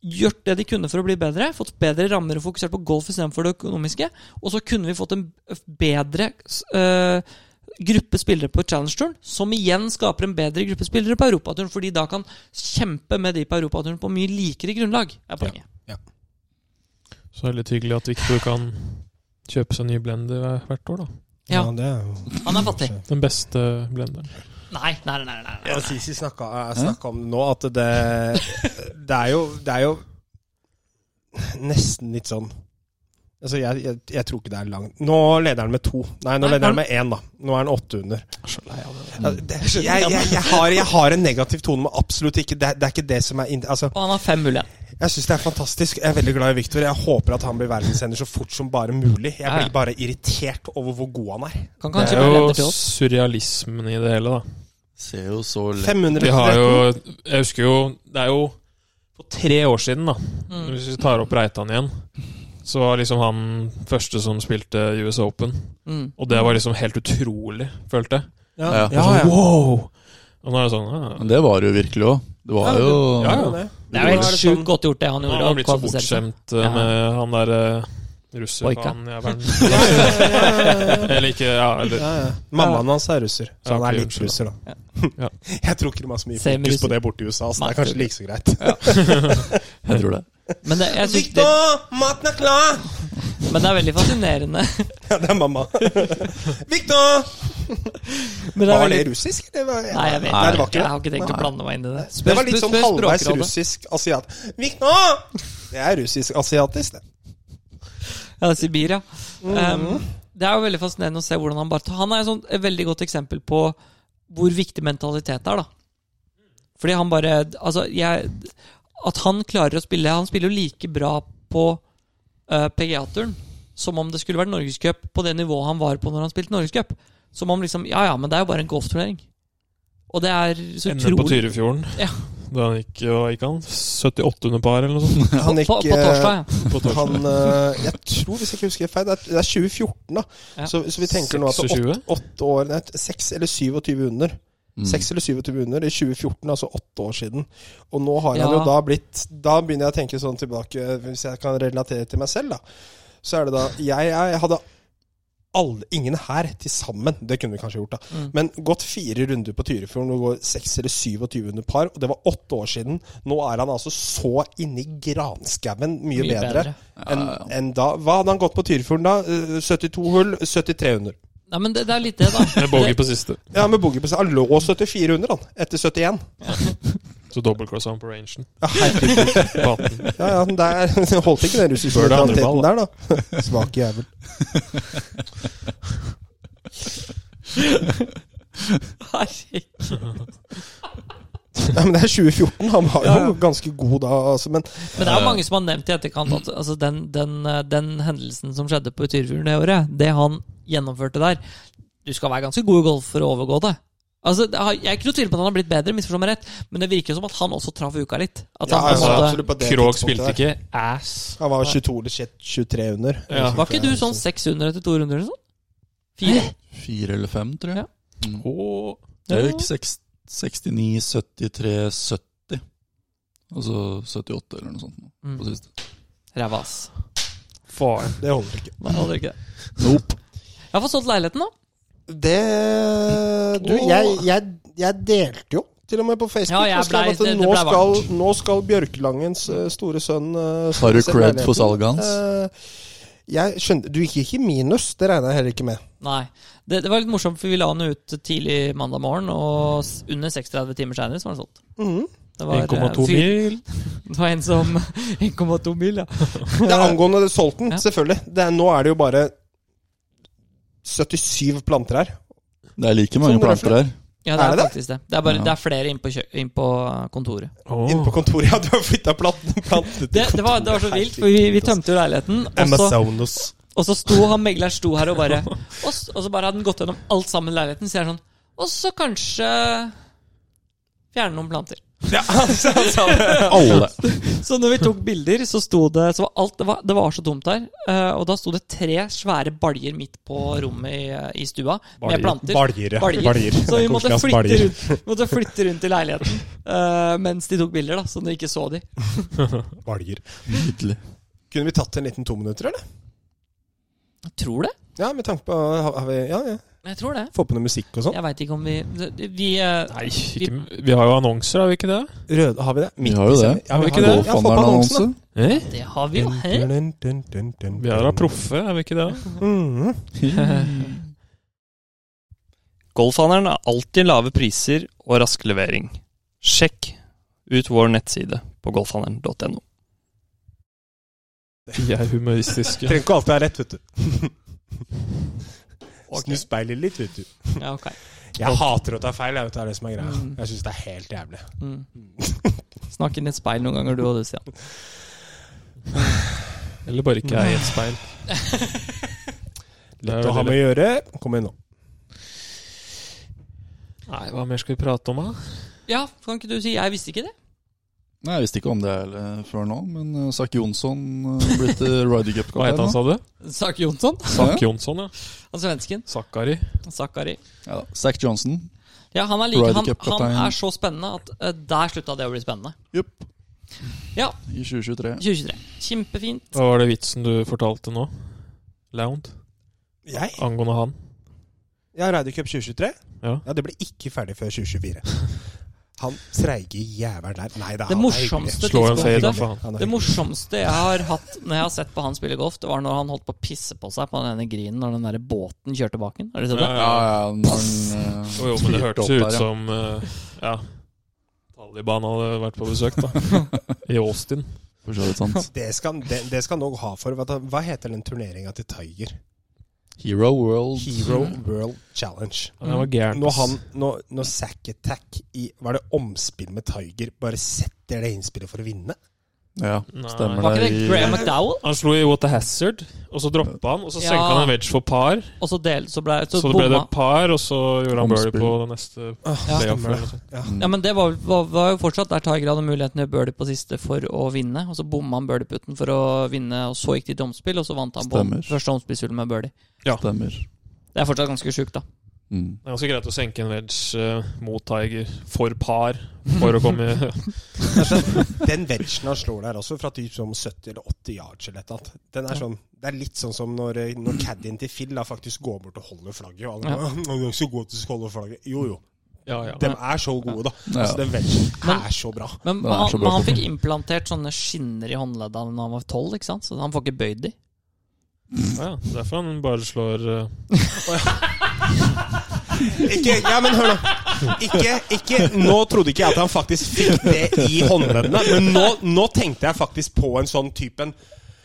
[SPEAKER 1] gjort det de kunne for å bli bedre, fått bedre rammer og fokusert på golf istedenfor det økonomiske, og så kunne vi fått en bedre øh, gruppe spillere på Challenge-turen, som igjen skaper en bedre gruppe spillere på europaturen, for de da kan kjempe med de på europaturen på mye likere grunnlag, er poenget.
[SPEAKER 3] Så det er litt hyggelig at Victor kan kjøpe seg ny blender hver- hvert år, da.
[SPEAKER 1] Ja.
[SPEAKER 4] det er jo
[SPEAKER 1] Han er fattig.
[SPEAKER 3] Den beste blenderen.
[SPEAKER 1] Nei, nei, nei. nei, nei, nei.
[SPEAKER 4] Ja, Sisi snakka, snakka eh, om det nå, at det Det er jo, det er jo nesten litt sånn Altså, jeg, jeg, jeg tror ikke det er langt Nå leder han med to. Nei, nå
[SPEAKER 1] Nei,
[SPEAKER 4] leder han
[SPEAKER 1] men-
[SPEAKER 4] med én, da. Nå er han åtte under.
[SPEAKER 3] Så lei av det.
[SPEAKER 4] Ja, det- Jeg, jeg, jeg, har, jeg har en negativ tone, men absolutt ikke Det, det er ikke det som er inn- Altså,
[SPEAKER 1] Og han har fem mulige.
[SPEAKER 4] jeg syns det er fantastisk. Jeg er veldig glad i Victor. Jeg håper at han blir verdenssender så fort som bare mulig. Jeg
[SPEAKER 1] Ja, ja.
[SPEAKER 4] blir bare irritert over hvor god han er.
[SPEAKER 1] Kan
[SPEAKER 3] Det
[SPEAKER 1] kanskje
[SPEAKER 3] er
[SPEAKER 1] bli
[SPEAKER 3] jo
[SPEAKER 1] leder til oss.
[SPEAKER 3] surrealismen i det hele, da.
[SPEAKER 2] Ser jo så lett
[SPEAKER 4] 500
[SPEAKER 3] Vi har jo Jeg husker jo Det er jo for tre år siden, da.
[SPEAKER 1] Mm.
[SPEAKER 3] Hvis vi tar opp Reitan igjen, så var liksom han første som spilte US Open.
[SPEAKER 1] Mm.
[SPEAKER 3] Og det var liksom helt utrolig, følte jeg.
[SPEAKER 4] Ja,
[SPEAKER 2] Ja,
[SPEAKER 4] ja,
[SPEAKER 2] ja.
[SPEAKER 4] ja.
[SPEAKER 3] Sånn, wow! Og nå er det sånn ah,
[SPEAKER 2] Men det var det jo virkelig òg. Det var jo
[SPEAKER 3] Ja,
[SPEAKER 4] Ja,
[SPEAKER 3] ja.
[SPEAKER 4] det.
[SPEAKER 1] Det er jo
[SPEAKER 4] Nå er
[SPEAKER 1] helt
[SPEAKER 4] det
[SPEAKER 1] sjukt
[SPEAKER 4] sånn-
[SPEAKER 1] godt gjort, det han
[SPEAKER 3] Mm. Han
[SPEAKER 1] gjorde.
[SPEAKER 3] har
[SPEAKER 1] å
[SPEAKER 3] blitt så
[SPEAKER 1] kvalifisere seg.
[SPEAKER 3] bortskjemt eh, med han der eh, russer
[SPEAKER 1] Boika.
[SPEAKER 3] faen, jeg verden. Eller ikke ja, eller,
[SPEAKER 4] Ja, ja. Mammaen hans er russer, så
[SPEAKER 3] Ja,
[SPEAKER 4] han er
[SPEAKER 3] ok,
[SPEAKER 4] litt russer, da.
[SPEAKER 3] Ja.
[SPEAKER 4] Jeg tror ikke de har så mye
[SPEAKER 1] Same
[SPEAKER 4] fokus
[SPEAKER 1] russer.
[SPEAKER 4] på det borte i USA, så det
[SPEAKER 1] Nei.
[SPEAKER 4] er kanskje like så greit.
[SPEAKER 2] Jeg tror det.
[SPEAKER 1] Men det, jeg synes det,
[SPEAKER 4] Victor, maten er klar!
[SPEAKER 1] men det er veldig fascinerende.
[SPEAKER 4] Ja, det er mamma. Victor!
[SPEAKER 1] Men det er
[SPEAKER 4] Var det
[SPEAKER 1] veldig,
[SPEAKER 4] russisk? Det var,
[SPEAKER 1] nei, jeg vet
[SPEAKER 4] Nei, det var
[SPEAKER 1] ikke.
[SPEAKER 4] ikke
[SPEAKER 1] Jeg har ikke tenkt å
[SPEAKER 4] Nei.
[SPEAKER 1] blande meg inn i det. Spør-
[SPEAKER 4] Det var litt
[SPEAKER 1] spør-
[SPEAKER 4] sånn
[SPEAKER 1] spør
[SPEAKER 4] halvveis
[SPEAKER 1] Språkrådet.
[SPEAKER 4] russisk asiat. Victor! Det er russisk-asiatisk, det.
[SPEAKER 1] Ja, Sibir, ja.
[SPEAKER 4] Mm-hmm.
[SPEAKER 1] Um, det er jo veldig fascinerende å se hvordan han bare tar Han er et sånt- et veldig godt eksempel på hvor viktig mentalitet er, da. Fordi han bare Altså, jeg At han klarer å spille Han spiller jo like bra på eh, PGA-turen som om det skulle vært Norgescup på det nivået han var på når han spilte Norgescup. Som om liksom Ja ja, men det er jo bare en golfturnering. Og det er så
[SPEAKER 3] Ender på
[SPEAKER 1] utrolig
[SPEAKER 3] Tyrifjorden.
[SPEAKER 1] Ja.
[SPEAKER 3] Da gikk, hva gikk han 78 under par, eller noe sånt.
[SPEAKER 4] Han
[SPEAKER 1] På, på torsdag, ja.
[SPEAKER 3] På torsdag.
[SPEAKER 4] Han, eh, jeg tror, hvis jeg ikke husker feil, det er, det er 2014, da.
[SPEAKER 1] Ja.
[SPEAKER 4] Så, så vi tenker nå at
[SPEAKER 3] 26?
[SPEAKER 4] åtte år Nei, 6 eller 27 under.
[SPEAKER 2] Mm.
[SPEAKER 4] 6 eller 27 under i 2014, altså åtte år siden. Og nå har
[SPEAKER 1] Ja.
[SPEAKER 4] han jo da blitt Da begynner jeg å tenke sånn tilbake, hvis jeg kan relatere til meg selv, da. Så er det da Jeg, jeg hadde alle, ingen her til sammen, det kunne vi kanskje gjort, da,
[SPEAKER 1] Mm.
[SPEAKER 4] men gått fire runder på Tyrifjorden og går 6 eller 27 under par, og det var åtte år siden. Nå er han altså så inni granskauen mye,
[SPEAKER 1] Mye
[SPEAKER 4] bedre,
[SPEAKER 1] bedre.
[SPEAKER 4] enn enn da. Hva hadde han gått på Tyrifjorden da? Eh, 72 hull, 73 under.
[SPEAKER 1] Nei, men det, det er litt det, da.
[SPEAKER 3] Med bogey på siste.
[SPEAKER 4] Ja, med boogie på seg. Han lå 74 under, han, etter 71.
[SPEAKER 3] Så dobbeltcrossa han på rangen.
[SPEAKER 4] Ja, Ah, herregud.
[SPEAKER 3] På 18.
[SPEAKER 4] Ja, ja, men der holdt ikke den russiske
[SPEAKER 3] Bør det andre
[SPEAKER 4] mentaliteten
[SPEAKER 3] ball,
[SPEAKER 4] der, da. Svak jævel.
[SPEAKER 1] Herregud.
[SPEAKER 4] Ja, men det er 2014. Han var jo ganske god da, altså, men
[SPEAKER 1] Men det er jo mange som har nevnt i etterkant at altså, den, den, eh, den hendelsen som skjedde på Tyrifjorden det året, det han gjennomførte der Du skal være ganske god i golf for å overgå det. Altså, det har- Jeg er ikke noe tvil på at han har blitt bedre, misforstå meg rett, men det virker jo som at han også traff uka litt. At han
[SPEAKER 4] Ja,
[SPEAKER 1] på en
[SPEAKER 4] ja,
[SPEAKER 1] måte-
[SPEAKER 4] absolutt på det
[SPEAKER 3] Krog
[SPEAKER 4] tidspunktet
[SPEAKER 3] spilte
[SPEAKER 4] der.
[SPEAKER 3] ikke ass.
[SPEAKER 4] Han var 22 eller shit, 23 under.
[SPEAKER 3] Ja.
[SPEAKER 1] Var ikke du sånn 600 til 200 eller sånn? Fire?
[SPEAKER 2] Fire eller fem, tror jeg. Mm.
[SPEAKER 3] Og
[SPEAKER 2] Jeg gikk seks- 69, 73, 70. Altså 78 eller noe sånt. nå,
[SPEAKER 1] Mm.
[SPEAKER 2] På siste.
[SPEAKER 1] Ræva, ass.
[SPEAKER 3] faren.
[SPEAKER 4] Det holder ikke.
[SPEAKER 1] Nei, det hadde ikke det.
[SPEAKER 2] Nope.
[SPEAKER 1] Jeg har fått solgt leiligheten, da.
[SPEAKER 4] Det Du, jeg, jeg, jeg delte jo. Til og med på Facebook.
[SPEAKER 1] Ja, jeg
[SPEAKER 4] og skrev
[SPEAKER 1] blei-
[SPEAKER 4] at
[SPEAKER 1] det- det
[SPEAKER 4] nå,
[SPEAKER 1] blei
[SPEAKER 4] skal,
[SPEAKER 1] varmt.
[SPEAKER 4] nå skal Bjørkelangens eh, store sønn eh,
[SPEAKER 2] Har du
[SPEAKER 4] selge
[SPEAKER 2] cred for
[SPEAKER 4] leiligheten.
[SPEAKER 2] salget hans?
[SPEAKER 4] Eh, jeg skjønner, Du gikk ikke i minus, det regner jeg heller ikke med.
[SPEAKER 1] Nei. Det, det var litt morsomt, for vi la den ut tidlig mandag morgen, og s- under 36 timer seinere var den solgt.
[SPEAKER 4] Mhm.
[SPEAKER 1] Det var, eh,
[SPEAKER 3] 1,2
[SPEAKER 1] fyr-
[SPEAKER 3] mil.
[SPEAKER 1] Det var en som 1,2 mil, ja.
[SPEAKER 4] Det er angående det solgte den,
[SPEAKER 1] Ja.
[SPEAKER 4] selvfølgelig. Det er, nå er det jo bare 77 planter her.
[SPEAKER 2] Det er like mange
[SPEAKER 4] Sånn røfle.
[SPEAKER 2] planter her.
[SPEAKER 1] ja det
[SPEAKER 4] Er
[SPEAKER 1] er,
[SPEAKER 4] det det?
[SPEAKER 1] faktisk det. Det er, bare,
[SPEAKER 2] Ja.
[SPEAKER 1] det er flere inn på, kjø inn på kontoret.
[SPEAKER 3] Åh.
[SPEAKER 4] Inne på kontoret. Ja, du har flytta plantene. plantene til
[SPEAKER 1] Det, det, var, det var så vilt, for vi, vi tømte jo leiligheten, og så,
[SPEAKER 5] Amazonas.
[SPEAKER 1] og så sto han megleren sto her og bare og, s- og så bare hadde han gått gjennom alt sammen i leiligheten, så er han sånn Og så kanskje fjerne noen planter.
[SPEAKER 2] Alle.
[SPEAKER 1] Så når vi tok bilder, så sto det så var alt, det, var, det var så tomt der. eh, og da sto det tre svære baljer midt på rommet i, i stua,
[SPEAKER 3] Baljer.
[SPEAKER 1] med planter.
[SPEAKER 5] Baljere.
[SPEAKER 1] Baljer. Så vi måtte flytte rundt, måtte flytte rundt i leiligheten eh, mens de tok bilder, da, så du ikke så de.
[SPEAKER 5] Baljer.
[SPEAKER 2] Nydelig.
[SPEAKER 4] Kunne vi tatt en liten to minutter, eller?
[SPEAKER 1] Jeg tror det.
[SPEAKER 4] Ja, med tanke på har, har vi, ja, ja.
[SPEAKER 1] Jeg tror det.
[SPEAKER 4] Få på noe musikk og sånn.
[SPEAKER 1] Jeg veit ikke om vi Vi eh,
[SPEAKER 3] Nei, ikke, vi har jo annonser, har vi ikke det?
[SPEAKER 4] Rød, har vi det?
[SPEAKER 2] Vi har jo
[SPEAKER 4] i
[SPEAKER 2] det.
[SPEAKER 4] sending. Ja,
[SPEAKER 3] Har vi
[SPEAKER 4] vi
[SPEAKER 3] ikke
[SPEAKER 4] har det.
[SPEAKER 3] det?
[SPEAKER 4] Ja, få på annonsen, da.
[SPEAKER 3] Eh?
[SPEAKER 1] Det har vi jo. Hæ?
[SPEAKER 4] Dun, dun, dun, dun,
[SPEAKER 3] Vi er da
[SPEAKER 4] dun.
[SPEAKER 3] proffe, er vi ikke det?
[SPEAKER 4] Mhm.
[SPEAKER 6] Golfhandelen har alltid lave priser og rask levering. Sjekk ut vår nettside på golfhandelen.no.
[SPEAKER 3] Vi er humoristiske.
[SPEAKER 5] Trenger ikke alltid være rett, vet du. Snu speilet litt, vet du.
[SPEAKER 1] Ja, ok.
[SPEAKER 5] Jeg hater å ta feil, jeg vet du, det er det som er greia.
[SPEAKER 1] Mm.
[SPEAKER 5] Jeg syns det er helt jævlig.
[SPEAKER 1] Mm. Snakk inn i et speil noen ganger, du og du, Stian.
[SPEAKER 3] Eller bare ikke er i et speil. Det er
[SPEAKER 5] Lett å ha med
[SPEAKER 3] veldig
[SPEAKER 5] å gjøre. Kom igjen nå.
[SPEAKER 3] lett. Nei, hva mer skal vi prate om, da?
[SPEAKER 1] Ja, kan ikke du si 'jeg visste ikke det'?
[SPEAKER 2] Nei, Jeg visste ikke om det eller før nå, men uh, Zack Jonsson uh, blitt uh, Ryder
[SPEAKER 3] Hva het han,
[SPEAKER 2] Cup-kaptein.
[SPEAKER 3] sa du?
[SPEAKER 1] Sak Jonsson?
[SPEAKER 3] Sak Jonsson, ja.
[SPEAKER 1] Han Altså svensken.
[SPEAKER 3] Sakari.
[SPEAKER 1] Sakari.
[SPEAKER 2] Ja, Zack Johnson.
[SPEAKER 1] Ja, han er, like,
[SPEAKER 2] Ryder
[SPEAKER 1] han,
[SPEAKER 2] Cup-kaptein.
[SPEAKER 1] han er så spennende at eh, der slutta det å bli spennende.
[SPEAKER 2] Jupp.
[SPEAKER 1] Ja.
[SPEAKER 2] I 2023.
[SPEAKER 1] 2023. Kjempefint.
[SPEAKER 3] Hva var det vitsen du fortalte nå? Lound?
[SPEAKER 5] Jeg?
[SPEAKER 3] Angående han?
[SPEAKER 5] Ja, Ryder Cup 2023.
[SPEAKER 3] Ja.
[SPEAKER 5] det ble ikke ferdig før 2024. Han treige jævelen der. Nei da.
[SPEAKER 1] Det
[SPEAKER 5] han er
[SPEAKER 1] morsomste
[SPEAKER 5] hyggelig.
[SPEAKER 3] Slå en fade
[SPEAKER 1] tidspunktet
[SPEAKER 3] off av han.
[SPEAKER 5] Han er
[SPEAKER 1] Det
[SPEAKER 5] hyggelig.
[SPEAKER 1] morsomste jeg har hatt når jeg har sett på han spille golf, det var når han holdt på å pisse på seg på denne grinen når den der båten kjørte bak ham. Har du sett det?
[SPEAKER 3] Ja,
[SPEAKER 2] Ja,
[SPEAKER 3] ja.
[SPEAKER 2] ja, når han uh,
[SPEAKER 3] Jo, jo, men det
[SPEAKER 2] styrte
[SPEAKER 3] hørtes
[SPEAKER 2] opp
[SPEAKER 3] jo
[SPEAKER 2] der,
[SPEAKER 3] ut
[SPEAKER 2] ja.
[SPEAKER 3] som eh, Ja. Taliban hadde vært på besøk, da. I Austin.
[SPEAKER 2] For så vidt sant.
[SPEAKER 5] Det skal, han- det, det skal han nok ha for. Vet du, Hva heter den turneringa til Tiger?
[SPEAKER 2] Hero World.
[SPEAKER 5] Hero World Challenge.
[SPEAKER 3] Ja, det var gærent.
[SPEAKER 5] Når han Når, når Sack Attack i Var det omspill med Tiger bare setter det innspillet for å vinne?
[SPEAKER 2] Ja,
[SPEAKER 3] Nei.
[SPEAKER 2] stemmer
[SPEAKER 1] Var ikke
[SPEAKER 2] i-
[SPEAKER 1] det Graham McDowell?
[SPEAKER 3] Han slo i What a Hazard, og så droppa han, og så
[SPEAKER 1] Ja.
[SPEAKER 3] senka han en wedge for par.
[SPEAKER 1] Og så, del, så, ble, så,
[SPEAKER 3] Så, det ble det
[SPEAKER 1] bomma.
[SPEAKER 3] par, og så gjorde han birdie
[SPEAKER 2] Omspill.
[SPEAKER 3] på det neste
[SPEAKER 1] Ja.
[SPEAKER 3] playoff.
[SPEAKER 5] stemmer
[SPEAKER 3] eller
[SPEAKER 5] det.
[SPEAKER 3] noe sånt.
[SPEAKER 1] Ja, men det var, var, var jo fortsatt der Tiger hadde muligheten til å gjøre birdie på siste for å vinne. Og så bomma han birdieputten for å vinne, og så gikk de til omspill, og så vant han
[SPEAKER 2] Stemmer.
[SPEAKER 1] på første omspillshullet med birdie.
[SPEAKER 2] Stemmer.
[SPEAKER 1] Det er fortsatt ganske sjukt, da.
[SPEAKER 2] Mm.
[SPEAKER 3] Det er ganske greit å senke en wedge eh, mot Tiger for par for å komme
[SPEAKER 4] Den vegen han slår der også, fra typ sånn 70 eller 80 yards eller et eller annet, den er sånn Det er litt sånn som når, eh, når caddien til Phil da faktisk går bort og holder flagget. Og alle, ja. så god at du skal holde flagget. Jo, jo.
[SPEAKER 3] Ja, ja.
[SPEAKER 4] De er så gode, da.
[SPEAKER 2] Ja.
[SPEAKER 4] Altså, den vegen
[SPEAKER 1] Men-
[SPEAKER 4] er så bra.
[SPEAKER 1] Men,
[SPEAKER 2] Den er
[SPEAKER 1] han,
[SPEAKER 2] så bra
[SPEAKER 1] men han
[SPEAKER 2] for-
[SPEAKER 1] fikk implantert sånne skinner i håndleddene da han var tolv, ikke sant? Så han får ikke bøyd de.
[SPEAKER 3] ja. Derfor han bare slår eh,
[SPEAKER 4] Ikke, ja, men hør nå. Ikke, ikke, nå trodde ikke jeg at han faktisk fikk det i håndleddene, men nå, nå tenkte jeg faktisk på en sånn typen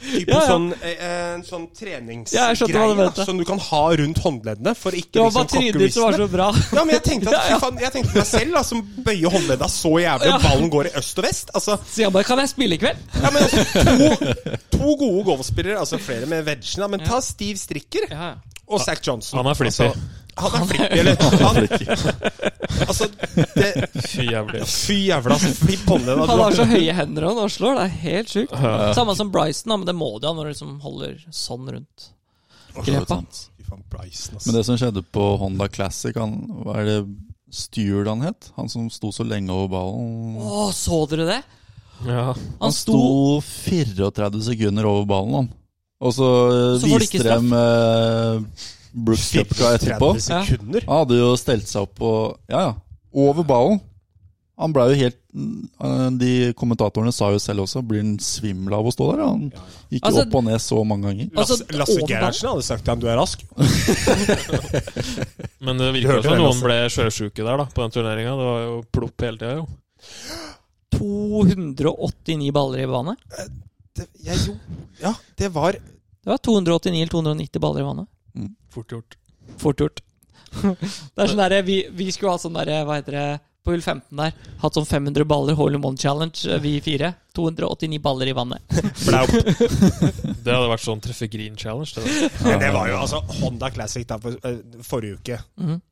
[SPEAKER 4] Typen
[SPEAKER 1] Ja, ja.
[SPEAKER 4] sånn, eh, en sånn treningsgreie
[SPEAKER 1] Ja, jeg skjønte hva du
[SPEAKER 4] da,
[SPEAKER 1] mente.
[SPEAKER 4] som du kan ha rundt håndleddene. For ikke
[SPEAKER 1] Det var
[SPEAKER 4] liksom
[SPEAKER 1] bare trynet ditt som var
[SPEAKER 4] kokkevisene.
[SPEAKER 1] så bra.
[SPEAKER 4] Ja, men jeg tenkte, at,
[SPEAKER 1] Ja, ja.
[SPEAKER 4] fy faen, jeg tenkte meg selv da, som bøyer håndledda så jævlig,
[SPEAKER 1] Ja.
[SPEAKER 4] og ballen går i øst og vest. Altså,
[SPEAKER 1] Så jeg bare Kan jeg spille i kveld?
[SPEAKER 4] ja, men altså to, to gode golfspillere, altså flere med vegen, da, men ta Steve Stricker
[SPEAKER 1] Ja, ja.
[SPEAKER 4] og Zack Johnson.
[SPEAKER 3] Han er flippy.
[SPEAKER 4] Altså, han er flippy, eller han, Altså, det,
[SPEAKER 3] Fy jævlig. ass.
[SPEAKER 4] Fy jævla flipp håndledda.
[SPEAKER 1] Han har
[SPEAKER 4] du
[SPEAKER 1] så høye hender og han slår. Det er helt sjukt. Samme som Bryson, da, men det må du ha når du liksom holder sånn rundt grepa.
[SPEAKER 4] har. Fy faen, Bryson, ass.
[SPEAKER 2] Men det som skjedde på Honda Classic, han, hva er det Steward han het? Han som sto så lenge over ballen?
[SPEAKER 1] Å, så dere det?
[SPEAKER 3] Ja.
[SPEAKER 1] Han
[SPEAKER 2] Han sto
[SPEAKER 1] sto
[SPEAKER 2] 34 sekunder over ballen, han. Og så, eh,
[SPEAKER 1] Så får de ikke
[SPEAKER 2] viste de eh, Brooks Cupka etterpå.
[SPEAKER 4] 30 sekunder?
[SPEAKER 2] Han hadde jo stelt seg opp og Ja, ja. Over ballen. Han ble jo helt mm, De kommentatorene sa jo selv også blir han svimmel av å stå der. Han gikk jo
[SPEAKER 1] Altså-
[SPEAKER 2] opp og ned så mange ganger.
[SPEAKER 4] Lasse,
[SPEAKER 1] Altså,
[SPEAKER 4] Lasse
[SPEAKER 1] overball.
[SPEAKER 4] Gerhardsen hadde sagt til ham du er rask.
[SPEAKER 3] Men det
[SPEAKER 4] Du
[SPEAKER 3] virker jo
[SPEAKER 4] hørte
[SPEAKER 3] som
[SPEAKER 4] det,
[SPEAKER 3] noen
[SPEAKER 4] Lasse.
[SPEAKER 3] ble sjøsjuke der, da, på den turneringa. Det var jo plopp hele tida, jo.
[SPEAKER 1] 289 baller i bane.
[SPEAKER 4] Det, jeg, jo, ja, det var
[SPEAKER 1] Det var 289 eller 290 baller i vannet.
[SPEAKER 2] Mm.
[SPEAKER 3] Fort gjort.
[SPEAKER 1] Fort gjort. Det er sånn der, vi, vi skulle ha sånn derre, hva heter det På hull 15 der. Hatt sånn 500 baller hole in one challenge, eh, vi fire. 289 baller i vannet.
[SPEAKER 4] flaut.
[SPEAKER 3] Det hadde vært sånn treffe green challenge. Det da.
[SPEAKER 4] Men det var jo altså Honda Classic da, for, eh, forrige uke.
[SPEAKER 2] Mm-hmm.
[SPEAKER 1] Mhm.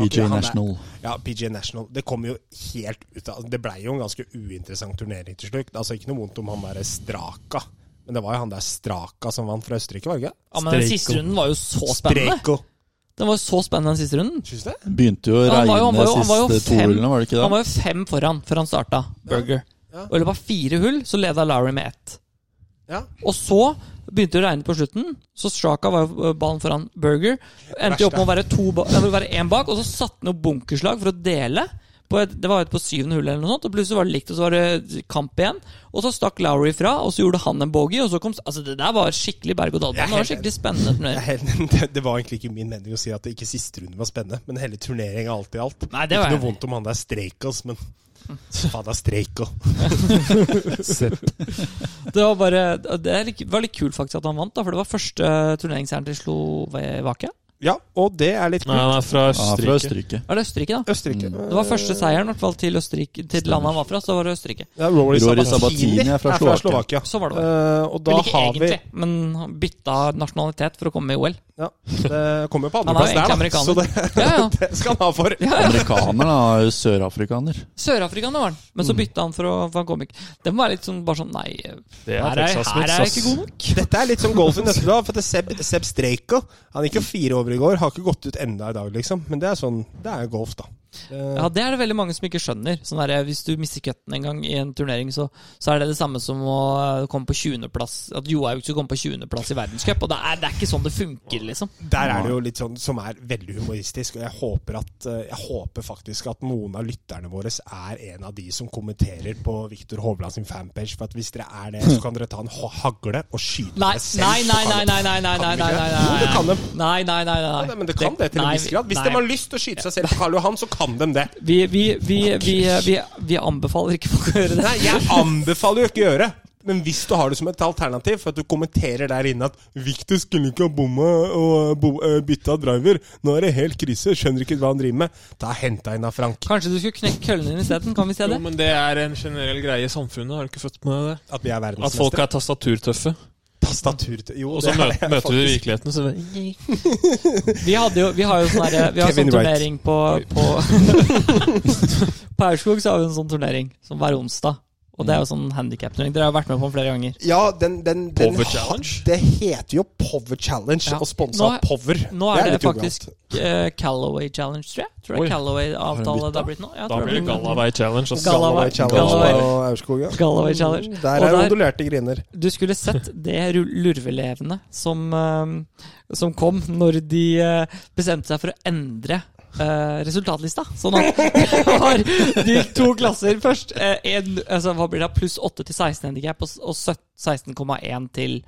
[SPEAKER 4] Var ikke
[SPEAKER 2] BJ
[SPEAKER 4] han der-
[SPEAKER 2] National.
[SPEAKER 4] Ja, PG National. Det kom jo helt ut av Det blei jo en ganske uinteressant turnering til slutt. Altså Ikke noe vondt om han der Straka, men det var jo han der Straka som vant fra Østerrike, var det ikke?
[SPEAKER 1] Ja, men den siste runden var jo så spennende.
[SPEAKER 4] Streko.
[SPEAKER 1] Den var jo så spennende den siste runden.
[SPEAKER 4] Syns du det?
[SPEAKER 2] Begynte jo å
[SPEAKER 1] Ja, han var jo-
[SPEAKER 2] regne
[SPEAKER 1] han var jo- han var jo
[SPEAKER 2] siste to
[SPEAKER 1] fem.
[SPEAKER 2] hullene, var det ikke det?
[SPEAKER 1] Han var jo fem foran før han starta. Burger.
[SPEAKER 4] Ja.
[SPEAKER 1] Og i løpet av fire hull så leda Lowry med ett.
[SPEAKER 4] Ja.
[SPEAKER 1] Og så begynte det å regne på slutten, så Straka var jo eh, ballen foran Burger. Endte jo opp med å være to ba- nei, det var én bak, og så satte han opp bunkerslag for å dele. På et, det var et på syvende hull, eller noe sånt og plutselig var det likt, og så var det kamp igjen. Og så stakk Lowry fra, og så gjorde han en bogey. Og så kom, altså det der var skikkelig berg-og-dal-bane. Det var skikkelig spennende.
[SPEAKER 4] Jeg
[SPEAKER 1] turnering.
[SPEAKER 4] er helt- Det, det var egentlig ikke min mening å si at det ikke siste runde var spennende, men hele turneringa alt i alt.
[SPEAKER 1] Nei, det var jeg
[SPEAKER 4] ikke noe
[SPEAKER 1] enig i.
[SPEAKER 4] vondt om han der Streikos, men faen, det er Streiko.
[SPEAKER 1] Det var bare Det er litt- var litt kult faktisk at han vant, da, for det var første turneringsseieren til Slovakia.
[SPEAKER 4] Ja, og det er litt
[SPEAKER 3] Nei,
[SPEAKER 4] kult.
[SPEAKER 3] han er fra
[SPEAKER 2] Ja, fra
[SPEAKER 3] Østerrike.
[SPEAKER 2] Østerrike.
[SPEAKER 1] Er det Østerrike, da?
[SPEAKER 4] Østerrike.
[SPEAKER 2] Mm.
[SPEAKER 1] Det var første seieren i hvert fall til Østerrike Til landet han var fra, så var det Østerrike.
[SPEAKER 4] Ja, Rory,
[SPEAKER 2] Rory
[SPEAKER 4] Sabatini
[SPEAKER 2] Sabatini er fra Slovakia.
[SPEAKER 1] Så var det vel.
[SPEAKER 4] Eh, og da
[SPEAKER 1] Vel, ikke
[SPEAKER 4] har vi
[SPEAKER 1] egentlig, men han bytta nasjonalitet for å komme i OL.
[SPEAKER 4] ja, Det kommer på
[SPEAKER 1] Han er jo
[SPEAKER 4] andreplass der, da.
[SPEAKER 1] egentlig
[SPEAKER 4] Så det,
[SPEAKER 1] Ja, ja.
[SPEAKER 4] det skal han ha for.
[SPEAKER 2] Amerikaner, da. er jo Sørafrikaner.
[SPEAKER 1] Sør-Afrikaner var han, men så
[SPEAKER 4] Mm.
[SPEAKER 1] bytta han for å for han kom ikke. Den var litt sånn bare sånn Nei, her
[SPEAKER 3] Det
[SPEAKER 1] er, her er jeg ikke god nok.
[SPEAKER 4] Dette er litt som golf i nøtte, da. For det er Seb, Seb Streiko Han gikk jo fire over i går, har ikke gått ut enda i dag, liksom. Men det er sånn Det er golf, da. Eh,
[SPEAKER 1] Ja, Det er det veldig mange som ikke skjønner. Sånn der, Hvis du mister cutten en gang i en turnering, så, så er det det samme som å eh, komme på 20.-plass At Johaug skulle komme på 20.-plass i verdenscup. Og det er, det er ikke sånn det funker, liksom.
[SPEAKER 4] Der er det jo litt sånn som er veldig humoristisk, og jeg håper, at, eh, jeg håper faktisk at noen av lytterne våre er en av de som kommenterer på Viktor Hovland sin fanpage. For at hvis dere er det, så kan dere ta en ha- hagle og skyte
[SPEAKER 1] Nei,
[SPEAKER 4] dere selv.
[SPEAKER 1] nei, nei,
[SPEAKER 4] Så
[SPEAKER 1] nei,
[SPEAKER 4] kan-
[SPEAKER 1] nei, nei, nei, nei,
[SPEAKER 4] kan
[SPEAKER 1] nei, nei,
[SPEAKER 4] dere ikke det? Jo, det kan de.
[SPEAKER 1] Nei, nei, nei, nei,
[SPEAKER 4] Ja, nei, men det kan det til en
[SPEAKER 1] nei,
[SPEAKER 4] viss grad. Hvis
[SPEAKER 1] nei.
[SPEAKER 4] de har lyst til å skyte seg selv på Karl Johan, så kan de det.
[SPEAKER 1] vi, vi, vi, vi, vi, vi anbefaler ikke folk å gjøre det.
[SPEAKER 4] Nei, jeg anbefaler jo ikke å gjøre det. Men hvis du har det som et alternativ, for at du kommenterer der inne at 'Victor skulle ikke ha bomma og bo, eh, bytta driver', 'nå er det helt krise', 'skjønner ikke hva han driver med', ta henta inn av Frank.
[SPEAKER 1] Kanskje du skulle knekke køllen din isteden? Kan vi se
[SPEAKER 3] Jo,
[SPEAKER 1] det?
[SPEAKER 3] men det er en generell greie i samfunnet. Har du ikke fått med det?
[SPEAKER 4] At vi er
[SPEAKER 3] At folk
[SPEAKER 4] verdensmestere.
[SPEAKER 3] er tastaturtøffe.
[SPEAKER 4] Tastatur til Jo,
[SPEAKER 3] Og så
[SPEAKER 4] det er
[SPEAKER 3] møter,
[SPEAKER 4] jeg
[SPEAKER 3] møter du
[SPEAKER 4] faktisk.
[SPEAKER 3] virkeligheten, så det
[SPEAKER 1] Vi, hadde jo, vi har jo sånn derre- Vi har
[SPEAKER 4] Kevin
[SPEAKER 1] sånn
[SPEAKER 4] Wright.
[SPEAKER 1] turnering på På, på Aurskog så har vi en sånn turnering som hver onsdag. Og det er jo sånn handikapturnering. Dere har jo vært med på den flere ganger.
[SPEAKER 4] Ja, den, den, den
[SPEAKER 3] Power Challenge?
[SPEAKER 4] Det heter jo Power Challenge,
[SPEAKER 1] Ja.
[SPEAKER 4] og sponsa
[SPEAKER 1] Nå
[SPEAKER 4] av
[SPEAKER 1] er-
[SPEAKER 4] Power.
[SPEAKER 1] Nå er det,
[SPEAKER 4] litt
[SPEAKER 1] faktisk eh, Callaway Challenge, tror jeg. Tror
[SPEAKER 3] Oi.
[SPEAKER 1] jeg Callaway-avtale det har blitt nå. Ja,
[SPEAKER 3] Da
[SPEAKER 1] tror
[SPEAKER 3] blir
[SPEAKER 1] jeg
[SPEAKER 3] det Gallavei Challenge. altså.
[SPEAKER 4] ubralt.
[SPEAKER 3] ass.
[SPEAKER 4] Gallaway
[SPEAKER 1] Gallaway-
[SPEAKER 4] Challenge
[SPEAKER 1] Gallaway-
[SPEAKER 4] og Aurskog, ja. Mm,
[SPEAKER 1] Gallaway Challenge.
[SPEAKER 4] Der
[SPEAKER 1] Og
[SPEAKER 4] er
[SPEAKER 1] der-
[SPEAKER 4] ondulerte griner.
[SPEAKER 1] Du skulle sett det ru- lurvelevene som, eh, som kom når de eh, bestemte seg for å endre eh, resultatlista. Sånn at det var de to klasser først. eh, en, altså, hva blir det? Pluss 8 til 16 handikap og, s- og sø- 16,1 til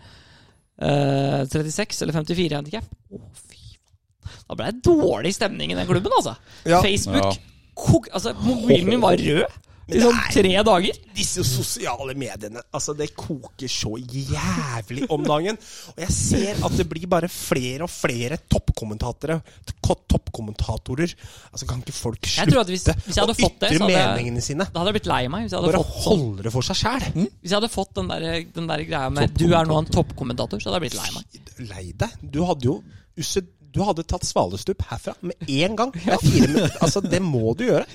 [SPEAKER 1] eh, 36 eller 54 handikap. Å, fy faen. Da ble det dårlig stemning i den klubben, altså.
[SPEAKER 4] Ja.
[SPEAKER 1] Facebook kok, altså, Mobilen min var rød i sånn tre dager.
[SPEAKER 4] Disse sosiale mediene, altså det koker så jævlig om dagen. Og jeg ser at det blir bare flere og flere toppkommentatorer. ko- Toppkommentatorer. Altså Kan ikke folk
[SPEAKER 1] Jeg tror
[SPEAKER 4] slutte
[SPEAKER 1] at hvis, hvis jeg
[SPEAKER 4] å
[SPEAKER 1] hadde fått det,
[SPEAKER 4] ytre
[SPEAKER 1] så hadde jeg
[SPEAKER 4] meningene sine?
[SPEAKER 1] Da hadde jeg blitt lei meg. Hvis jeg hadde
[SPEAKER 4] Bare
[SPEAKER 1] fått, sånn, Mm.
[SPEAKER 4] holde det for seg sjæl.
[SPEAKER 1] hvis jeg hadde fått den, der, den der greia med Du er nå en toppkommentator, så hadde jeg blitt lei meg.
[SPEAKER 4] Lei deg. Du hadde jo used- du hadde tatt svalestup herfra med en gang. Det er fire minutter. Altså, det må du gjøre.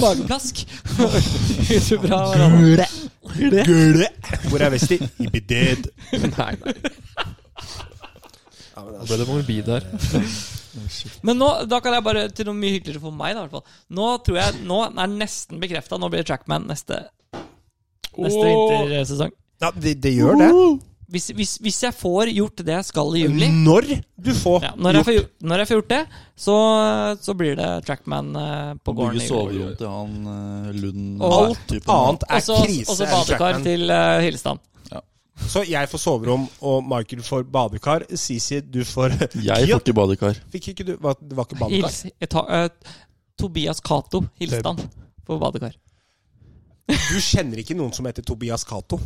[SPEAKER 1] Mageplask. Så bra, Harald.
[SPEAKER 4] Gule! Hvor er Westi? Ibided.
[SPEAKER 3] Nei, nei. Da ble det morbid der.
[SPEAKER 1] Men nå, da kan jeg bare til noe mye hyggeligere for meg, da, i hvert fall. Nå tror jeg Nå er det nesten bekrefta. Nå blir det Trackman neste, neste vintersesong.
[SPEAKER 4] Ja, det, det gjør det.
[SPEAKER 1] Hvis, hvis, hvis jeg får gjort det jeg skal i juli
[SPEAKER 4] Når du får
[SPEAKER 1] ja, når, jeg får, gjort- når jeg får gjort det, så, så blir det Trackman eh, på
[SPEAKER 2] Bygge
[SPEAKER 1] gården. i juli.
[SPEAKER 2] soverom til han eh, Lund
[SPEAKER 1] Og alt
[SPEAKER 2] typen.
[SPEAKER 4] Annet er
[SPEAKER 1] Og så
[SPEAKER 4] krise.
[SPEAKER 1] og så
[SPEAKER 4] er
[SPEAKER 1] badekar
[SPEAKER 4] Trackman.
[SPEAKER 1] til eh, Hilstad.
[SPEAKER 4] Så jeg får soverom, og Michael får badekar. Sisi, du får
[SPEAKER 2] Jeg
[SPEAKER 4] Kia.
[SPEAKER 2] får ikke badekar.
[SPEAKER 4] Fikk ikke du hva- Det var ikke badekar.
[SPEAKER 1] Hils, jeg tar, eh, Tobias Cato, hilste han på badekar.
[SPEAKER 4] Du kjenner ikke noen som heter Tobias Cato.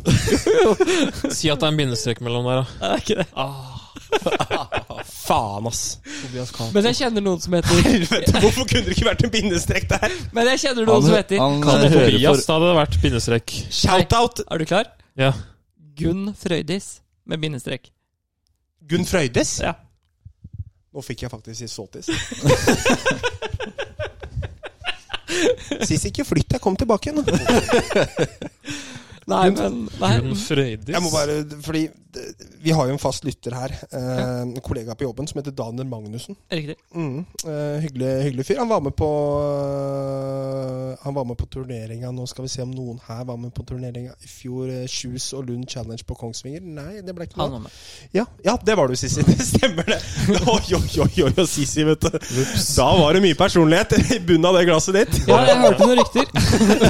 [SPEAKER 3] Si at det er en bindestrek mellom der, da.
[SPEAKER 1] Det er ikke det.
[SPEAKER 4] Faen, ass.
[SPEAKER 1] Men jeg kjenner noen som heter
[SPEAKER 4] Helvete, hvorfor kunne det ikke vært en bindestrek der?
[SPEAKER 1] Men jeg kjenner noen som heter
[SPEAKER 2] han, eh,
[SPEAKER 3] Kan det
[SPEAKER 2] hører
[SPEAKER 3] Tobias,
[SPEAKER 2] for-
[SPEAKER 3] da hadde det vært bindestrek.
[SPEAKER 4] Shout-out
[SPEAKER 1] Er du klar?
[SPEAKER 3] Ja.
[SPEAKER 1] Gunn Frøydis med bindestrek.
[SPEAKER 4] Gunn Frøydes.
[SPEAKER 1] Ja.
[SPEAKER 4] Nå fikk jeg faktisk si såtis. Sisi, ikke flytt deg. Kom tilbake igjen. da.
[SPEAKER 1] Nei, men
[SPEAKER 3] Gunn
[SPEAKER 1] nei.
[SPEAKER 3] Frøydis.
[SPEAKER 4] Jeg må bare, fordi det- Vi har jo en fast lytter her. eh, En kollega på jobben som heter Daniel Magnussen.
[SPEAKER 1] Riktig.
[SPEAKER 4] Mm, eh, hyggelig, hyggelig fyr. Han var med på eh, Han var med på turneringa Nå skal vi se om noen her var med på turneringa i fjor. eh, Kjus og Lund Challenge på Kongsvinger. Nei, det ble ikke
[SPEAKER 1] Han var
[SPEAKER 4] noe.
[SPEAKER 1] med.
[SPEAKER 4] Ja, ja, det var du, Sissi. Det stemmer, det. Oi, oi, oi, oi, oi Sissi, vet du. Da var det mye personlighet i bunnen av det glasset ditt.
[SPEAKER 1] Ja, jeg hørte noen rykter.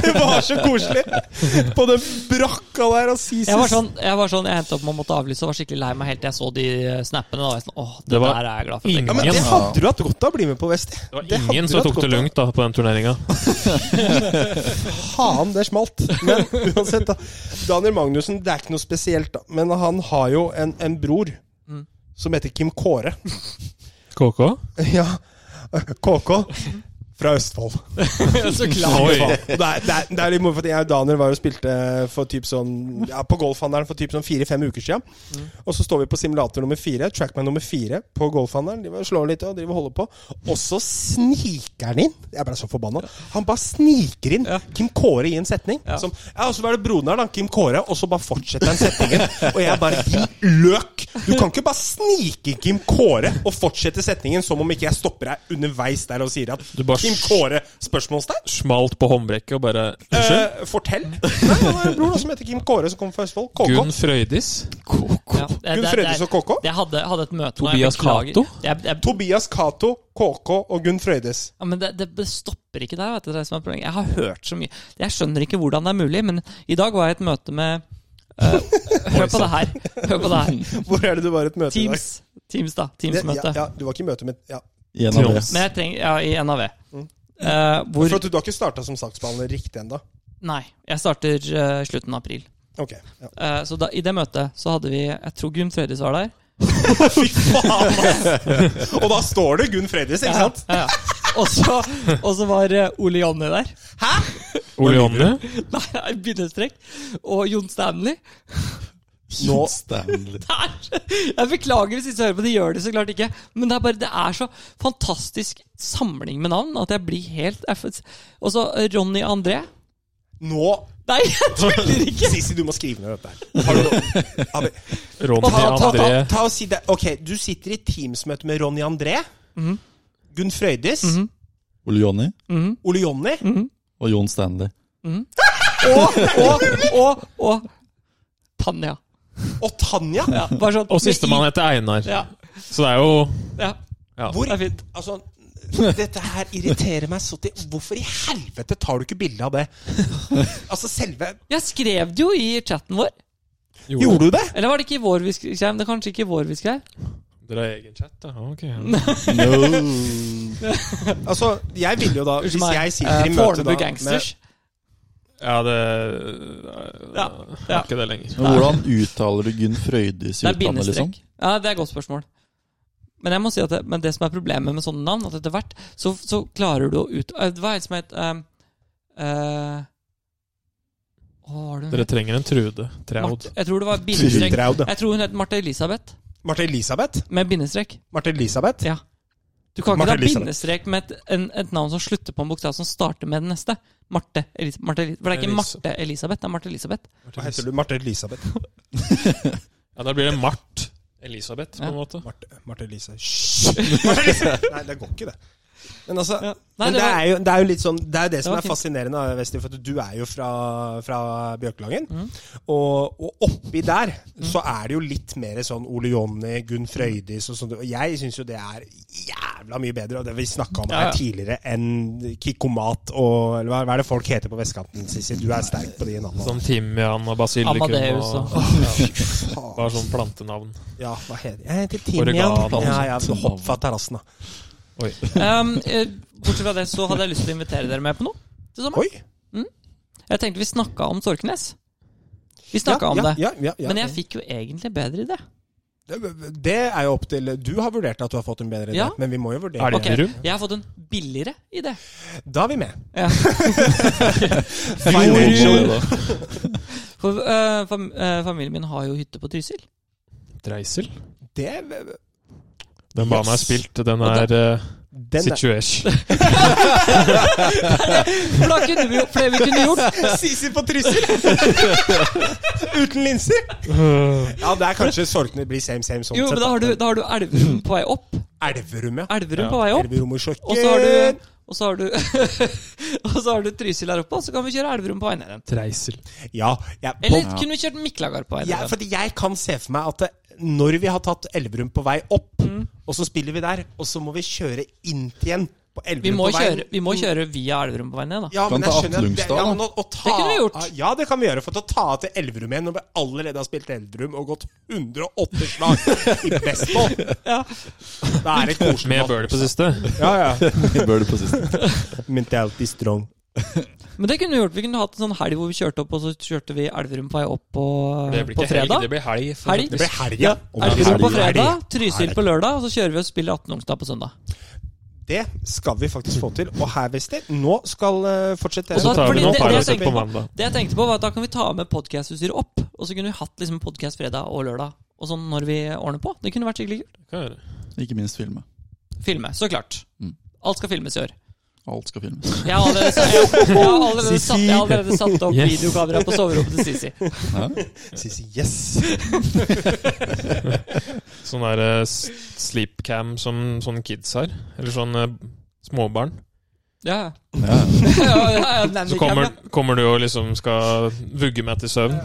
[SPEAKER 4] Det var så koselig! På den brakka der og Sisi
[SPEAKER 1] Jeg var sånn, jeg, var sånn, jeg hentet opp man måtte avlyse og var skikkelig lei meg helt til jeg så de eh, snappene. Da var jeg sånn, åh, det,
[SPEAKER 3] Det var
[SPEAKER 1] der er jeg glad for. at jeg
[SPEAKER 4] ja,
[SPEAKER 1] ikke
[SPEAKER 4] men
[SPEAKER 1] var med
[SPEAKER 4] Det
[SPEAKER 3] ingen.
[SPEAKER 1] på.
[SPEAKER 4] hadde du hatt godt av å bli med på, Westi.
[SPEAKER 3] Det var
[SPEAKER 4] Det hadde
[SPEAKER 3] ingen som
[SPEAKER 4] vært
[SPEAKER 3] tok det
[SPEAKER 4] godt, da.
[SPEAKER 3] lugnt da på den turneringa.
[SPEAKER 4] Faen, det smalt. Men uansett, da. Daniel Magnussen, det er ikke noe spesielt, da. Men han har jo en, en bror
[SPEAKER 1] Mm.
[SPEAKER 4] som heter Kim Kåre.
[SPEAKER 3] KK?
[SPEAKER 4] ja. KK. Fra Østfold.
[SPEAKER 1] Så klart.
[SPEAKER 3] Oi.
[SPEAKER 4] Og Det er, det er, det er litt morsomt. for Jeg og Daniel var og spilte for typ sånn, ja, på golfhandelen for typ sånn fire-fem uker siden. Og så står vi på simulator nummer fire, Trackman nummer fire, på golfhandelen. De bare slår litt og driver og holder på. Og så sniker han inn. Jeg ble så forbanna. Han bare sniker inn
[SPEAKER 1] Ja.
[SPEAKER 4] Kim Kåre i en setning.
[SPEAKER 1] Ja.
[SPEAKER 4] Som, ja, Og så var det broren her, da. Kim Kåre. Og så bare fortsetter han setningen. Og jeg bare Din løk! Du kan ikke bare snike Kim Kåre og fortsette setningen som om ikke jeg stopper deg underveis der og sier at
[SPEAKER 3] Du bare
[SPEAKER 4] Kim Kåre? Spørsmålstegn?
[SPEAKER 3] Smalt på håndbrekket og bare Unnskyld?
[SPEAKER 4] Eh, fortell. Nei, han har en bror da, som heter Kim Kåre, som kommer fra Østfold. KK.
[SPEAKER 3] Gunn Frøydis?
[SPEAKER 1] Ja, det-
[SPEAKER 4] Gunn
[SPEAKER 1] det-
[SPEAKER 4] Frøydis
[SPEAKER 1] det-
[SPEAKER 4] og KK?
[SPEAKER 1] Jeg hadde, hadde et møte nå,
[SPEAKER 3] Tobias
[SPEAKER 1] jeg beklager.
[SPEAKER 3] Cato?
[SPEAKER 1] Jeg- jeg-
[SPEAKER 4] Tobias Cato, KK og Gunn Frøydes.
[SPEAKER 1] Ja, men det, det stopper ikke der. Vet du, det er det som er problemet. Jeg har hørt så mye. Jeg skjønner ikke hvordan det er mulig, men i dag var jeg i et møte med eh, Hør på det her. Hør på det her.
[SPEAKER 4] Hvor er det du var i et møte i dag?
[SPEAKER 1] Teams. Teams, da. Teams-møte.
[SPEAKER 4] Ja, ja, du var ikke i møte med ja.
[SPEAKER 2] I en av det.
[SPEAKER 1] Men jeg trenger Ja, i NAV. Eh, hvor
[SPEAKER 4] Mm. For at du, du har ikke starta som saksbehandler riktig ennå?
[SPEAKER 1] Nei. Jeg starter eh, slutten av april.
[SPEAKER 4] Ok. Ja.
[SPEAKER 1] Eh, så da, i det møtet så hadde vi Jeg tror Gunn Frøydis var der.
[SPEAKER 4] Fy faen, ass! Og da står det Gunn Frøydes, ikke sant?
[SPEAKER 1] Ja, ja. Og så, og så var eh, Ole Jonny der.
[SPEAKER 3] Ole Jonny?
[SPEAKER 1] Nei, bindestrek. Og Jon Stanley.
[SPEAKER 4] Nå
[SPEAKER 2] Stanley.
[SPEAKER 1] Det er, jeg beklager hvis ikke hører på, de gjør det så klart ikke. Men det er bare, det er så fantastisk samling med navn at jeg blir helt jeg får- Og så Ronny André.
[SPEAKER 4] Nå
[SPEAKER 1] Nei, jeg tuller ikke!
[SPEAKER 4] Sissy, du må skrive ned dette her. Har du noe? Har vi-
[SPEAKER 3] Ronny
[SPEAKER 4] Ta, ta, ta,
[SPEAKER 3] André
[SPEAKER 4] ta og si det. Ok, du sitter i Teams-møte med Ronny André,
[SPEAKER 1] Mhm.
[SPEAKER 4] Gunn Frøydis,
[SPEAKER 1] Mhm.
[SPEAKER 2] Ole Jonny
[SPEAKER 1] Mhm,
[SPEAKER 4] Ole Jonny
[SPEAKER 1] mhm.
[SPEAKER 2] og Jon Stanley.
[SPEAKER 1] Og, og, og, og Tanja.
[SPEAKER 4] og Tanja.
[SPEAKER 1] Ja, bare sånn,
[SPEAKER 3] Og sistemann heter Einar.
[SPEAKER 1] Ja,
[SPEAKER 3] Så det er jo
[SPEAKER 1] ja.
[SPEAKER 3] ja.
[SPEAKER 4] Hvor,
[SPEAKER 1] Det er fint.
[SPEAKER 4] altså, dette her irriterer meg så til Hvorfor i helvete tar du ikke bilde av det? Altså selve
[SPEAKER 1] Jeg skrev det jo i chatten vår.
[SPEAKER 4] Gjorde du det?
[SPEAKER 1] Eller var det ikke i vår vi skrev? Det er kanskje ikke i vår vi skrev.
[SPEAKER 3] Dere har egen chat, da? Ok.
[SPEAKER 4] Altså, jeg ville jo da Hvis
[SPEAKER 1] Unnskyld meg.
[SPEAKER 4] jeg sitter i
[SPEAKER 1] Eh,
[SPEAKER 4] møte da
[SPEAKER 1] Fornebu
[SPEAKER 4] med
[SPEAKER 1] Gangsters.
[SPEAKER 3] Ja, det
[SPEAKER 1] Ja,
[SPEAKER 3] Jeg
[SPEAKER 1] ja.
[SPEAKER 3] har ikke det lenger.
[SPEAKER 2] Men hvordan uttaler du Gunn Frøydis i
[SPEAKER 1] Det er
[SPEAKER 2] utlandet, liksom?
[SPEAKER 1] bindestrek. Ja, det er et godt spørsmål. Men jeg må si at det, men det som er problemet med sånne navn, at etter hvert så, så klarer du å ut... eh, Det var en som het um, eh, Hva var det hun
[SPEAKER 3] Dere
[SPEAKER 1] het?
[SPEAKER 3] trenger en Trude Traud.
[SPEAKER 1] Marte- Jeg tror det var bindestrek.
[SPEAKER 4] Traud, ja.
[SPEAKER 1] Jeg tror hun het Marte Elisabeth
[SPEAKER 4] Marte Elisabeth?
[SPEAKER 1] med bindestrek.
[SPEAKER 4] Marte Elisabeth?
[SPEAKER 1] Ja. Du kan
[SPEAKER 4] Marte
[SPEAKER 1] ikke ta
[SPEAKER 4] Elisabeth.
[SPEAKER 1] bindestrek med et, en, et navn som slutter på en bokstav som starter med den neste. Marte Elis- Marte Elis- For det er ikke
[SPEAKER 3] Elis-
[SPEAKER 1] Marte Elisabeth, det er Marte Elisabeth.
[SPEAKER 4] Hva heter du? Marte Elisabeth.
[SPEAKER 3] Ja, da blir det Mart Elisabeth, på en
[SPEAKER 1] Ja.
[SPEAKER 3] måte.
[SPEAKER 4] Marte, Marte Elise Hysj! Marte Elise! Nei, det går ikke, det. Men altså
[SPEAKER 1] Ja. Nei,
[SPEAKER 4] men
[SPEAKER 1] det
[SPEAKER 4] det,
[SPEAKER 1] var-
[SPEAKER 4] er jo, det er jo litt sånn Det er jo det som
[SPEAKER 1] var
[SPEAKER 4] er
[SPEAKER 1] fint.
[SPEAKER 4] fascinerende, da, Westin, for at du er jo fra, fra Bjørkelangen.
[SPEAKER 1] Mm.
[SPEAKER 4] Og, og oppi der så er det jo litt mer sånn Ole Jonny, Gunn Frøydis og sånt. Og jeg syns jo det er jævla mye bedre, og det vi snakka om
[SPEAKER 1] Ja, ja.
[SPEAKER 4] her tidligere, enn Kikkomat og eller hva, hva er det folk heter på vestkanten, Sissy? Du er sterk på de navnene.
[SPEAKER 3] Sånn timian og basilikum
[SPEAKER 1] Amadeus
[SPEAKER 3] og
[SPEAKER 1] og
[SPEAKER 3] Bare sånn plantenavn.
[SPEAKER 4] Ja, hva heter Jeg heter
[SPEAKER 3] Oregano.
[SPEAKER 4] Timian. Ja, ja, så hopp fra terrassen, da.
[SPEAKER 3] Oi.
[SPEAKER 1] um, eh, Bortsett fra det så hadde jeg lyst til å invitere dere med på noe. til sommeren.
[SPEAKER 4] Oi!
[SPEAKER 1] Jeg tenkte vi snakka om Torknes. Vi snakka om
[SPEAKER 4] ja,
[SPEAKER 1] det.
[SPEAKER 4] Ja, ja, ja,
[SPEAKER 1] Men jeg fikk jo egentlig bedre idé.
[SPEAKER 4] Det det er jo opp til Du har vurdert at du har fått en bedre idé,
[SPEAKER 1] Ja.
[SPEAKER 4] men vi må jo
[SPEAKER 3] Er
[SPEAKER 4] vurdere.
[SPEAKER 3] det
[SPEAKER 1] Ok,
[SPEAKER 3] Elverum?
[SPEAKER 1] Jeg har fått en billigere idé.
[SPEAKER 4] Da er vi med.
[SPEAKER 1] Ja.
[SPEAKER 4] Financial.
[SPEAKER 1] For eh, fam eh, familien min har jo hytte på Trysil.
[SPEAKER 3] Dreisel?
[SPEAKER 4] Det,
[SPEAKER 3] Den banen er
[SPEAKER 4] Yes.
[SPEAKER 3] spilt. Den er eh,
[SPEAKER 4] den er
[SPEAKER 3] situation.
[SPEAKER 1] For da kunne vi jo flere vi kunne
[SPEAKER 4] Sånn
[SPEAKER 1] gjort.
[SPEAKER 4] Sisi på Trysil! Uten linser! Ja, det er kanskje Sorkner blir same, same sånn
[SPEAKER 1] Jo, men da har du, da har du Elverum på vei opp.
[SPEAKER 4] Elverum, ja.
[SPEAKER 1] Elverum på vei opp.
[SPEAKER 4] Elverum og
[SPEAKER 1] Og så har
[SPEAKER 4] Sjokken.
[SPEAKER 1] du og så har du, og så har du Trysil her oppe, og så kan vi kjøre Elverum på vei ned igjen.
[SPEAKER 3] Dreisel.
[SPEAKER 4] Ja. Jeg,
[SPEAKER 1] Eller kunne vi kjørt Miklagard på vei ned
[SPEAKER 4] jeg,
[SPEAKER 1] igjen?
[SPEAKER 4] fordi jeg kan se for meg at det, når vi har tatt Elverum på vei opp,
[SPEAKER 1] Mm.
[SPEAKER 4] og så spiller vi der, og så må vi kjøre inn igjen på
[SPEAKER 1] Vi
[SPEAKER 4] Elverum
[SPEAKER 1] må,
[SPEAKER 4] på vei
[SPEAKER 1] kjøre, vi må kjøre via Elverum på vei ned, da.
[SPEAKER 4] Ja,
[SPEAKER 2] Kan
[SPEAKER 4] men jeg
[SPEAKER 2] ta
[SPEAKER 4] skjønner at det,
[SPEAKER 2] Atlungstad,
[SPEAKER 4] ja,
[SPEAKER 2] da.
[SPEAKER 4] men å, å ta,
[SPEAKER 1] Det kunne vi gjort.
[SPEAKER 4] Ja, det kan vi gjøre. For å ta til Elverum igjen når vi allerede har spilt Elverum og gått 108 slag i bestball,
[SPEAKER 1] Ja.
[SPEAKER 4] da er det koselig.
[SPEAKER 3] Med Bøhler på siste.
[SPEAKER 4] Ja, ja.
[SPEAKER 2] Bør du på siste.
[SPEAKER 4] Mentality strong.
[SPEAKER 1] Men det kunne vi gjort. Vi kunne hatt en sånn helg hvor vi kjørte opp, og så kjørte vi Elverum på vei opp på,
[SPEAKER 3] Det blir
[SPEAKER 1] på
[SPEAKER 3] ikke helg,
[SPEAKER 1] fredag.
[SPEAKER 3] det blir helg. for
[SPEAKER 1] Helg?
[SPEAKER 4] Det
[SPEAKER 3] faktisk.
[SPEAKER 4] blir helg, ja.
[SPEAKER 1] Elverum på
[SPEAKER 2] Helg.
[SPEAKER 1] fredag, Trysil på lørdag, og så kjører vi og spiller 18-onsdag på søndag.
[SPEAKER 4] Det skal vi faktisk få til. Og her, Wester, nå skal eh, fortsette.
[SPEAKER 1] Og
[SPEAKER 3] Så tar
[SPEAKER 1] Fordi
[SPEAKER 3] vi nå
[SPEAKER 1] det- det jeg
[SPEAKER 3] Pilot
[SPEAKER 1] tenker
[SPEAKER 3] på
[SPEAKER 1] på-
[SPEAKER 3] mandag.
[SPEAKER 1] Det jeg tenkte på, var at da kan vi ta med podkastutstyret opp, og så kunne vi hatt liksom podkast fredag og lørdag. Og sånn når vi ordner på. Det kunne vært skikkelig kult.
[SPEAKER 3] Hva gjør det?
[SPEAKER 2] Ikke minst filme.
[SPEAKER 1] Filme, så klart.
[SPEAKER 2] Mm.
[SPEAKER 1] Alt skal filmes i år.
[SPEAKER 2] Alt skal filmes.
[SPEAKER 1] Jeg har allerede, jeg, har allerede, satt, jeg har allerede satt opp
[SPEAKER 3] Yes.
[SPEAKER 1] videokamera på soverommet til Sisi.
[SPEAKER 2] Ja.
[SPEAKER 4] Sisi, yes!
[SPEAKER 3] Sånn der eh, s- sleepcam som sånne kids har. Eller sånn eh, småbarn.
[SPEAKER 1] Ja, ja.
[SPEAKER 2] Ja.
[SPEAKER 1] ja, ja, ja nanny
[SPEAKER 3] Så kommer,
[SPEAKER 1] camera.
[SPEAKER 3] kommer du og liksom skal vugge meg til søvn.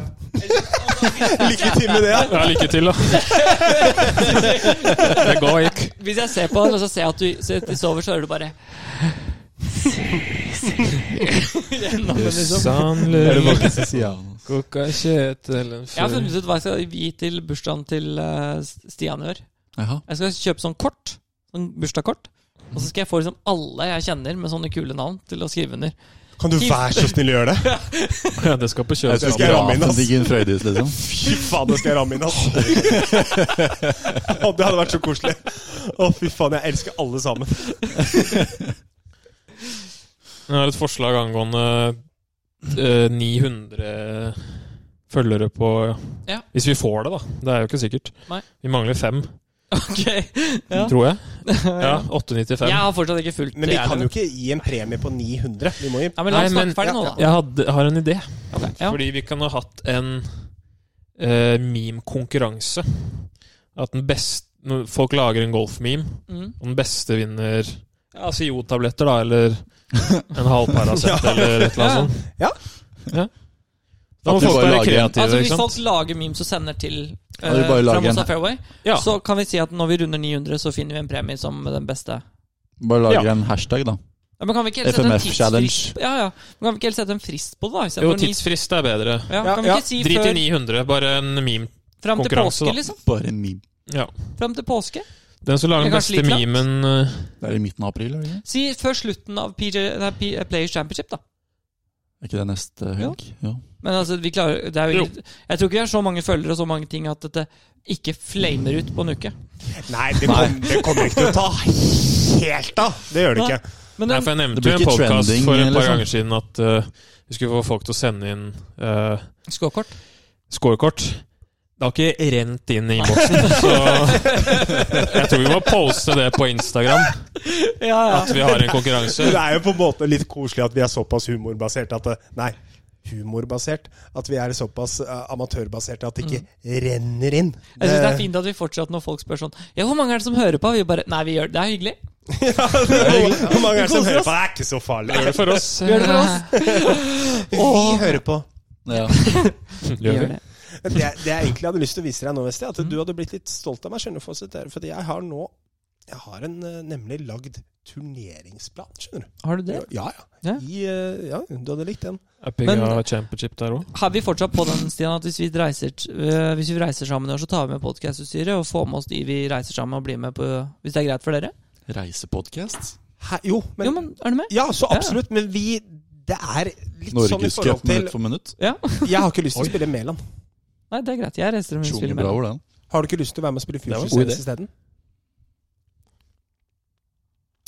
[SPEAKER 4] Lykke til med det. ja.
[SPEAKER 3] Ja, lykke til, da. Det går ikke.
[SPEAKER 1] Hvis jeg ser på den, og så ser jeg at du, ser at du sover, så hører du bare Gjennom den, liksom.
[SPEAKER 3] Koka kjøtt eller
[SPEAKER 1] Jeg har funnet ut hva jeg skal gi til bursdagen til eh, Stian i år.
[SPEAKER 2] Jaha.
[SPEAKER 1] Jeg skal kjøpe sånn kort. Sånn bursdagskort. Og så skal jeg få liksom alle jeg kjenner med sånne kule navn, til å skrive under.
[SPEAKER 4] Kan du være så snill å gjøre det?
[SPEAKER 3] Ja, det skal på
[SPEAKER 2] Jeg
[SPEAKER 4] Det
[SPEAKER 2] skal
[SPEAKER 4] skal jeg ramme inn, ass.
[SPEAKER 2] ramme Gunn Frøydis, liksom.
[SPEAKER 4] Fy faen, det skal jeg ramme inn, ass. Å, det hadde vært så koselig. Å, fy faen, jeg elsker alle sammen.
[SPEAKER 3] Jeg har et forslag angående eh, 900 følgere på
[SPEAKER 1] Ja.
[SPEAKER 3] Hvis vi får det, da. Det er jo ikke sikkert.
[SPEAKER 1] Nei.
[SPEAKER 3] Vi mangler fem.
[SPEAKER 1] Ok, ja.
[SPEAKER 3] tror jeg. Ja, 895.
[SPEAKER 1] Jeg har fortsatt ikke fulgt
[SPEAKER 4] Men vi
[SPEAKER 1] det,
[SPEAKER 4] kan
[SPEAKER 1] jeg.
[SPEAKER 4] jo ikke gi en premie på 900. Vi må gi
[SPEAKER 1] ja, men La oss
[SPEAKER 3] Nei, men-
[SPEAKER 1] snakke ferdig nå, da.
[SPEAKER 3] Jeg hadde, har en idé.
[SPEAKER 1] Ok, ja.
[SPEAKER 3] Fordi vi kan ha hatt en eh, meme-konkurranse. At den beste når Folk lager en golf-meme,
[SPEAKER 1] Mm.
[SPEAKER 3] og den beste vinner Ja, altså jodtabletter, da, eller en halv Paracet, eller et eller
[SPEAKER 1] Ja.
[SPEAKER 3] annet sånt.
[SPEAKER 4] Ja.
[SPEAKER 3] Ja. Da må
[SPEAKER 2] At vi
[SPEAKER 3] folk
[SPEAKER 2] bare
[SPEAKER 3] være
[SPEAKER 2] lager en-
[SPEAKER 3] kreative,
[SPEAKER 1] Altså Hvis
[SPEAKER 3] ikke sant?
[SPEAKER 1] folk lager memes og sender til eh,
[SPEAKER 2] Ja, vi bare lager
[SPEAKER 1] fra Mossa
[SPEAKER 2] en-
[SPEAKER 1] Fairway,
[SPEAKER 3] Ja.
[SPEAKER 1] så kan vi si at når vi runder 900, så finner vi en premie som den beste.
[SPEAKER 2] Bare lager en hashtag, da.
[SPEAKER 1] Ja, men kan vi ikke helt sette en
[SPEAKER 2] FMF
[SPEAKER 1] tidsfrist-
[SPEAKER 2] challenge.
[SPEAKER 1] Ja, ja. Men kan vi ikke helt sette en frist på det, da?
[SPEAKER 3] Jo,
[SPEAKER 1] istedenfor ni-
[SPEAKER 3] tidsfrist er bedre.
[SPEAKER 1] Ja, kan vi
[SPEAKER 4] Ja,
[SPEAKER 1] ikke si
[SPEAKER 3] Drit i
[SPEAKER 1] før
[SPEAKER 3] 900, bare en meme.
[SPEAKER 1] fram til
[SPEAKER 3] konkurranse,
[SPEAKER 1] påske,
[SPEAKER 3] da.
[SPEAKER 1] liksom?
[SPEAKER 2] Bare en meme.
[SPEAKER 3] Ja.
[SPEAKER 1] Fram til påske?
[SPEAKER 3] Den som
[SPEAKER 1] Det er
[SPEAKER 3] lager den
[SPEAKER 1] kanskje
[SPEAKER 3] beste
[SPEAKER 1] litt langt.
[SPEAKER 3] memen eh,
[SPEAKER 2] Det er i midten av april, er det ikke?
[SPEAKER 1] Si før slutten av PJ, nei, P- eh, Players Championship, da.
[SPEAKER 2] Er ikke det neste helg? Ja.
[SPEAKER 1] Men altså, vi klarer det er jo,
[SPEAKER 3] Jo.
[SPEAKER 1] ikke- Jeg tror ikke vi har så mange følgere og så mange ting at dette ikke flamer ut på en uke.
[SPEAKER 4] Nei, det, kom, det kommer ikke til å ta helt av! Det gjør det
[SPEAKER 1] Nei.
[SPEAKER 4] ikke.
[SPEAKER 1] Men
[SPEAKER 3] Nei,
[SPEAKER 1] den,
[SPEAKER 3] for jeg nevnte
[SPEAKER 2] Det blir
[SPEAKER 3] jo i en
[SPEAKER 2] ikke
[SPEAKER 3] podkast
[SPEAKER 2] trending,
[SPEAKER 3] for et par
[SPEAKER 2] liksom.
[SPEAKER 3] ganger siden at eh, vi skulle få folk til å sende inn eh,
[SPEAKER 1] skåkort
[SPEAKER 3] scorekort. Det har ikke rent inn i innboksen, så jeg tror vi må poste det på Instagram.
[SPEAKER 1] Ja, ja.
[SPEAKER 3] At vi har en konkurranse.
[SPEAKER 4] Det er jo på en måte litt koselig at vi er såpass humorbasert at det, Nei, humorbasert. At vi er såpass eh, amatørbaserte at det ikke renner inn.
[SPEAKER 1] Jeg synes det er fint at vi fortsatt når folk spør sånn Ja, hvor mange er det som hører på? Vi bare Nei, vi gjør det. Det er hyggelig.
[SPEAKER 4] Ja, det er jo- Hvor mange er det som hører på? Det er ikke så farlig.
[SPEAKER 3] Gjør det for oss.
[SPEAKER 1] Vi gjør det for oss.
[SPEAKER 4] Vi hører på.
[SPEAKER 2] Ja.
[SPEAKER 1] Vi
[SPEAKER 3] Gjør
[SPEAKER 1] gjør
[SPEAKER 3] vi.
[SPEAKER 1] det.
[SPEAKER 4] Men Det, det jeg egentlig hadde lyst til å vise deg nå, Vesti, at du
[SPEAKER 1] Mm.
[SPEAKER 4] hadde blitt litt stolt av meg. skjønner du, Fawcett, der, Fordi jeg har nå Jeg har en, eh, nemlig lagd turneringsplan, skjønner du.
[SPEAKER 1] Har du det?
[SPEAKER 4] Ja,
[SPEAKER 1] Ja.
[SPEAKER 4] ja. I, eh, ja du hadde likt den.
[SPEAKER 3] Epic
[SPEAKER 1] Men-
[SPEAKER 3] har championship der òg.
[SPEAKER 1] Har vi fortsatt på den, Stian, at hvis vi reiser, øh, hvis vi reiser sammen i år, så tar vi med podkastutstyret og får med oss de vi reiser sammen og blir med på, hvis det er greit for dere?
[SPEAKER 2] Reisepodkast?
[SPEAKER 4] Hæ? Jo, men,
[SPEAKER 1] jo, men er du med?
[SPEAKER 4] Ja, så absolutt. Men vi Det er litt sånn i forhold
[SPEAKER 2] Norgescup
[SPEAKER 4] til
[SPEAKER 2] minutt for minutt.
[SPEAKER 1] Ja.
[SPEAKER 4] Jeg har ikke lyst til å spille Mæland.
[SPEAKER 1] Nei, det er greit. Jeg reiser og spiller med.
[SPEAKER 2] Tjongebra over den.
[SPEAKER 4] Har du ikke lyst til å være med og spille
[SPEAKER 2] var en
[SPEAKER 4] Future
[SPEAKER 2] god
[SPEAKER 4] Sense isteden?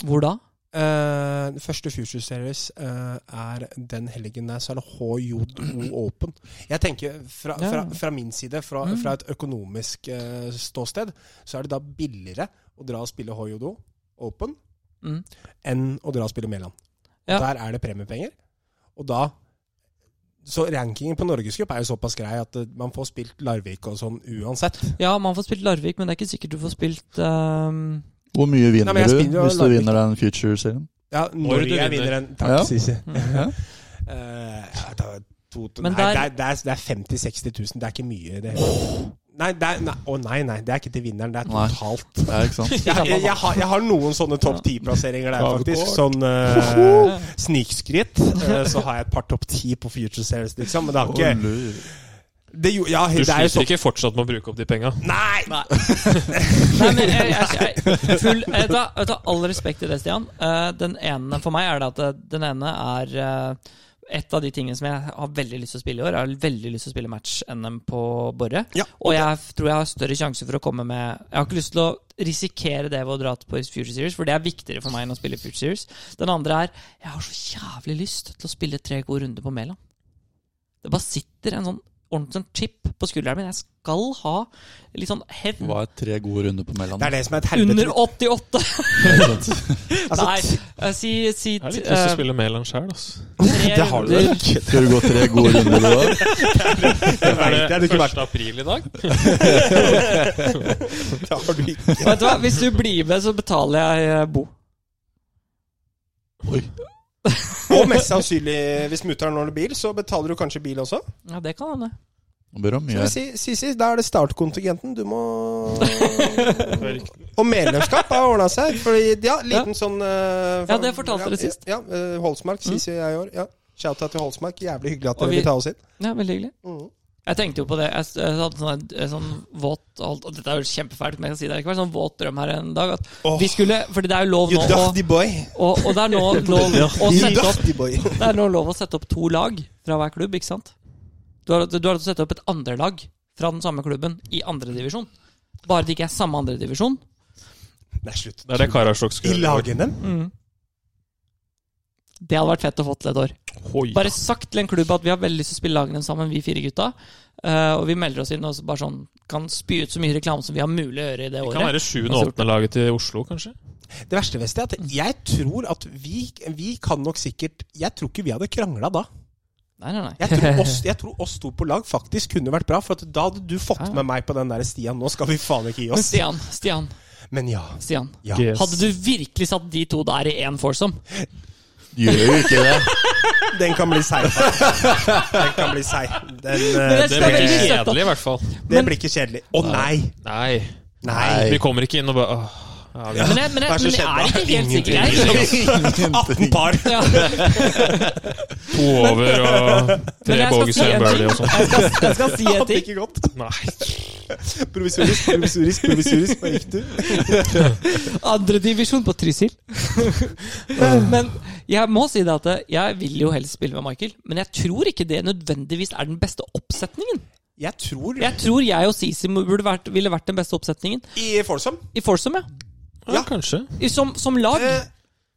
[SPEAKER 1] Hvor da?
[SPEAKER 4] Eh, Den første Future Series eh, er den helgen der, så er det HJO Open. Jeg tenker fra,
[SPEAKER 1] Ja.
[SPEAKER 4] fra, fra min side, fra,
[SPEAKER 1] Mm.
[SPEAKER 4] fra et økonomisk eh, ståsted, så er det da billigere å dra og spille HJO Open
[SPEAKER 1] Mm.
[SPEAKER 4] enn å dra og spille Mæland.
[SPEAKER 1] Ja.
[SPEAKER 4] Der er det premiepenger. Og da Så rankingen på Norgescup er jo såpass grei at eh, man får spilt Larvik og sånn uansett.
[SPEAKER 1] Ja, man får spilt Larvik, men det er ikke sikkert du får spilt ehm, øhm,
[SPEAKER 2] Hvor mye vinner
[SPEAKER 4] Nei, men jeg
[SPEAKER 2] du
[SPEAKER 4] spiller jo
[SPEAKER 2] hvis du
[SPEAKER 4] Larvik.
[SPEAKER 2] vinner den Future-serien?
[SPEAKER 4] Ja,
[SPEAKER 3] Når
[SPEAKER 4] når
[SPEAKER 3] du
[SPEAKER 4] jeg
[SPEAKER 3] vinner.
[SPEAKER 4] vinner en
[SPEAKER 2] Ja.
[SPEAKER 4] Takk, Sisi.
[SPEAKER 2] Ja.
[SPEAKER 4] Eh, ja, da, to, to,
[SPEAKER 1] Men der-
[SPEAKER 4] nei, det er- det er, det er 50 000-60 000. Det er ikke mye. i Det. hele tatt. Nei, det er, nei, å nei, nei, det er ikke til vinneren. Det er
[SPEAKER 2] Nei.
[SPEAKER 4] totalt.
[SPEAKER 2] Det er ikke sant?
[SPEAKER 4] Jeg, jeg, jeg, har, jeg har noen sånne topp 10-plasseringer der,
[SPEAKER 3] Ja,
[SPEAKER 4] faktisk.
[SPEAKER 3] kort.
[SPEAKER 4] Sånn uh, snikskryt. Eh, så har jeg et par topp 10 på Future Series, liksom. Men det har
[SPEAKER 2] Å,
[SPEAKER 4] ikke
[SPEAKER 2] lur.
[SPEAKER 4] det, jo- ja,
[SPEAKER 3] Du
[SPEAKER 4] det er jo
[SPEAKER 3] sliter
[SPEAKER 4] sånn
[SPEAKER 3] ikke fortsatt med å bruke opp de penga.
[SPEAKER 4] Nei!
[SPEAKER 1] Nei, men jeg, jeg, jeg, full, jeg, tar, jeg tar all respekt til det, Stian. Eh, den ene for meg er det at det- den ene er eh, et av de tingene som jeg har veldig lyst til å spille i år. Jeg har veldig lyst til å spille match-NM på Borre.
[SPEAKER 4] Ja,
[SPEAKER 1] og jeg tror jeg har større sjanse for å komme med Jeg har ikke lyst til å risikere det ved å dra på Future Series, for det er viktigere for meg enn å spille Future Series. Den andre er Jeg har så jævlig lyst til å spille tre gode runder på Mæland. Det bare sitter en sånn ordentlig sånn chip på skulderen min. Jeg skal ha litt sånn hevn.
[SPEAKER 2] Hva er tre gode runder på Mæland?
[SPEAKER 4] Det er det som er et helvete.
[SPEAKER 1] Under 88!
[SPEAKER 4] Altså,
[SPEAKER 1] Nei, eh, si, si
[SPEAKER 3] Jeg har litt
[SPEAKER 1] eh,
[SPEAKER 3] lyst til å spille Mæland sjøl, altså.
[SPEAKER 1] tre
[SPEAKER 4] Det har du
[SPEAKER 1] runder.
[SPEAKER 2] Skal du gå tre gode runder du òg?
[SPEAKER 4] det vet jeg du ikke vært.
[SPEAKER 3] april i dag?
[SPEAKER 4] Det har du ikke.
[SPEAKER 1] Vet du hva, Hvis du blir med, så betaler jeg eh, bo.
[SPEAKER 2] Oi.
[SPEAKER 4] Og mest sannsynlig, hvis mutter'n låner bil, så betaler du kanskje bil også.
[SPEAKER 1] Ja, det kan hende.
[SPEAKER 2] Nå bør du ha mye
[SPEAKER 4] Skal vi
[SPEAKER 2] her.
[SPEAKER 4] si, Sisi, da er det startkontingenten. Du må Og medlemskap har ordna seg. Fordi, ja, liten sånn eh,
[SPEAKER 1] Ja, det fortalte dere sist.
[SPEAKER 4] Ja, eh, Holsmark. Sisi og jeg i år. Ja. Shout-out til Holsmark. Jævlig hyggelig at
[SPEAKER 1] Og
[SPEAKER 4] dere
[SPEAKER 1] vi-
[SPEAKER 4] vil ta oss inn.
[SPEAKER 1] Ja, Veldig hyggelig.
[SPEAKER 4] Mhm.
[SPEAKER 1] Jeg tenkte jo på det. Jeg s- jeg hadde sånn, en sånn våt og alt- og Dette er jo kjempefælt, men jeg kan si det likevel. Sånn våt drøm her en dag. At
[SPEAKER 4] Åh.
[SPEAKER 1] vi skulle Fordi det er jo lov
[SPEAKER 4] You
[SPEAKER 1] nå å
[SPEAKER 4] dusty boy.
[SPEAKER 1] og, og det er nå lov å
[SPEAKER 4] You
[SPEAKER 1] sette opp
[SPEAKER 4] dusty boy.
[SPEAKER 1] Det er nå lov å sette opp to lag fra hver klubb, ikke sant? Du har, du har lov til å sette opp et andre lag fra den samme klubben i andredivisjon. Bare det ikke er samme andredivisjon.
[SPEAKER 4] Nei, slutt.
[SPEAKER 3] Det er det Karasjok
[SPEAKER 4] I
[SPEAKER 3] skulle gjøre.
[SPEAKER 4] lag-NM?
[SPEAKER 1] Mm. Det hadde vært fett å få til et år.
[SPEAKER 3] Hoi.
[SPEAKER 1] Bare sagt til en klubb at vi har veldig lyst til å spille lagrenn sammen, vi fire gutta. Eh, og vi melder oss inn og så bare sånn kan spy ut så mye reklame som vi har mulig å gjøre i det
[SPEAKER 3] Det kan
[SPEAKER 1] året.
[SPEAKER 3] være sjuende og åttende laget til Oslo, kanskje?
[SPEAKER 4] Det verste Vest, er at jeg tror at vi, vi kan nok sikkert Jeg tror ikke vi hadde krangla da.
[SPEAKER 1] Nei, nei, nei.
[SPEAKER 4] Jeg tror, oss, jeg tror oss to på lag faktisk kunne vært bra, for at da hadde du fått
[SPEAKER 1] Ja.
[SPEAKER 4] med meg på den der Stian. Nå skal vi faen ikke gi
[SPEAKER 1] Ah. Men
[SPEAKER 4] oss.
[SPEAKER 1] Stian, Stian,
[SPEAKER 4] Men ja.
[SPEAKER 1] Stian.
[SPEAKER 4] ja.
[SPEAKER 3] Yes.
[SPEAKER 1] Hadde du virkelig satt de to der i én foursome?
[SPEAKER 2] Gjør jo ikke det.
[SPEAKER 4] Den kan bli seig. Den kan bli seig. Den, eh,
[SPEAKER 1] Men
[SPEAKER 3] Det
[SPEAKER 1] det
[SPEAKER 3] blir
[SPEAKER 1] er veldig
[SPEAKER 3] ikke
[SPEAKER 1] søtt, da.
[SPEAKER 3] kjedelig, i hvert fall.
[SPEAKER 4] det blir ikke kjedelig. Å nei!
[SPEAKER 3] Nei.
[SPEAKER 4] Nei.
[SPEAKER 3] Vi kommer ikke inn og bare åh, ja, vi-
[SPEAKER 1] Men jeg, men
[SPEAKER 4] Vær
[SPEAKER 1] jeg,
[SPEAKER 4] så
[SPEAKER 1] men jeg
[SPEAKER 4] snill,
[SPEAKER 1] er
[SPEAKER 4] da.
[SPEAKER 1] ikke helt sikker. Jeg er ikke-
[SPEAKER 4] 18 par!
[SPEAKER 1] Ja,
[SPEAKER 3] To over og
[SPEAKER 1] men
[SPEAKER 3] tre
[SPEAKER 1] jeg skal
[SPEAKER 3] bogus
[SPEAKER 1] si
[SPEAKER 3] og en
[SPEAKER 1] en
[SPEAKER 3] birdie og
[SPEAKER 1] ting.
[SPEAKER 3] sånn.
[SPEAKER 1] Jeg skal, jeg skal si en
[SPEAKER 4] Hadde
[SPEAKER 1] ting.
[SPEAKER 4] ikke gått.
[SPEAKER 3] Nei.
[SPEAKER 4] Provisorisk, provisorisk, provisorisk. Hva gikk du?
[SPEAKER 1] Andredivisjon på Trysil. men, men jeg må si det at jeg vil jo helst spille med Michael, men jeg tror ikke det nødvendigvis er den beste oppsetningen.
[SPEAKER 4] Jeg tror
[SPEAKER 1] Jeg tror jeg og Sisi burde vært, ville vært den beste oppsetningen.
[SPEAKER 4] I Folsom.
[SPEAKER 1] I Forsum, ja.
[SPEAKER 3] Ja, kanskje.
[SPEAKER 1] I, som, som lag.
[SPEAKER 4] Eh,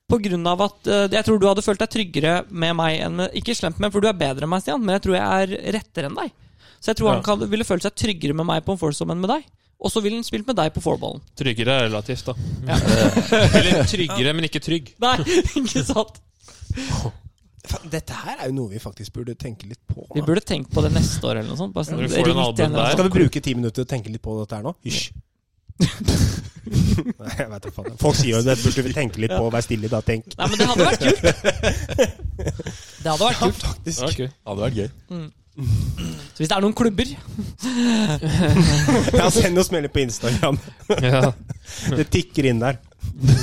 [SPEAKER 1] På grunn av at eh, jeg tror du hadde følt deg tryggere med meg enn med Ikke slemt med meg, for du er bedre enn meg, Stian, men jeg tror jeg er rettere enn deg. Så jeg tror
[SPEAKER 3] Ja.
[SPEAKER 1] han kan, ville følt seg tryggere med meg på en foursome enn med deg. Og så ville han spilt med deg på fourballen.
[SPEAKER 3] Tryggere er relativt, da. Eller tryggere, men ikke trygg.
[SPEAKER 1] Nei, ikke sant?
[SPEAKER 4] faen, Dette her er jo noe vi faktisk burde tenke litt på.
[SPEAKER 1] Vi burde tenkt på det neste år eller noe sånt. Bare sånn,
[SPEAKER 3] Når du får
[SPEAKER 1] ring
[SPEAKER 3] den
[SPEAKER 1] til en
[SPEAKER 3] albuen
[SPEAKER 1] eller
[SPEAKER 3] der.
[SPEAKER 1] annen.
[SPEAKER 4] Skal vi bruke ti minutter til å tenke litt på dette her nå? Hysj. Nei, jeg vet da faen. Folk sier jo det burde vi tenke litt på. Vær stille, da. Tenk.
[SPEAKER 1] Nei, men det hadde vært kult. Det hadde vært kult.
[SPEAKER 4] Faktisk.
[SPEAKER 3] Okay.
[SPEAKER 2] Hadde vært gøy.
[SPEAKER 1] Så hvis det er noen klubber
[SPEAKER 4] Ja, send oss melding på Instagram.
[SPEAKER 3] Ja.
[SPEAKER 4] Det tikker inn der.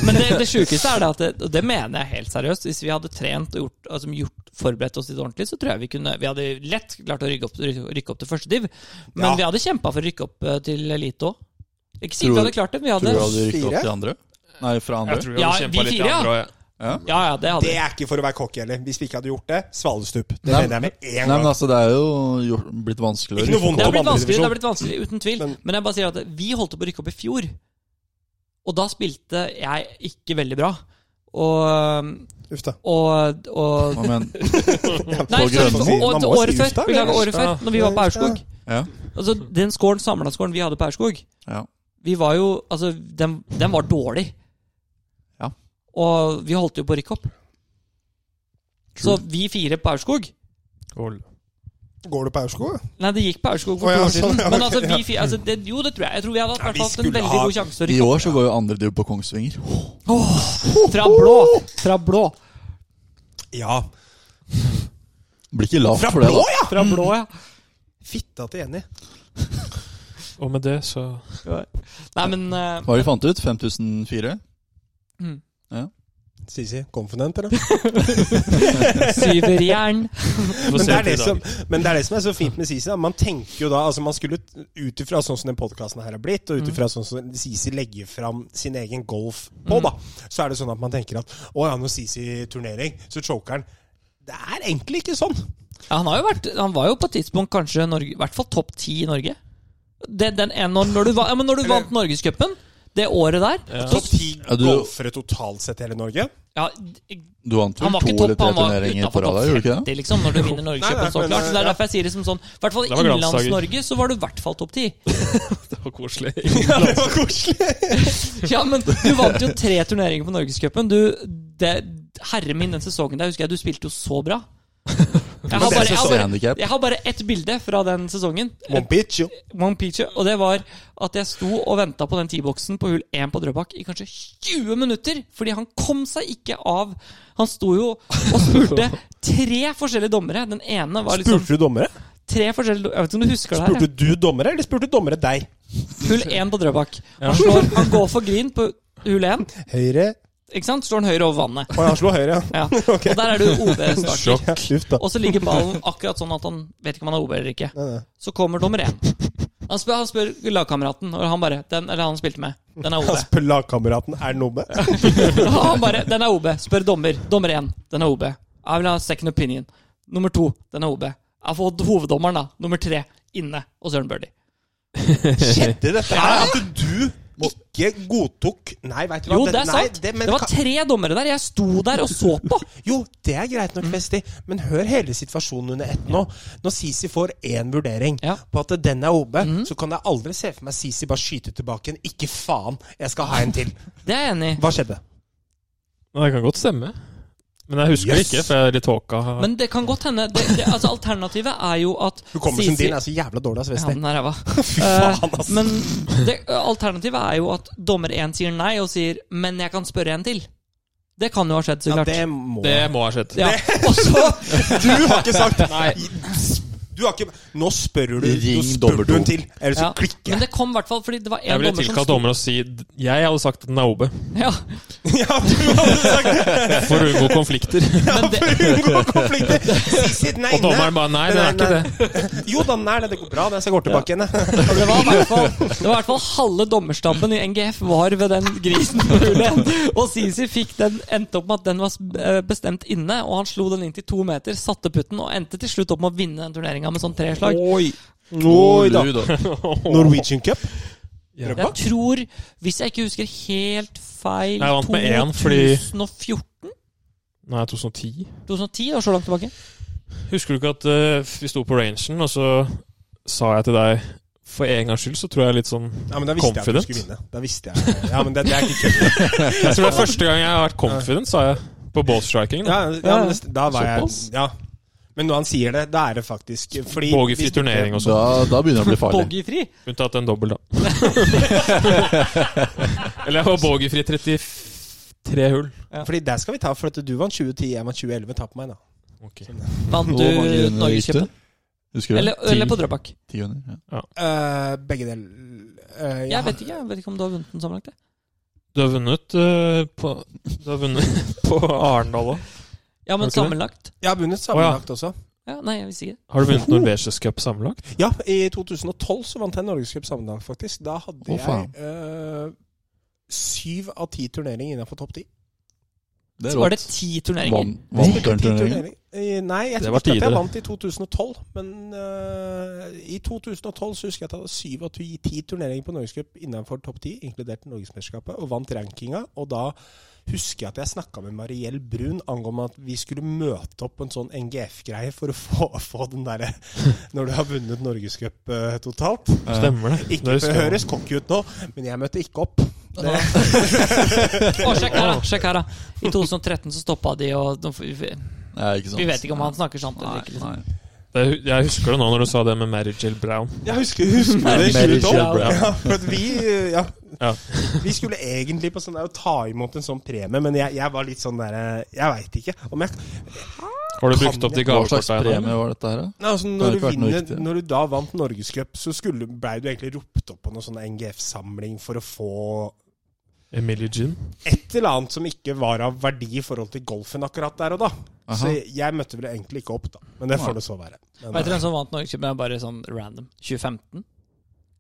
[SPEAKER 1] Men det, det sjukeste er det at det, Og det mener jeg helt seriøst. Hvis vi hadde trent og gjort, altså, gjort forberedt oss litt ordentlig, så tror jeg vi kunne Vi hadde lett klart å rykke opp, rykke, rykke opp til første div. Men
[SPEAKER 4] Ja.
[SPEAKER 1] vi hadde kjempa for å rykke opp eh, til elite òg. Ikke sikkert
[SPEAKER 2] Tror-
[SPEAKER 1] vi hadde klart det, men vi
[SPEAKER 2] Tror du
[SPEAKER 1] hadde
[SPEAKER 2] hadde rykket opp
[SPEAKER 4] Fire?
[SPEAKER 2] til andre? Nei, fra
[SPEAKER 3] Jeg
[SPEAKER 2] andre?
[SPEAKER 3] tror
[SPEAKER 1] Ja,
[SPEAKER 3] vi
[SPEAKER 1] vi
[SPEAKER 3] kjempa litt
[SPEAKER 1] fire,
[SPEAKER 3] i andre òg.
[SPEAKER 2] Ja.
[SPEAKER 1] Ja, ja, det hadde
[SPEAKER 4] Det
[SPEAKER 1] vi.
[SPEAKER 4] er ikke for å være cocky heller. Hvis vi ikke hadde gjort det, svalestup. Det
[SPEAKER 2] Nei,
[SPEAKER 4] mener jeg med en
[SPEAKER 2] Nei, men
[SPEAKER 4] gang.
[SPEAKER 2] altså, det er jo gjort, blitt vanskeligere.
[SPEAKER 4] Ikke noe vondt
[SPEAKER 1] Det har
[SPEAKER 4] om
[SPEAKER 1] blitt vanskelig, det har
[SPEAKER 4] andredivisjon.
[SPEAKER 1] blitt vanskelig, uten tvil. Men,
[SPEAKER 4] Men-
[SPEAKER 1] jeg bare sier at vi holdt på å rykke opp i fjor, og da spilte jeg ikke veldig bra. Og,
[SPEAKER 4] Uff da.
[SPEAKER 1] og, og
[SPEAKER 2] Ja, Men,
[SPEAKER 1] Nei,
[SPEAKER 2] På
[SPEAKER 1] sorry,
[SPEAKER 2] Grønmo?
[SPEAKER 1] og-
[SPEAKER 4] Man må
[SPEAKER 1] og året
[SPEAKER 4] si
[SPEAKER 1] før.
[SPEAKER 4] Ulstad,
[SPEAKER 1] Beklager,
[SPEAKER 4] eller?
[SPEAKER 1] året før, når vi var på Aurskog.
[SPEAKER 2] ja,
[SPEAKER 1] Altså, den scoren, samla scoren vi hadde på Aurskog,
[SPEAKER 2] ja.
[SPEAKER 1] vi var jo Altså, den, den var dårlig.
[SPEAKER 2] Ja.
[SPEAKER 1] Og vi holdt jo på å rykke opp. Så vi fire på Aurskog
[SPEAKER 4] Går du på Aurskog?
[SPEAKER 1] Nei, det gikk på Aurskog for
[SPEAKER 4] Å,
[SPEAKER 1] to
[SPEAKER 4] ja,
[SPEAKER 1] år siden.
[SPEAKER 4] sånn, ja,
[SPEAKER 1] Men
[SPEAKER 4] ok,
[SPEAKER 1] altså, vi
[SPEAKER 4] ja.
[SPEAKER 1] fire altså, det, Jo, det tror jeg. Jeg tror vi hadde hatt
[SPEAKER 4] Ja,
[SPEAKER 1] hvert
[SPEAKER 4] vi
[SPEAKER 1] fall hatt en
[SPEAKER 4] skulle
[SPEAKER 1] veldig
[SPEAKER 4] ha-
[SPEAKER 1] god sjanse til å
[SPEAKER 2] I
[SPEAKER 1] rykke opp.
[SPEAKER 2] år så går jo andre div på Kongsvinger.
[SPEAKER 1] Fra blå! Fra blå.
[SPEAKER 4] Ja.
[SPEAKER 2] Blir ikke lavt
[SPEAKER 4] Fra
[SPEAKER 2] for det,
[SPEAKER 4] blå,
[SPEAKER 2] da.
[SPEAKER 4] ja!
[SPEAKER 1] Fra blå, ja.
[SPEAKER 4] Fitta til Jenny.
[SPEAKER 3] Og med det, så
[SPEAKER 1] Nei, men eh,
[SPEAKER 2] Hva har de fant ut? 5004?
[SPEAKER 4] Sisi. Confident, eller?
[SPEAKER 1] syverjern
[SPEAKER 4] Men det, er det som, men det er det som er så fint med Sisi. da. Man tenker jo da altså Man skulle ut ifra sånn som den podkasten her er blitt,
[SPEAKER 2] Mm.
[SPEAKER 4] og ut ifra sånn som Sisi legger fram sin egen golf
[SPEAKER 2] Mm.
[SPEAKER 4] på, da, så er det sånn at man tenker at å ja, nå Sisi turnering, så choker han. Det er egentlig ikke sånn.
[SPEAKER 1] Ja, han, har jo vært, han var jo på et tidspunkt kanskje Norge, i hvert fall topp ti i Norge. Det, den ene, når- når, du, va- ja, men når du vant Norgescupen det året der så,
[SPEAKER 4] Topp ti
[SPEAKER 2] Ja, du-
[SPEAKER 4] golfere totalt sett i hele Norge.
[SPEAKER 1] ja,
[SPEAKER 2] Du vant
[SPEAKER 1] Han
[SPEAKER 2] vel
[SPEAKER 1] var
[SPEAKER 2] to
[SPEAKER 1] ikke topp,
[SPEAKER 2] eller tre
[SPEAKER 1] han var
[SPEAKER 2] turneringer på
[SPEAKER 1] utafor
[SPEAKER 2] rad der, gjorde du
[SPEAKER 1] topp
[SPEAKER 2] ikke
[SPEAKER 1] 50,
[SPEAKER 2] det?
[SPEAKER 1] liksom, når du vinner
[SPEAKER 4] Nei,
[SPEAKER 1] Norgescupen,
[SPEAKER 4] nei,
[SPEAKER 1] så
[SPEAKER 4] men,
[SPEAKER 1] klart. Så Det er
[SPEAKER 4] ja.
[SPEAKER 1] derfor jeg sier det som sånn. I hvert fall i
[SPEAKER 3] Det var glansdager.
[SPEAKER 1] Innenlands-Norge så var du i hvert fall topp ti.
[SPEAKER 3] Det var koselig.
[SPEAKER 4] Ja, det var koselig!
[SPEAKER 1] Ja, men du vant jo tre turneringer på Norgescupen. Du, det- Herre min, den sesongen der husker jeg du spilte jo så bra. Jeg har
[SPEAKER 4] den
[SPEAKER 1] bare, jeg har bare,
[SPEAKER 2] Handicap.
[SPEAKER 1] jeg har bare ett bilde fra den sesongen.
[SPEAKER 4] Mon bitch, jo.
[SPEAKER 1] One Piece, og det var at jeg sto og venta på den T-boksen på hull 1 på Drøbak i kanskje 20 minutter, fordi han kom seg ikke av. Han sto jo og spurte tre forskjellige dommere. Den ene var liksom
[SPEAKER 4] Spurte du dommere?
[SPEAKER 1] tre forskjellige dom- Jeg vet ikke om du husker det her?
[SPEAKER 4] Spurte du dommere, eller spurte dommere deg?
[SPEAKER 1] jeg. Hull 1 på Drøbak. Han, slår, han går for green på hull 1,
[SPEAKER 4] Høyre
[SPEAKER 1] ikke sant? Slår han høyre over vannet.
[SPEAKER 4] Å, han slår høyre, ja.
[SPEAKER 1] Ja. Og der er du OB-starter.
[SPEAKER 4] ja. Uff, da.
[SPEAKER 1] Og så ligger ballen akkurat sånn at han vet ikke om han er OB eller ikke.
[SPEAKER 4] Nei, nei.
[SPEAKER 1] Så kommer dommer én. Han spør, han spør lagkameraten, og han bare den, Eller han spilte med. Den er OB.
[SPEAKER 4] Han spør lagkameraten er det noe med.
[SPEAKER 1] Ja, han bare Den er OB. Spør dommer. Dommer én. Den er OB. Jeg vil ha second opinion. Nummer to. Den er OB. Jeg får hoveddommeren, da. Nummer tre. Inne. Og Søren Birdie.
[SPEAKER 4] Skjedde dette her? At du ikke godtok Nei, veit du hva
[SPEAKER 1] Jo, det er
[SPEAKER 4] nei,
[SPEAKER 1] sant.
[SPEAKER 4] det- men
[SPEAKER 1] Det var
[SPEAKER 4] ka-
[SPEAKER 1] tre dommere der. Jeg sto der og så på.
[SPEAKER 4] Jo, det er greit
[SPEAKER 1] Mm.
[SPEAKER 4] nok, Festi, men hør hele situasjonen under ett nå. Når Sisi får én vurdering
[SPEAKER 1] Ja. Mm.
[SPEAKER 4] på at den er OB, så kan jeg aldri se for meg Sisi bare skyte tilbake en 'ikke faen, jeg skal ha en til'.
[SPEAKER 1] Det er jeg enig i.
[SPEAKER 4] Hva skjedde?
[SPEAKER 3] Men det kan godt stemme. Men jeg husker
[SPEAKER 4] Yes.
[SPEAKER 3] det ikke, for jeg er litt tåka.
[SPEAKER 1] Men det kan godt hende. Det, det, altså, alternativet er jo at
[SPEAKER 4] Hukommelsen
[SPEAKER 1] Sisi-
[SPEAKER 4] din er så jævla dårlig, altså, ass,
[SPEAKER 1] Ja,
[SPEAKER 4] Festi.
[SPEAKER 1] den er ræva. Eh,
[SPEAKER 4] Fy faen, altså. ass.
[SPEAKER 1] Men det, alternativet er jo at dommer én sier nei og sier 'men jeg kan spørre en til'. Det kan jo ha skjedd, så
[SPEAKER 4] ja,
[SPEAKER 1] klart.
[SPEAKER 4] det må
[SPEAKER 3] det må ha skjedd.
[SPEAKER 1] Ja. Og så
[SPEAKER 4] Du har ikke sagt Du har ikke Nå spør du,
[SPEAKER 2] Ring
[SPEAKER 4] nå spør du
[SPEAKER 2] dobbeltdom.
[SPEAKER 4] en til, ellers så
[SPEAKER 1] ja.
[SPEAKER 4] klikker
[SPEAKER 1] Men
[SPEAKER 4] jeg.
[SPEAKER 1] det kom i hvert fall fordi det var en
[SPEAKER 3] Jeg ville
[SPEAKER 1] dommer som
[SPEAKER 3] tilkalt dommer og si d- jeg hadde sagt at den er OB.
[SPEAKER 1] Ja,
[SPEAKER 4] Ja, du hadde sagt
[SPEAKER 3] For å unngå konflikter.
[SPEAKER 4] ja, for å unngå konflikter! Sisi, nei,
[SPEAKER 3] Og dommeren bare nei, det er ikke det.
[SPEAKER 4] det. Jo da, den er det. Det går bra, det. Så jeg går tilbake igjen, jeg.
[SPEAKER 1] det var i hvert fall Det var i hvert fall halve dommerstaben i NGF var ved den grisen. på hjulet. Og Sisi fikk den endte opp med at den var s- eh, bestemt inne, og han slo den inn til to meter, satte putten og endte til slutt opp med å vinne den turneringa med sånn tre slag.
[SPEAKER 4] Oi da.
[SPEAKER 2] Lu, da.
[SPEAKER 4] Norwegian Cup.
[SPEAKER 1] Jeg tror, hvis jeg ikke husker helt feil
[SPEAKER 3] Jeg vant med én, fordi-
[SPEAKER 1] 2014?
[SPEAKER 3] Nei, 2010.
[SPEAKER 1] 2010? Det var så langt tilbake.
[SPEAKER 3] Husker du ikke at eh, vi sto på rangen, og så sa jeg til deg for en gangs skyld så tror jeg litt sånn
[SPEAKER 4] Ja, men da visste jeg at
[SPEAKER 3] Confident.
[SPEAKER 4] du skulle vinne. Da visste jeg Ja, men det, det er ikke kødd.
[SPEAKER 3] Jeg tror det er første gang jeg har vært confident, sa jeg. På ballstriking.
[SPEAKER 4] Ja,
[SPEAKER 3] da.
[SPEAKER 4] ja, men det- da var jeg
[SPEAKER 3] Såpass?
[SPEAKER 4] Ja. Men når han sier det, da er det faktisk fordi
[SPEAKER 3] Bågefri
[SPEAKER 4] hvis-
[SPEAKER 3] turnering
[SPEAKER 2] Da,
[SPEAKER 3] og sånn.
[SPEAKER 2] da begynner det å bli farlig.
[SPEAKER 1] Boggifri?
[SPEAKER 3] Unntatt en dobbel, da. Eller jeg var bågefri 33 hull.
[SPEAKER 4] Fordi der skal vi ta, for at du vant 2010, jeg vant 2011. Ta på meg, da. Sånn
[SPEAKER 1] Vant
[SPEAKER 2] Hvor mange
[SPEAKER 1] du
[SPEAKER 2] runder gikk
[SPEAKER 1] Norgescupen?
[SPEAKER 2] Husker du?
[SPEAKER 1] Eller,
[SPEAKER 3] Ti.
[SPEAKER 1] eller på Drøbak?
[SPEAKER 2] Ti runder, ja.
[SPEAKER 4] Eh, begge deler. Eh, ja.
[SPEAKER 1] Jeg vet ikke jeg vet ikke om du har vunnet den sammenlagt. jeg.
[SPEAKER 3] Du har vunnet eh, på Du har vunnet på Arendal òg.
[SPEAKER 1] Ja, men
[SPEAKER 3] Har du ikke det?
[SPEAKER 1] sammenlagt?
[SPEAKER 4] Jeg har vunnet sammenlagt også.
[SPEAKER 1] Ja, Nei, jeg visste ikke.
[SPEAKER 3] Har du vunnet Norwegians Cup sammenlagt?
[SPEAKER 4] Ja, i 2012 så vant jeg Norgescup sammenlagt, faktisk. Da hadde
[SPEAKER 2] Å, faen.
[SPEAKER 4] jeg eh, syv av ti turneringer innenfor topp ti.
[SPEAKER 2] Det
[SPEAKER 1] Så
[SPEAKER 2] er
[SPEAKER 1] var det
[SPEAKER 2] rått.
[SPEAKER 1] ti turneringer.
[SPEAKER 2] Vant vant den
[SPEAKER 4] Ti
[SPEAKER 2] turneringen?
[SPEAKER 4] turneringer. Eh, Nei, jeg
[SPEAKER 3] Det
[SPEAKER 4] tror
[SPEAKER 3] var
[SPEAKER 4] ikke at jeg
[SPEAKER 3] tidligere.
[SPEAKER 4] vant i 2012, men eh, i 2012 så husker jeg at jeg hadde syv av ti- ti turneringer på Norgescup innenfor topp ti, inkludert Norgesmesterskapet, og vant rankinga. Og da husker jeg at jeg snakka med Mariell Brun angående at vi skulle møte opp på en sånn NGF-greie for å få, få den derre når du har vunnet Norgescup eh, totalt.
[SPEAKER 3] Stemmer det. Det
[SPEAKER 4] Ikke for
[SPEAKER 3] husker
[SPEAKER 4] å
[SPEAKER 3] jeg.
[SPEAKER 4] høres cocky ut nå, men jeg møtte ikke opp. Det,
[SPEAKER 1] Å, sjekk her, da! sjekk her da I 2013 så stoppa de, og nå får vi,
[SPEAKER 2] Nei, ikke sant.
[SPEAKER 1] vi vet ikke om han snakker sant eller ikke.
[SPEAKER 2] Nei,
[SPEAKER 1] Liksom.
[SPEAKER 2] nei.
[SPEAKER 3] Det, jeg husker det nå når du sa det med Mary Jill Brown.
[SPEAKER 4] jeg husker, husker det i
[SPEAKER 2] Mary
[SPEAKER 4] 2012.
[SPEAKER 2] Jill Brown.
[SPEAKER 4] Ja, for at vi, eh, ja.
[SPEAKER 3] Ja.
[SPEAKER 4] vi skulle egentlig på sånn der, å ta imot en sånn premie, men jeg, jeg var litt sånn der eh, Jeg veit ikke. Om jeg,
[SPEAKER 3] Har du
[SPEAKER 4] Kan
[SPEAKER 3] brukt opp
[SPEAKER 4] jeg-
[SPEAKER 3] de
[SPEAKER 2] Hva slags
[SPEAKER 3] gavekorta? igjen?
[SPEAKER 2] premie var dette her, da?
[SPEAKER 4] nei, altså,
[SPEAKER 2] Det har
[SPEAKER 4] når,
[SPEAKER 2] ikke
[SPEAKER 4] du
[SPEAKER 2] vært noe
[SPEAKER 4] vinner,
[SPEAKER 2] riktig.
[SPEAKER 4] når du da vant Norgescup, så skulle- blei du egentlig ropt opp på noen sånn NGF-samling for å få
[SPEAKER 3] Emilie Jean?
[SPEAKER 4] et eller annet som ikke var av verdi i forhold til golfen akkurat der og da. Så jeg, jeg møtte vel egentlig ikke opp, da. Men det får det så være. Men,
[SPEAKER 1] Vet du hvem som vant Norgescupen? Det er Bare sånn random. 2015?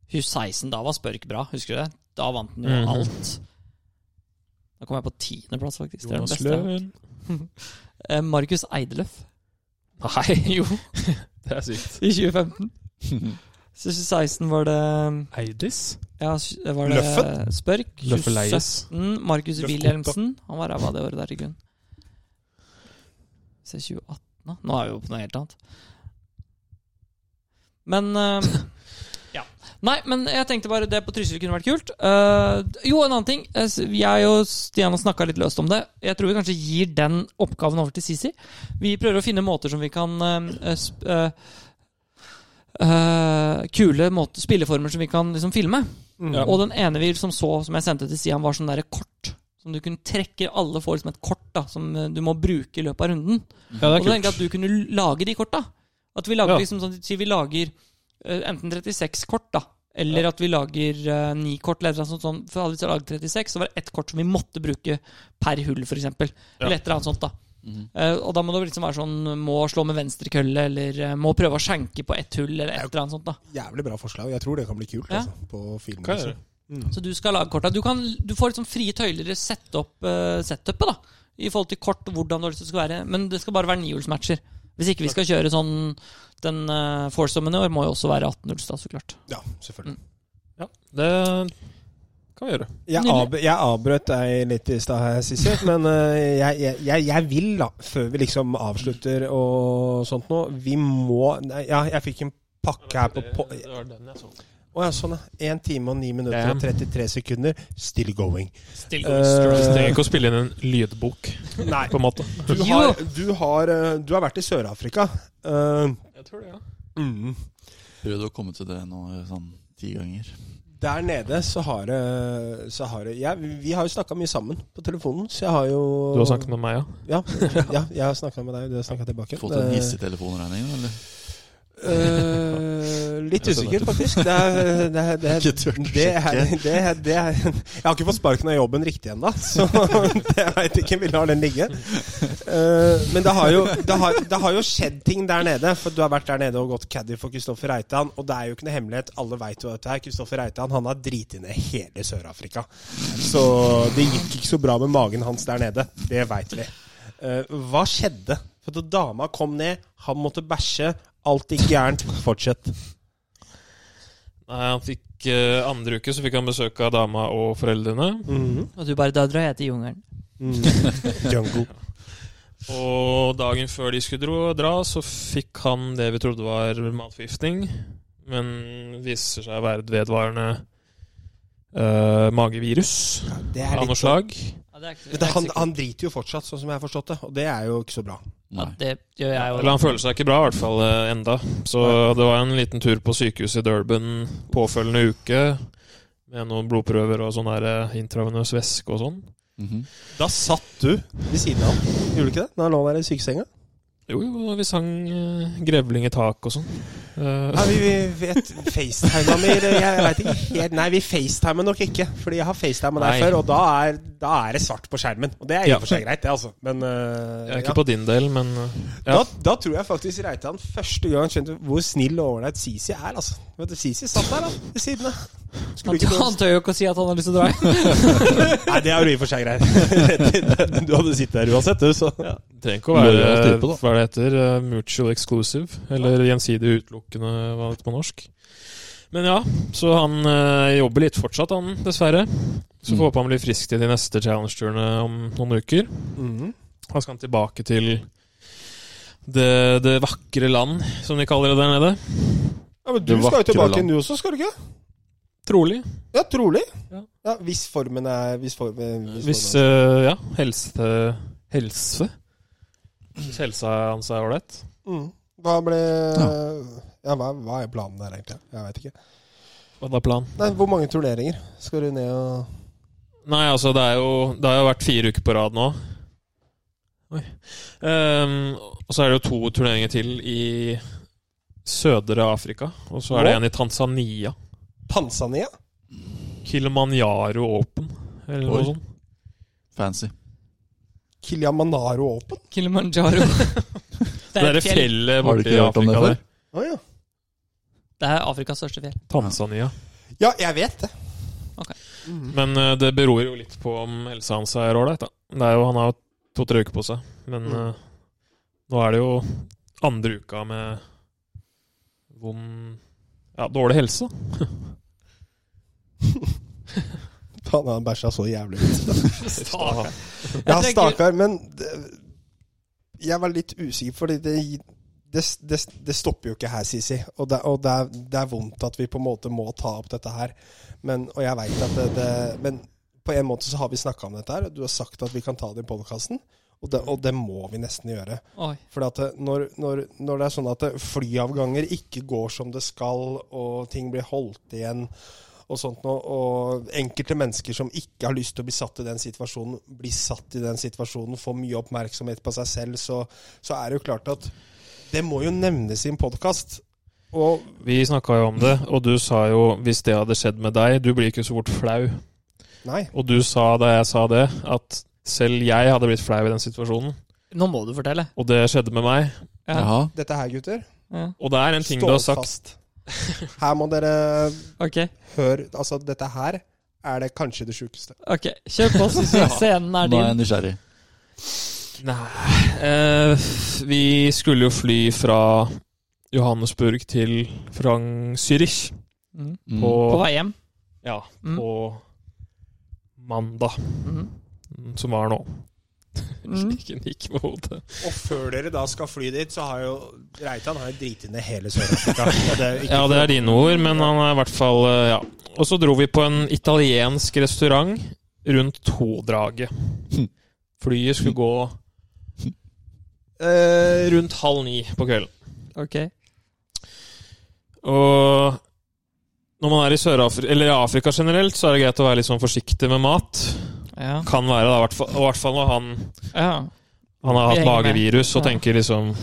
[SPEAKER 1] 2016, da var Spørk bra, husker du det? Da vant han jo
[SPEAKER 3] Mhm.
[SPEAKER 1] alt. Da kom jeg på tiendeplass, faktisk. Det er den
[SPEAKER 3] Jonas
[SPEAKER 1] beste. jeg har hatt.
[SPEAKER 3] Løen?
[SPEAKER 1] Eh, Markus Eideløf
[SPEAKER 3] Nei,
[SPEAKER 1] Jo,
[SPEAKER 3] det er sykt.
[SPEAKER 1] i 2015. Så 2016 var det um,
[SPEAKER 3] Eidis?
[SPEAKER 1] Ja, det var det
[SPEAKER 4] Løffen?
[SPEAKER 1] Spørk.
[SPEAKER 3] Løffeleies.
[SPEAKER 1] 2017, Markus
[SPEAKER 4] Løffgutta.
[SPEAKER 1] Wilhelmsen. Han var ræva det året der i grunn. Se 2018, da. Nå er vi jo på noe helt annet. Men eh, Ja. Nei, men jeg tenkte bare det på Trysil kunne vært kult. Eh, jo, en annen ting. Eh, s- Jeg og Stian har snakka litt løst om det. Jeg tror vi kanskje gir den oppgaven over til Sisi. Vi prøver å finne måter som vi kan eh, sp- eh, eh, Kule måter, spilleformer som vi kan liksom filme.
[SPEAKER 4] mm.
[SPEAKER 3] Ja.
[SPEAKER 1] Og den ene vi som så, som jeg sendte til Sian, var sånn derre kort. Som du kunne trekke Alle får liksom et kort da som eh, du må bruke i løpet av runden.
[SPEAKER 3] Ja, det
[SPEAKER 1] Og da tenkte jeg at du kunne l- lage de korta. At vi lager
[SPEAKER 3] Ja.
[SPEAKER 1] liksom sånn Si vi lager eh, enten 36 kort, da. Eller at vi lager uh, ni kort. Eller et eller annet sånt, sånn. For hadde vi laget 36, så var det ett kort som vi måtte bruke per hull, f.eks. eksempel
[SPEAKER 3] Ja.
[SPEAKER 1] Eller et eller annet sånt, da.
[SPEAKER 2] Mhm.
[SPEAKER 1] Eh, og da må det liksom være sånn Må slå med venstrekølle, eller eh, må prøve å skjenke på ett hull, eller et eller annet sånt, da.
[SPEAKER 4] eh, Jævlig bra forslag. Jeg tror det kan bli kult
[SPEAKER 1] Ja.
[SPEAKER 4] altså, på film.
[SPEAKER 3] Hva er
[SPEAKER 4] også.
[SPEAKER 3] det?
[SPEAKER 1] Så du skal lage korta. Du, kan, du får liksom frie tøyler i å sette opp eh, setupet, da. I forhold til kort og hvordan du har lyst til det skal være. Men det skal bare være nihjulsmatcher. Hvis ikke vi skal kjøre sånn Den uh, foursomen i år må jo også være 18-hulls, da, så klart.
[SPEAKER 4] Ja, selvfølgelig.
[SPEAKER 3] Det Kan vi gjøre.
[SPEAKER 4] Jeg,
[SPEAKER 1] Nydelig.
[SPEAKER 4] ab jeg avbrøt deg litt i stad, her, Sissy, men eh, jeg, jeg- jeg, jeg vil, da, før vi liksom avslutter og sånt noe Vi må Nei, ja, jeg fikk en pakke her på, på
[SPEAKER 3] Det var den jeg så.
[SPEAKER 4] Å ja, sånn, ja. 1 time og 9 minutter
[SPEAKER 3] Damn.
[SPEAKER 4] og 33 sekunder. Still going.
[SPEAKER 1] Still
[SPEAKER 4] going
[SPEAKER 3] Vi
[SPEAKER 4] strong.
[SPEAKER 3] Eh, trenger ikke å spille inn en lydbok,
[SPEAKER 4] Nei.
[SPEAKER 3] på en måte.
[SPEAKER 4] Du har, du har, eh, du har vært i Sør-Afrika. Eh,
[SPEAKER 3] Jeg tror det, ja.
[SPEAKER 4] mm.
[SPEAKER 2] Prøvd å komme til det nå eh, sånn ti ganger.
[SPEAKER 4] Der nede så har det så har det- ja, Vi har jo snakka mye sammen på telefonen, så jeg har jo
[SPEAKER 3] Du har snakket med meg, ja?
[SPEAKER 4] Ja, ja jeg har snakka med deg, du har snakka tilbake.
[SPEAKER 2] Fått en
[SPEAKER 4] Eh,
[SPEAKER 2] hissig telefonregning, da? Eller?
[SPEAKER 4] Eh, litt usikker, faktisk. Det er, det er, det er,
[SPEAKER 2] Ikke tørt å
[SPEAKER 4] det er, det er, det er, jeg har ikke fått sparken av jobben riktig ennå, så jeg veit ikke. Vil la den ligge. Eh, men det har, jo, det, har, det har jo skjedd ting der nede. For du har vært der nede og gått caddy for Kristoffer Reitan. Og det er jo ikke noe hemmelighet. Alle veit jo dette her. Kristoffer Reitan han har driti ned hele Sør-Afrika. Så det gikk ikke så bra med magen hans der nede. Det veit vi. Eh, hva skjedde? For da dama kom ned, han måtte bæsje, alt gikk gærent. Fortsett.
[SPEAKER 3] Nei, han fikk eh, Andre uke så fikk han besøk av dama og foreldrene.
[SPEAKER 2] Mm-hmm.
[SPEAKER 1] Og du bare Da drar jeg til jungelen.
[SPEAKER 4] Jungle.
[SPEAKER 3] Og dagen før de skulle dro, dra, så fikk han det vi trodde var matforgiftning. Men viser seg å være et vedvarende eh, magevirus
[SPEAKER 4] Det er
[SPEAKER 3] av noe
[SPEAKER 4] litt sånn-
[SPEAKER 3] slag.
[SPEAKER 1] Ja, det er ikke,
[SPEAKER 4] Vet du, han, han driter jo fortsatt, sånn som jeg har forstått det. Og det er jo ikke så bra.
[SPEAKER 1] ja,
[SPEAKER 2] Nei.
[SPEAKER 1] det gjør jeg jo.
[SPEAKER 3] Eller han føler seg ikke bra, i hvert fall eh, enda. Så det var en liten tur på sykehuset i Durban påfølgende uke. Med noen blodprøver og sånn her eh, intravenøs væske og sånn.
[SPEAKER 2] Mhm.
[SPEAKER 4] Da satt du ved siden av han. Gjorde du ikke det? Når han lå der i sykesenga?
[SPEAKER 3] Jo, jo, vi sang eh, 'Grevling i tak' og sånn. Eh,
[SPEAKER 4] Nei, vi, vi vet FaceTima mi det- Jeg vet ikke helt Nei, vi facetimer nok ikke. Fordi jeg har facetima
[SPEAKER 3] Nei.
[SPEAKER 4] deg før, og da er, da er det svart på skjermen. Og det er i
[SPEAKER 3] Ja.
[SPEAKER 4] og for seg greit, det, altså. Men øh,
[SPEAKER 3] jeg er
[SPEAKER 4] ja.
[SPEAKER 3] ikke på din del, men eh,
[SPEAKER 4] da, da tror jeg faktisk Reitan første gang skjønte hvor snill og ålreit Sisi er, altså. Vet du, Sisi satt der, da. Ved siden av. Skulle
[SPEAKER 1] Han,
[SPEAKER 4] ikke
[SPEAKER 1] han tør jo ikke å si at han har lyst til å dra hjem.
[SPEAKER 4] Nei, det er jo i og for seg greit. Du hadde sittet der uansett, du, så
[SPEAKER 3] Det trenger ikke å være
[SPEAKER 2] Lojal type, da.
[SPEAKER 3] hva det heter, eh, mutual exclusive, eller gjensidig utelukkende, hva det heter på norsk. Men ja, så han eh, jobber litt fortsatt, han, dessverre. Så
[SPEAKER 2] Mm.
[SPEAKER 3] får håpe han blir frisk til de neste challenge-turene om noen uker.
[SPEAKER 4] Mhm.
[SPEAKER 3] Da skal han tilbake til det, det vakre land, som de kaller det der nede.
[SPEAKER 4] Ja, men
[SPEAKER 2] Det
[SPEAKER 4] du skal jo
[SPEAKER 2] vakre
[SPEAKER 4] tilbake
[SPEAKER 2] land.
[SPEAKER 4] nå også, skal du ikke?
[SPEAKER 3] Trolig.
[SPEAKER 4] Ja, trolig.
[SPEAKER 3] Ja.
[SPEAKER 4] Ja, hvis formen er Hvis formen,
[SPEAKER 3] Hvis
[SPEAKER 4] formen er-
[SPEAKER 3] eh, ja, helse Helse?
[SPEAKER 2] Mm.
[SPEAKER 3] Hvis helsa hans er ålreit.
[SPEAKER 4] mm. Hva ble Ja, hva, hva er planen der, egentlig? Jeg veit ikke.
[SPEAKER 3] Hva er da planen?
[SPEAKER 4] Nei, Hvor mange turneringer skal du ned og
[SPEAKER 3] Nei, altså, det, er jo, det har jo vært fire uker på rad nå. Oi. Ehm, og så er det jo to turneringer til i sødre Afrika. Og så er det
[SPEAKER 4] Nå?
[SPEAKER 3] en i Tanzania.
[SPEAKER 4] Tanzania?
[SPEAKER 3] Kilimanjaro Open, eller
[SPEAKER 2] Oi.
[SPEAKER 3] noe sånt.
[SPEAKER 2] Fancy.
[SPEAKER 4] Kilimanjaro Open?
[SPEAKER 1] Kilimanjaro.
[SPEAKER 3] Det
[SPEAKER 1] et
[SPEAKER 3] er det fjellet
[SPEAKER 2] Har du
[SPEAKER 3] borte
[SPEAKER 2] ikke
[SPEAKER 3] i
[SPEAKER 2] hørt om det
[SPEAKER 3] Afrika
[SPEAKER 2] før?
[SPEAKER 3] der.
[SPEAKER 4] Å ja.
[SPEAKER 1] Det er Afrikas største fjell.
[SPEAKER 3] Tanzania.
[SPEAKER 4] ja, jeg vet det. Mm.
[SPEAKER 3] Men eh, det beror jo litt på om helsa hans er ålreit, da. Det er jo, han har jo to-tre uker på seg. Men
[SPEAKER 4] Mm.
[SPEAKER 3] eh, nå er det jo andre uka med vond Ja, dårlig helse. da.
[SPEAKER 4] Faen, han bæsja så jævlig ut.
[SPEAKER 1] Stakkar.
[SPEAKER 4] Ja,
[SPEAKER 1] tenker-
[SPEAKER 4] stakkar, men det, Jeg var litt usikker, fordi det det, det, det stopper jo ikke her, Sisi. Og, det, og det, er, det er vondt at vi på en måte må ta opp dette her. Men, og jeg vet at det, det Men på en måte så har vi snakka om dette her, og du har sagt at vi kan ta det i podkasten. Og, det- og det må vi nesten gjøre.
[SPEAKER 1] Oi.
[SPEAKER 4] For at det- når, når, når det er sånn at det- flyavganger ikke går som det skal, og ting blir holdt igjen og sånt noe, og enkelte mennesker som ikke har lyst til å bli satt i den situasjonen, blir satt i den situasjonen, får mye oppmerksomhet på seg selv, så, så er det jo klart at det må jo nevnes i en podkast. Og
[SPEAKER 3] Vi snakka jo om det, og du sa jo hvis det hadde skjedd med deg Du blir ikke så fort flau.
[SPEAKER 4] nei.
[SPEAKER 3] Og du sa da jeg sa det, at selv jeg hadde blitt flau i den situasjonen.
[SPEAKER 1] Nå må du fortelle.
[SPEAKER 3] Og det skjedde med meg.
[SPEAKER 1] Ja.
[SPEAKER 2] Jaha.
[SPEAKER 4] Dette her, gutter,
[SPEAKER 1] Ja.
[SPEAKER 3] Og det er en ting du
[SPEAKER 4] stå
[SPEAKER 3] har sagt.
[SPEAKER 4] fast. Her må dere
[SPEAKER 1] Ok,
[SPEAKER 4] høre Altså, dette her er det kanskje det sjukeste.
[SPEAKER 1] ok. Kjør på, Sissy. Scenen er
[SPEAKER 2] Nå er jeg
[SPEAKER 1] din.
[SPEAKER 2] nysgjerrig.
[SPEAKER 3] Nei eh, Vi skulle jo fly fra Johannesburg til Frank Zürich
[SPEAKER 1] Mm.
[SPEAKER 2] Mm.
[SPEAKER 3] på,
[SPEAKER 1] På vei hjem.
[SPEAKER 3] ja,
[SPEAKER 1] Mm.
[SPEAKER 3] på mandag,
[SPEAKER 1] Mhm.
[SPEAKER 3] som var nå.
[SPEAKER 1] Mhm.
[SPEAKER 3] Ikke nikk med hodet.
[SPEAKER 4] Og før dere da skal fly dit, så har jo Reitan har jo driti ned hele Sør-Afrika. Det er jo ikke-
[SPEAKER 3] Ja, det er dine ord, men han er i hvert fall eh, Ja. Og så dro vi på en italiensk restaurant rundt todraget. Flyet skulle gå eh, rundt halv ni på kvelden.
[SPEAKER 1] Ok.
[SPEAKER 3] Og når man er i Sør-Afrika, eller i Afrika generelt, så er det greit å være litt sånn forsiktig med mat.
[SPEAKER 1] Ja.
[SPEAKER 3] Kan være, da, i hvert fall, og i hvert fall når han,
[SPEAKER 1] ja.
[SPEAKER 3] han
[SPEAKER 1] Vi
[SPEAKER 3] har hatt
[SPEAKER 1] henger med.
[SPEAKER 3] magevirus og
[SPEAKER 1] Ja.
[SPEAKER 3] tenker liksom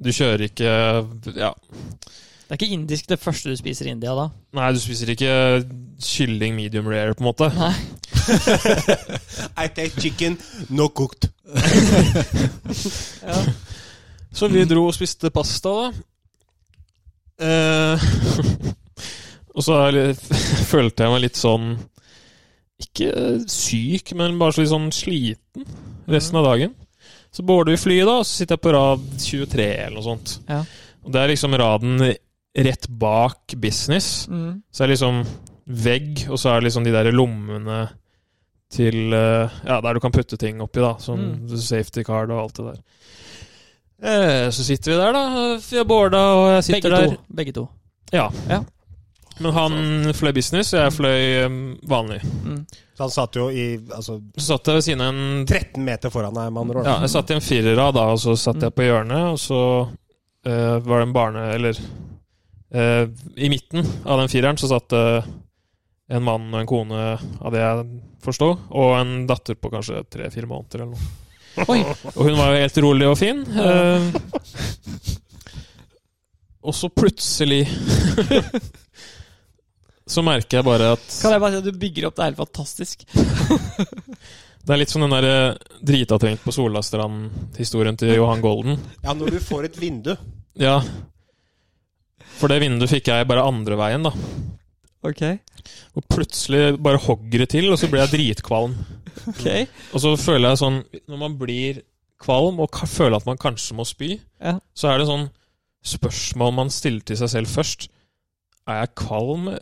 [SPEAKER 3] Du kjører ikke Ja.
[SPEAKER 1] Det er ikke indisk det første du spiser i India, da.
[SPEAKER 3] Nei, du spiser ikke kylling medium rare, på en måte.
[SPEAKER 4] I take chicken, no cooked.
[SPEAKER 3] Så vi dro og spiste pasta, da. Eh, og så er jeg litt, følte jeg meg litt sånn Ikke syk, men bare så litt sånn sliten resten av dagen. Så border vi flyet, da, og så sitter jeg på rad 23 eller noe sånt.
[SPEAKER 1] Ja.
[SPEAKER 3] Og det er liksom raden rett bak business.
[SPEAKER 1] Mm.
[SPEAKER 3] Så er det liksom vegg, og så er det liksom de der lommene til eh, Ja, der du kan putte ting oppi, da. Som
[SPEAKER 1] Mm.
[SPEAKER 3] safety card og alt det der. Eh, Så sitter vi der, da. Vi har bårda, og jeg sitter
[SPEAKER 1] Begge
[SPEAKER 3] der.
[SPEAKER 1] to. Begge to.
[SPEAKER 3] Ja.
[SPEAKER 1] Ja.
[SPEAKER 3] Men han fløy business, og jeg fløy eh, vanlig.
[SPEAKER 1] Mm.
[SPEAKER 4] Så han satt jo i altså,
[SPEAKER 3] Så satt jeg ved siden av en
[SPEAKER 4] 13 meter foran deg, med andre ord.
[SPEAKER 3] Ja, jeg satt i en firerad da, og så satt jeg på hjørnet, og så eh, var det en barne... Eller eh, i midten av den fireren så satt det en mann og en kone, av det jeg forsto, og en datter på kanskje tre-fire måneder eller noe.
[SPEAKER 1] Oi.
[SPEAKER 3] Og hun var jo helt rolig og fin. eh, og så plutselig så merker jeg bare at
[SPEAKER 1] Kan jeg bare si at du bygger opp det helt fantastisk?
[SPEAKER 3] det er litt som den der eh, dritavtrengt på Solastrand-historien til Johan Golden.
[SPEAKER 4] Ja, når du får et vindu.
[SPEAKER 3] Ja. For det vinduet fikk jeg bare andre veien, da.
[SPEAKER 1] Ok.
[SPEAKER 3] Og plutselig bare hogger det til, og så blir jeg dritkvalm.
[SPEAKER 1] Ok.
[SPEAKER 3] Og så føler jeg sånn Når man blir kvalm og ka- føler at man kanskje må spy,
[SPEAKER 1] Ja.
[SPEAKER 3] så er det sånn spørsmål man stiller til seg selv først. Er jeg kvalm?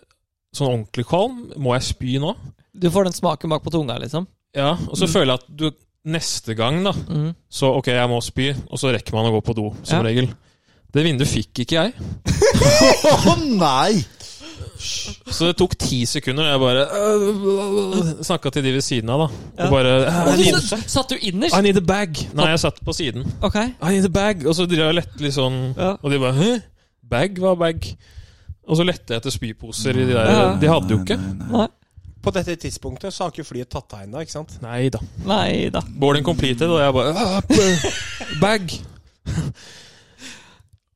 [SPEAKER 3] Sånn ordentlig kvalm? Må jeg spy nå?
[SPEAKER 1] Du får den smaken bak på tunga, liksom.
[SPEAKER 3] Ja. Og så føler jeg at du neste gang, da,
[SPEAKER 1] Mm.
[SPEAKER 3] så ok, jeg må spy, og så rekker man å gå på do, som
[SPEAKER 1] Ja.
[SPEAKER 3] regel. Det vinduet fikk ikke jeg.
[SPEAKER 2] Å nei!
[SPEAKER 3] Så det tok ti sekunder, og jeg bare Snakka til de ved siden av, da.
[SPEAKER 1] Ja.
[SPEAKER 3] Og bare øh,
[SPEAKER 1] Og
[SPEAKER 3] I
[SPEAKER 1] du
[SPEAKER 3] need,
[SPEAKER 1] satt, satt du
[SPEAKER 3] I
[SPEAKER 1] innerst?
[SPEAKER 3] need a bag. Nei, jeg satt på siden.
[SPEAKER 1] Ok.
[SPEAKER 3] I need a bag. Og så drev jeg og lette litt sånn,
[SPEAKER 1] Ja.
[SPEAKER 3] og de bare Hæ? Bag? Hva er bag? Og så lette jeg etter spyposer i de der.
[SPEAKER 1] Ja.
[SPEAKER 3] De hadde jo ikke.
[SPEAKER 2] Nei, nei, nei.
[SPEAKER 1] Nei.
[SPEAKER 4] På dette tidspunktet så har ikke flyet tatt deg ennå, ikke sant?
[SPEAKER 3] Nei da.
[SPEAKER 1] Nei da.
[SPEAKER 3] Boarding completed, og jeg bare «Ah, b- Bag!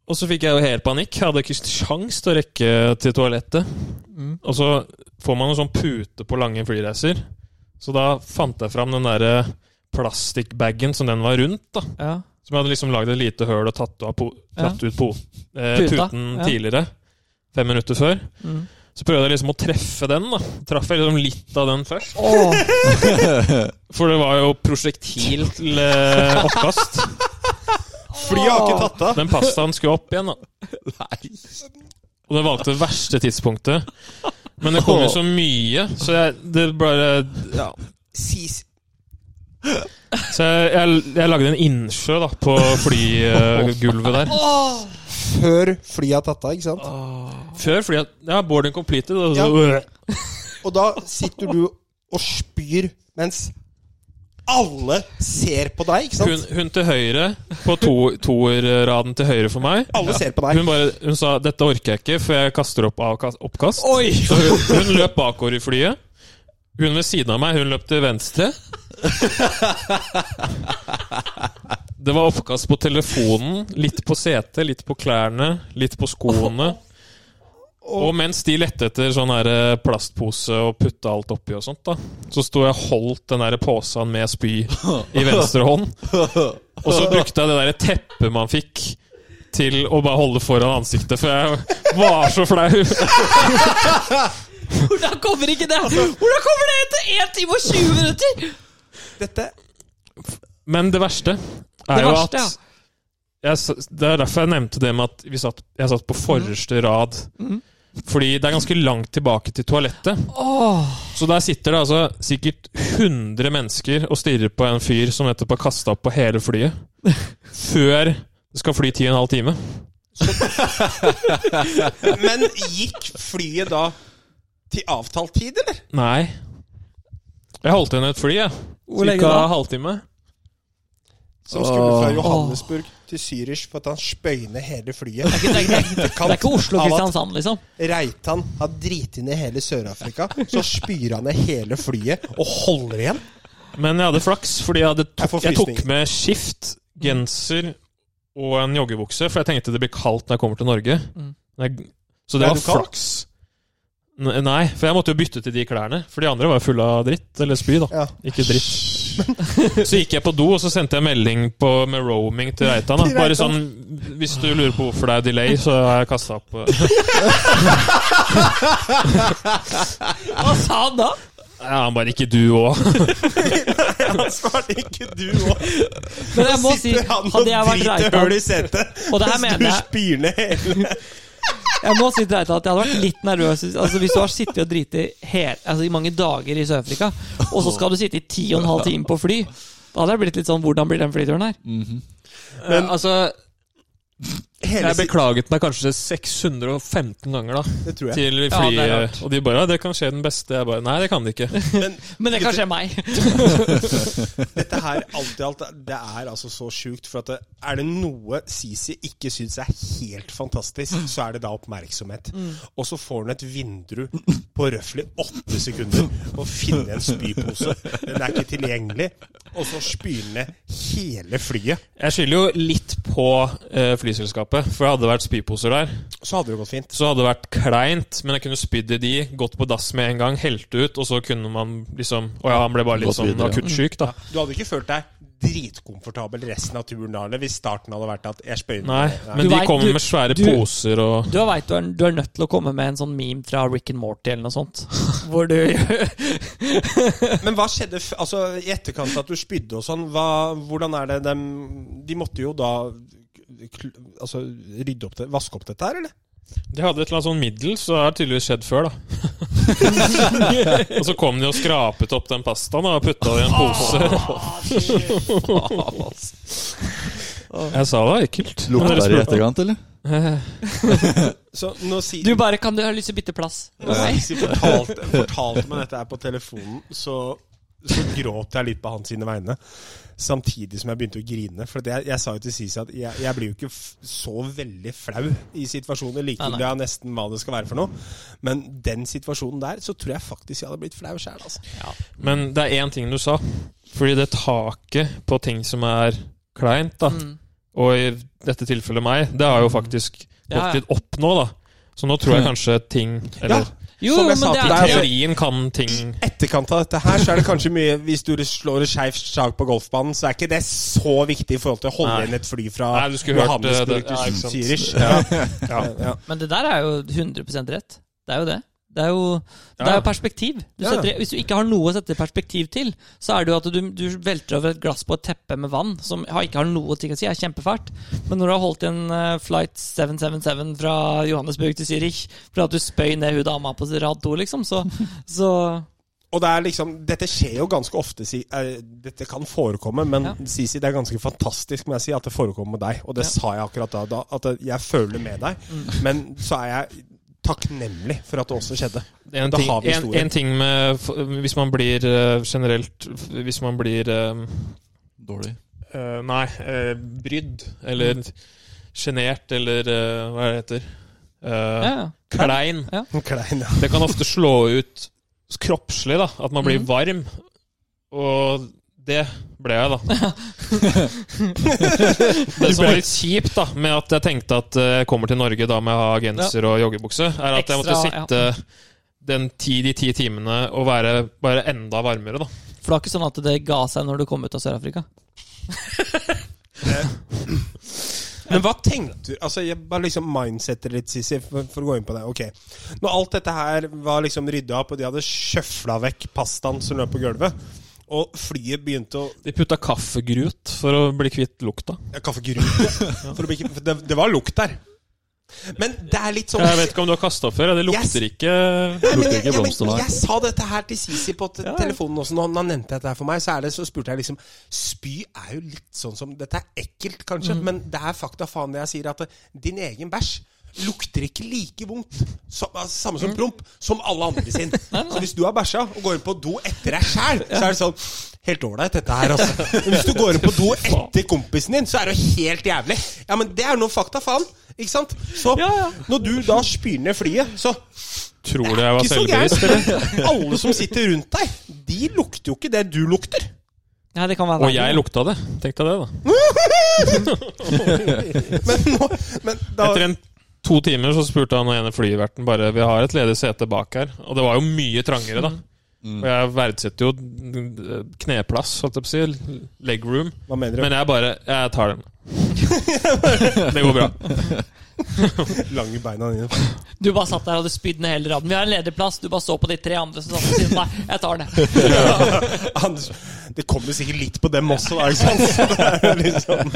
[SPEAKER 3] Og så fikk jeg jo helt panikk. Jeg hadde ikke sjans til å rekke til toalettet.
[SPEAKER 1] Mm.
[SPEAKER 3] Og så får man en sånn pute på lange flyreiser. Så da fant jeg fram den derre plastikkbagen som den var rundt, da.
[SPEAKER 1] Ja.
[SPEAKER 3] Som jeg hadde liksom lagd et lite høl og tatt, av po
[SPEAKER 1] Ja.
[SPEAKER 3] tatt ut po eh,
[SPEAKER 1] Puta,
[SPEAKER 3] puten
[SPEAKER 1] ja.
[SPEAKER 3] tidligere. Fem minutter før.
[SPEAKER 1] Mm.
[SPEAKER 3] Så prøvde jeg liksom å treffe den, da. Traff jeg liksom litt av den først.
[SPEAKER 1] Åh.
[SPEAKER 3] For det var jo prosjektil til eh, oppkast.
[SPEAKER 4] Flyet har ikke tatt deg!
[SPEAKER 3] Den pastaen skulle opp igjen, da. Og det valgte det verste tidspunktet. Men det kom jo så mye, så jeg det bare ja.
[SPEAKER 4] Sis.
[SPEAKER 3] Så jeg, jeg, jeg lagde en innsjø da på flygulvet der.
[SPEAKER 4] Før flyet har tatt deg, ikke sant?
[SPEAKER 3] Før fordi jeg, Ja, boarding completed. Og så,
[SPEAKER 4] Og da sitter du og spyr mens alle ser på deg, ikke
[SPEAKER 3] hun,
[SPEAKER 4] sant?
[SPEAKER 3] hun til høyre, på to, toerraden til høyre for meg
[SPEAKER 4] Alle ser på deg.
[SPEAKER 3] Hun bare, hun sa 'dette orker jeg ikke, for jeg kaster opp avkast, oppkast'. Så hun, hun løp bakover i flyet. Hun ved siden av meg, hun løp til venstre. Det var oppkast på telefonen, litt på setet, litt på klærne, litt på skoene. Og mens de lette etter sånn her eh, plastpose og putta alt oppi og sånt, da, så sto jeg og holdt den der posen med spy i venstre hånd. Og så brukte jeg det derre teppet man fikk, til å bare holde foran ansiktet, for jeg var så flau.
[SPEAKER 1] Hvordan kommer ikke det?
[SPEAKER 4] Altså.
[SPEAKER 1] Hvordan kommer det etter 1 time og 20 minutter?
[SPEAKER 4] Dette
[SPEAKER 3] Men det verste er
[SPEAKER 1] Det
[SPEAKER 3] jo
[SPEAKER 1] verste,
[SPEAKER 3] at
[SPEAKER 1] Mhm.
[SPEAKER 3] jeg, s- Det er derfor jeg nevnte det med at vi satt, jeg satt på forreste rad. Fordi det er ganske langt tilbake til toalettet.
[SPEAKER 1] Åh,
[SPEAKER 3] Så der sitter det altså sikkert 100 mennesker og stirrer på en fyr som nettopp har kasta opp på hele flyet. Før det skal fly 10 12 time.
[SPEAKER 4] Men gikk flyet da til avtalt tid, eller?
[SPEAKER 3] Nei. Jeg holdt igjen et fly, jeg.
[SPEAKER 1] Hvor lenge
[SPEAKER 3] Cirka
[SPEAKER 1] da?
[SPEAKER 3] halvtime.
[SPEAKER 4] Som skulle fra Johannesburg til Zürich for at han spøyne hele flyet.
[SPEAKER 1] Det er ikke, det er ikke, det er ikke Oslo
[SPEAKER 4] Av at
[SPEAKER 1] Kristiansand, liksom.
[SPEAKER 4] Reitan har driti ned hele Sør-Afrika. Så spyr han ned hele flyet og holder igjen.
[SPEAKER 3] Men jeg hadde flaks, fordi jeg, hadde
[SPEAKER 4] Jeg
[SPEAKER 3] tok,
[SPEAKER 4] får
[SPEAKER 3] jeg tok
[SPEAKER 4] frysninger.
[SPEAKER 3] med skift, genser og en joggebukse, for jeg tenkte det blir kaldt når jeg kommer til Norge.
[SPEAKER 1] Mm.
[SPEAKER 3] Men Jeg, så
[SPEAKER 4] Ble
[SPEAKER 3] det var
[SPEAKER 4] du kald?
[SPEAKER 3] flaks. N- Nei, for jeg måtte jo bytte til de klærne, for de andre var jo fulle av dritt. Eller spy, da.
[SPEAKER 4] Ja.
[SPEAKER 3] Ikke dritt. Så gikk jeg på do, og så sendte jeg melding på, med roaming til Reitan. Da.
[SPEAKER 4] Til
[SPEAKER 3] Bare
[SPEAKER 4] Reitan.
[SPEAKER 3] sånn Hvis du lurer på hvorfor det er delay, så har jeg kasta opp eh,
[SPEAKER 1] Hva sa han da?
[SPEAKER 3] Ja, han bare Ikke du òg.
[SPEAKER 4] Han svarte ikke du òg.
[SPEAKER 1] Men jeg må si,
[SPEAKER 4] Sitter han og
[SPEAKER 1] hadde jeg vært
[SPEAKER 4] driter
[SPEAKER 1] Reitan
[SPEAKER 4] høl i setet
[SPEAKER 1] Og det her
[SPEAKER 4] mens du
[SPEAKER 1] mener jeg
[SPEAKER 4] spyr ned hele
[SPEAKER 1] Jeg må si til deg at jeg hadde vært litt nervøs hvis- altså, hvis du har sittet og driti hel- altså, i mange dager i Sør-Afrika, og så skal du sitte i ti og en halv time på fly. Da hadde jeg blitt litt sånn Hvordan blir den flyturen her?
[SPEAKER 4] Mm.
[SPEAKER 6] Men altså,
[SPEAKER 4] Hele
[SPEAKER 3] Jeg
[SPEAKER 4] sitt-
[SPEAKER 3] beklaget meg kanskje 615 ganger, da.
[SPEAKER 4] Det tror jeg.
[SPEAKER 3] til
[SPEAKER 1] Ja,
[SPEAKER 3] flyet,
[SPEAKER 1] det er rart.
[SPEAKER 3] og de bare ja, 'Det kan skje den beste'. Jeg bare 'Nei, det kan det ikke'.
[SPEAKER 1] Men det kan skje meg.
[SPEAKER 4] Dette her, alt i alt, det er altså så sjukt. For at det, er det noe Sisi ikke syns er helt fantastisk, så er det da oppmerksomhet. Og så får han et vindru på røftlig åtte sekunder på å finne en spypose. Den er ikke tilgjengelig. Og så spyr han ned hele flyet.
[SPEAKER 3] Jeg skylder jo litt på eh, flyselskapet, for jeg hadde vært spyposer der.
[SPEAKER 4] Så hadde det gått fint.
[SPEAKER 3] Så hadde det vært kleint, men jeg kunne spydd i de, gått på dass med en gang, helt ut, og så kunne man liksom Å ja, han ble bare litt
[SPEAKER 2] Gått
[SPEAKER 3] sånn
[SPEAKER 2] videre, ja.
[SPEAKER 3] akutt syk, da.
[SPEAKER 1] Mm.
[SPEAKER 4] Du hadde ikke følt deg dritkomfortabel resten av turen da, eller hvis starten hadde vært at jeg spøyer
[SPEAKER 3] Nei, men
[SPEAKER 1] Du
[SPEAKER 3] de
[SPEAKER 1] vet,
[SPEAKER 3] kommer
[SPEAKER 1] du-
[SPEAKER 3] med svære
[SPEAKER 1] du-
[SPEAKER 3] poser og
[SPEAKER 1] Du veit du, er- du er nødt til å komme med en sånn meme fra Rick and Morty eller noe sånt. Hvor du
[SPEAKER 4] Men hva skjedde f altså, i etterkant at du spydde og sånn? Hva, hvordan er det dem De måtte jo da kl- altså, rydde opp det, vaske opp dette her, eller?
[SPEAKER 3] De hadde et eller annet sånn middel, så det har tydeligvis skjedd før, da. og så kom de og skrapet opp den pastaen da, og putta det i en pose. Jeg sa det var ekkelt. men dere
[SPEAKER 2] Lukta det i
[SPEAKER 3] spurte.
[SPEAKER 2] etterkant, eller?
[SPEAKER 4] Så nå si,
[SPEAKER 1] Du bare Kan du ha lyst til å bytte plass? med
[SPEAKER 4] når
[SPEAKER 1] meg?»
[SPEAKER 4] Sisi fortalte, fortalte meg dette her på telefonen, så, så gråt jeg litt på hans sine vegne. Samtidig som jeg begynte å grine. For at jeg, jeg sa jo til Sisi at jeg, jeg blir jo ikke f så veldig flau i situasjoner. Likegyldig av nesten hva det skal være for noe. Men den situasjonen der, så tror jeg faktisk jeg hadde blitt flau sjæl, altså.
[SPEAKER 3] Men det er én ting du sa. Fordi det taket på ting som er kleint, da,
[SPEAKER 1] Mm.
[SPEAKER 3] og i dette tilfellet meg, det har jo faktisk
[SPEAKER 1] Ja, ja.
[SPEAKER 3] gått litt opp nå, da. Så nå tror jeg
[SPEAKER 2] Hmm.
[SPEAKER 3] kanskje ting Eller
[SPEAKER 1] Jo,
[SPEAKER 4] Som
[SPEAKER 1] jo, men
[SPEAKER 4] jeg sa
[SPEAKER 1] det
[SPEAKER 4] til
[SPEAKER 1] er
[SPEAKER 4] deg, altså,
[SPEAKER 3] teorien kan ting
[SPEAKER 4] etterkant av dette her, så er det kanskje mye Hvis du slår et skeivt slag på golfbanen, så er ikke det så viktig i forhold til å holde
[SPEAKER 3] Nei.
[SPEAKER 4] igjen et fly fra
[SPEAKER 3] Nei, du skulle hørt eh, det.
[SPEAKER 4] Johannesburg
[SPEAKER 3] Ja, ikke
[SPEAKER 4] til
[SPEAKER 3] sant.
[SPEAKER 4] Zürich. Ja. Ja.
[SPEAKER 1] Men det der er jo 100 rett. Det er jo det. Det er jo, det
[SPEAKER 3] Ja.
[SPEAKER 1] er jo perspektiv. Du
[SPEAKER 4] Ja, ja.
[SPEAKER 1] setter, hvis du ikke har noe å sette perspektiv til, så er det jo at du, du velter over et glass på et teppe med vann, som har, ikke har noe ting å si, er kjempefælt. Men når du har holdt igjen eh, flight 777 fra Johannesburg til Zürich for at du spøy ned hun dama på rad to, liksom, så, så
[SPEAKER 4] Og det er liksom, dette skjer jo ganske ofte, si, eh, dette kan forekomme, men
[SPEAKER 1] Ja.
[SPEAKER 4] Sisi, det er ganske fantastisk må jeg si, at det forekommer med deg. Og det
[SPEAKER 1] Ja. Mm.
[SPEAKER 4] sa jeg akkurat da, da, at jeg føler med deg. Men så er jeg takknemlig for at det også skjedde.
[SPEAKER 3] En
[SPEAKER 4] Da
[SPEAKER 3] ting,
[SPEAKER 4] har vi
[SPEAKER 3] en,
[SPEAKER 4] historien.
[SPEAKER 3] en ting med f- Hvis man blir eh, generelt Hvis man blir eh,
[SPEAKER 2] Dårlig.
[SPEAKER 3] eh, Nei, eh, brydd
[SPEAKER 4] Mm.
[SPEAKER 3] eller sjenert eller eh, hva er det heter? Eh,
[SPEAKER 1] ja, ja.
[SPEAKER 3] Klein.
[SPEAKER 4] Klein, ja.
[SPEAKER 3] Det kan ofte slå ut kroppslig, da. At man
[SPEAKER 4] Mm.
[SPEAKER 3] blir
[SPEAKER 1] Mhm.
[SPEAKER 3] varm. Og det ble jeg, da. det som var litt kjipt da med at jeg tenkte at eh, jeg kommer til Norge da med å ha genser og joggebukse, er at jeg måtte
[SPEAKER 1] Ekstra,
[SPEAKER 3] sitte den ti, de ti timene og være bare enda varmere, da.
[SPEAKER 1] For det var ikke sånn at det ga seg når du kom ut av Sør-Afrika.
[SPEAKER 4] Men hva tenkte du Altså, jeg bare liksom mindsetter litt, Sisi, for, for å gå inn på det. Ok, Når alt dette her var liksom rydda opp, og de hadde sjøfla vekk pastaen som lå på gulvet, og flyet begynte å
[SPEAKER 3] De putta kaffegrut for å bli kvitt lukta.
[SPEAKER 4] ja, Kaffegrut. For å bli- for det, det var lukt der. Men det er litt sånn
[SPEAKER 3] Jeg vet ikke om du har kasta opp før. ja. Det lukter ikke
[SPEAKER 4] Nei, men jeg,
[SPEAKER 2] Lukter ikke
[SPEAKER 4] ja,
[SPEAKER 2] blomster,
[SPEAKER 4] men
[SPEAKER 2] nei.
[SPEAKER 4] jeg sa dette her til Sisi på te- telefonen også, når han- han nevnte dette her for meg. Så, er det, så spurte jeg liksom Spy er jo litt sånn som Dette er ekkelt, kanskje, men det er fakta faen det jeg sier, at eh, din egen bæsj lukter ikke like vondt, som, altså, samme som promp, som alle andre sin. Så hvis du har bæsja og går inn på do etter deg sjæl, så er det sånn Helt ålreit, dette her, altså. Men hvis du går inn på do etter kompisen din, så er det jo helt jævlig. Ja, men det er noe fakta, faen. Ikke sant? Så når du da spyr ned flyet, så
[SPEAKER 3] Tror du jeg var
[SPEAKER 4] ikke så
[SPEAKER 3] selvbevisst, eller?
[SPEAKER 4] gærent. Alle som sitter rundt deg, de lukter jo ikke det du lukter.
[SPEAKER 1] Nei, det kan være
[SPEAKER 3] Og
[SPEAKER 1] verre.
[SPEAKER 3] jeg lukta det. Tenk deg det, da.
[SPEAKER 4] Men, nå, men da
[SPEAKER 3] Etter en to timer så spurte han ene flyverten bare Vi har et ledig sete bak her. Og det var jo mye trangere, da. Og jeg verdsetter jo eh, kneplass, holdt jeg på å si. Legroom.
[SPEAKER 4] Hva mener
[SPEAKER 3] Men jeg bare Jeg tar den. Det går bra.
[SPEAKER 4] Lange beina dine.
[SPEAKER 1] Du bare satt der og hadde spydd ned hele raden. Vi har en ledig plass. Du bare så på de tre andre som satt ved siden av deg. Jeg tar det.
[SPEAKER 4] Anders, det kommer sikkert litt på dem også, da, ikke sant? Så det er jo liksom.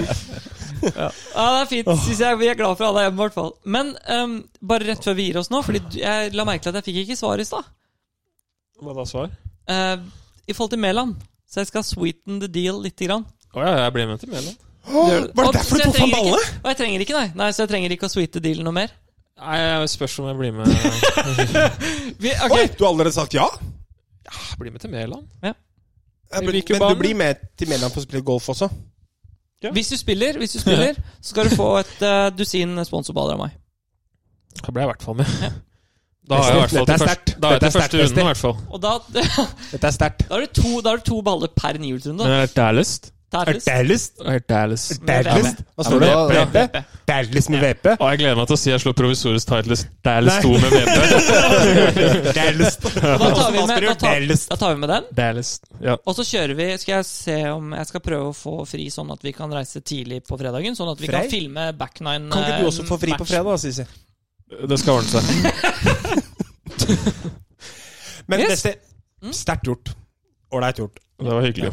[SPEAKER 1] Ja, det er fint. Synes jeg Vi er glad for alle hjemme, i hvert fall. Men ehm, bare rett før vi gir oss nå, Fordi du- jeg la merke til at jeg fikk ikke svar i stad.
[SPEAKER 3] Hva da svar?
[SPEAKER 1] Eh, I forhold til Mæland. Så jeg skal sweeten the deal lite grann.
[SPEAKER 3] Å ja, jeg ble med til Mæland.
[SPEAKER 4] Var det
[SPEAKER 1] Og- så
[SPEAKER 4] derfor du
[SPEAKER 1] jeg
[SPEAKER 4] tok fram
[SPEAKER 1] trenger
[SPEAKER 4] balle?
[SPEAKER 1] ikke- Og jeg trenger ikke, nei. nei. Så jeg trenger ikke å sweete dealen noe mer.
[SPEAKER 3] Nei, jeg spørs om jeg blir med Jeg
[SPEAKER 1] Vi,
[SPEAKER 4] Oi,
[SPEAKER 1] ok.
[SPEAKER 4] du har allerede sagt ja?
[SPEAKER 3] blir med til Mæland.
[SPEAKER 4] Men,
[SPEAKER 3] Vi
[SPEAKER 4] men
[SPEAKER 3] liker barn.
[SPEAKER 4] du blir med til Mæland for å spille golf også?
[SPEAKER 1] Hvis du spiller, hvis du spiller så skal du få et eh, dusin sponsorballer av meg.
[SPEAKER 3] Da ble jeg i hvert fall med. Da har jeg i hvert fall
[SPEAKER 4] Dette er
[SPEAKER 3] til
[SPEAKER 4] sterkt.
[SPEAKER 3] første, da har jeg
[SPEAKER 4] Dette er
[SPEAKER 3] til første
[SPEAKER 4] sterkt,
[SPEAKER 3] runden, i hvert fall.
[SPEAKER 1] Og da, da,
[SPEAKER 4] Dette er sterkt.
[SPEAKER 1] har, du to, da har du to baller per nihjulsrunde.
[SPEAKER 3] Men er det Dallas?
[SPEAKER 1] Terfis.
[SPEAKER 4] Erdelst?
[SPEAKER 3] Er det Dallas?
[SPEAKER 4] Erdelst? Hva står
[SPEAKER 2] Ja,
[SPEAKER 4] det?
[SPEAKER 2] men da-
[SPEAKER 4] VP? Erdelst med VP?
[SPEAKER 3] Å, jeg gleder meg til å si jeg slår provisorisk Titles Dallas 2 med VP.
[SPEAKER 4] Erdelst.
[SPEAKER 1] Da tar, vi med, da, tar,
[SPEAKER 4] Erdelst.
[SPEAKER 1] da tar vi med den.
[SPEAKER 3] Dallas. Ja.
[SPEAKER 1] Og så kjører vi Skal jeg se om Jeg skal prøve å få fri, sånn at vi kan reise tidlig på fredagen. Sånn at vi
[SPEAKER 4] Frei?
[SPEAKER 1] kan filme back nine.
[SPEAKER 4] Kan ikke du også
[SPEAKER 1] eh,
[SPEAKER 4] få fri på
[SPEAKER 1] match.
[SPEAKER 4] fredag, da, Sisi?
[SPEAKER 3] Det skal ordne seg.
[SPEAKER 4] Men
[SPEAKER 1] Yes. Mm.
[SPEAKER 4] neste Sterkt gjort. Ålreit gjort.
[SPEAKER 3] Det var hyggelig.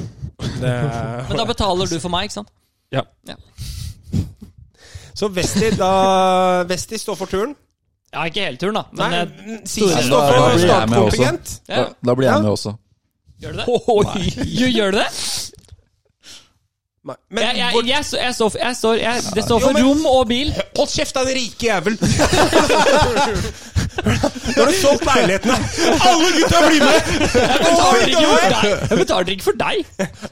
[SPEAKER 4] Det er
[SPEAKER 1] Men da betaler du for meg, ikke sant?
[SPEAKER 4] Så Westi, da Westi står for turen.
[SPEAKER 1] Ja, ikke hele turen, da. Men
[SPEAKER 4] Nei, mm,
[SPEAKER 1] jeg,
[SPEAKER 4] Sisi
[SPEAKER 2] Nei,
[SPEAKER 4] står
[SPEAKER 2] da- da
[SPEAKER 4] for
[SPEAKER 2] blir jeg med også.
[SPEAKER 4] startkontingent.
[SPEAKER 1] ja,
[SPEAKER 2] Da, da blir
[SPEAKER 4] Ja.
[SPEAKER 2] jeg med også.
[SPEAKER 1] gjør du det? Jo, gjør du det?
[SPEAKER 4] Nei,
[SPEAKER 1] Jeg,
[SPEAKER 4] Men
[SPEAKER 1] jeg,
[SPEAKER 4] hvor-
[SPEAKER 1] jeg, står- jeg, står- jeg står jeg, Det står
[SPEAKER 4] Jo,
[SPEAKER 1] for
[SPEAKER 4] men-
[SPEAKER 1] rom og bil.
[SPEAKER 4] hold kjeft, da, den rike jævel! Nå har du solgt leilighetene! Alle gutta blir med!
[SPEAKER 1] Jeg betaler ikke for deg! Jeg betaler ikke for deg.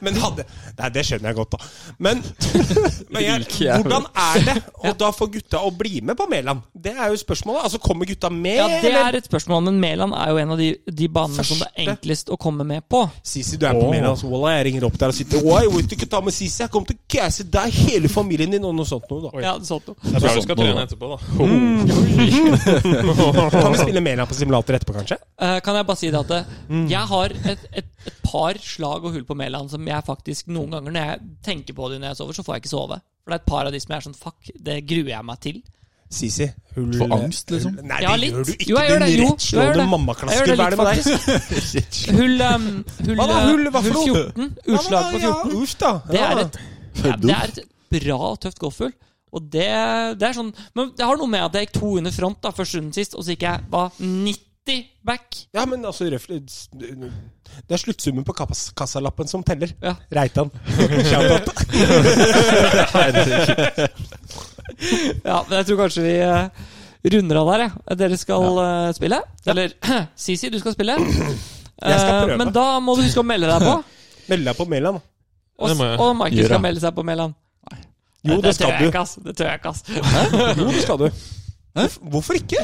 [SPEAKER 4] Men hadde Nei, det skjønner jeg godt, da. Men, men jeg,
[SPEAKER 2] Rike jævel.
[SPEAKER 4] hvordan er det å da få gutta å bli med på Mæland? Det er jo spørsmålet. Altså, kommer gutta med,
[SPEAKER 1] Ja, Det
[SPEAKER 4] eller?
[SPEAKER 1] er et spørsmål, men Mæland er jo en av de, de banene som det er enklest å komme med på.
[SPEAKER 4] Sisi, du er på Mæland. Altså, Wallah, jeg ringer opp der og sier Oi, jeg vil ikke ta med Sisi. Jeg kommer til å gasse deg, hele familien din, og noe sånt noe, da.
[SPEAKER 1] Ja, det er sant noe.
[SPEAKER 3] Jeg tror du
[SPEAKER 2] Sånn,
[SPEAKER 3] skal
[SPEAKER 2] nå
[SPEAKER 3] trene
[SPEAKER 2] da.
[SPEAKER 3] etterpå, da.
[SPEAKER 4] Kan vi spille Mæland på simulator etterpå, kanskje?
[SPEAKER 1] Eh, kan jeg bare si det at eh,
[SPEAKER 4] Mm.
[SPEAKER 1] jeg har et, et, et par slag og hull på Mæland som jeg faktisk noen ganger når jeg tenker på det når jeg sover, så får jeg ikke sove. For det er et par av de som jeg er sånn fuck, det gruer jeg meg til.
[SPEAKER 4] Sisi, hull
[SPEAKER 2] Får angst, liksom?
[SPEAKER 4] Nei,
[SPEAKER 1] Ja,
[SPEAKER 4] det
[SPEAKER 1] litt.
[SPEAKER 4] gjør du ikke.
[SPEAKER 1] Jo, jeg gjør det.
[SPEAKER 4] Din
[SPEAKER 1] Jo, jeg gjør
[SPEAKER 4] rettslående
[SPEAKER 1] det. Jeg
[SPEAKER 4] mammaklasker.
[SPEAKER 1] gjør det
[SPEAKER 4] Hva er det med deg?
[SPEAKER 1] Hull, em, hull,
[SPEAKER 4] Hva da,
[SPEAKER 1] eh,
[SPEAKER 4] hull- hva for noe?
[SPEAKER 1] 14, utslag på 14,
[SPEAKER 4] Uff, da.
[SPEAKER 1] det
[SPEAKER 4] Ja.
[SPEAKER 1] er et, ja, det er et bra og tøft golfhull. Og det, det er sånn Men det har noe med at jeg gikk to under front da først runden sist, og så gikk jeg hva, 90 back.
[SPEAKER 4] Ja, men altså, røft- det er sluttsummen på kapas- kassalappen som teller.
[SPEAKER 1] Ja.
[SPEAKER 4] Reitan. Shout-out.
[SPEAKER 1] Ja, men jeg tror kanskje vi eh, runder av der, jeg. Dere skal eh, spille. Eller Sisi, du skal spille.
[SPEAKER 4] Jeg skal
[SPEAKER 1] Eh,
[SPEAKER 4] prøve.
[SPEAKER 1] men da må du huske å melde deg på.
[SPEAKER 4] Meld deg på Mæland.
[SPEAKER 1] Og,
[SPEAKER 3] Det må jeg
[SPEAKER 1] og Markus
[SPEAKER 2] gjøre.
[SPEAKER 1] skal melde seg på Mæland.
[SPEAKER 4] Jo,
[SPEAKER 1] Nei,
[SPEAKER 4] det
[SPEAKER 1] tør
[SPEAKER 4] skal
[SPEAKER 1] jeg
[SPEAKER 4] du.
[SPEAKER 1] ikke, ass. Det tør jeg ikke, ass.
[SPEAKER 4] Jo, det skal du. Hvorf- Hvorfor ikke?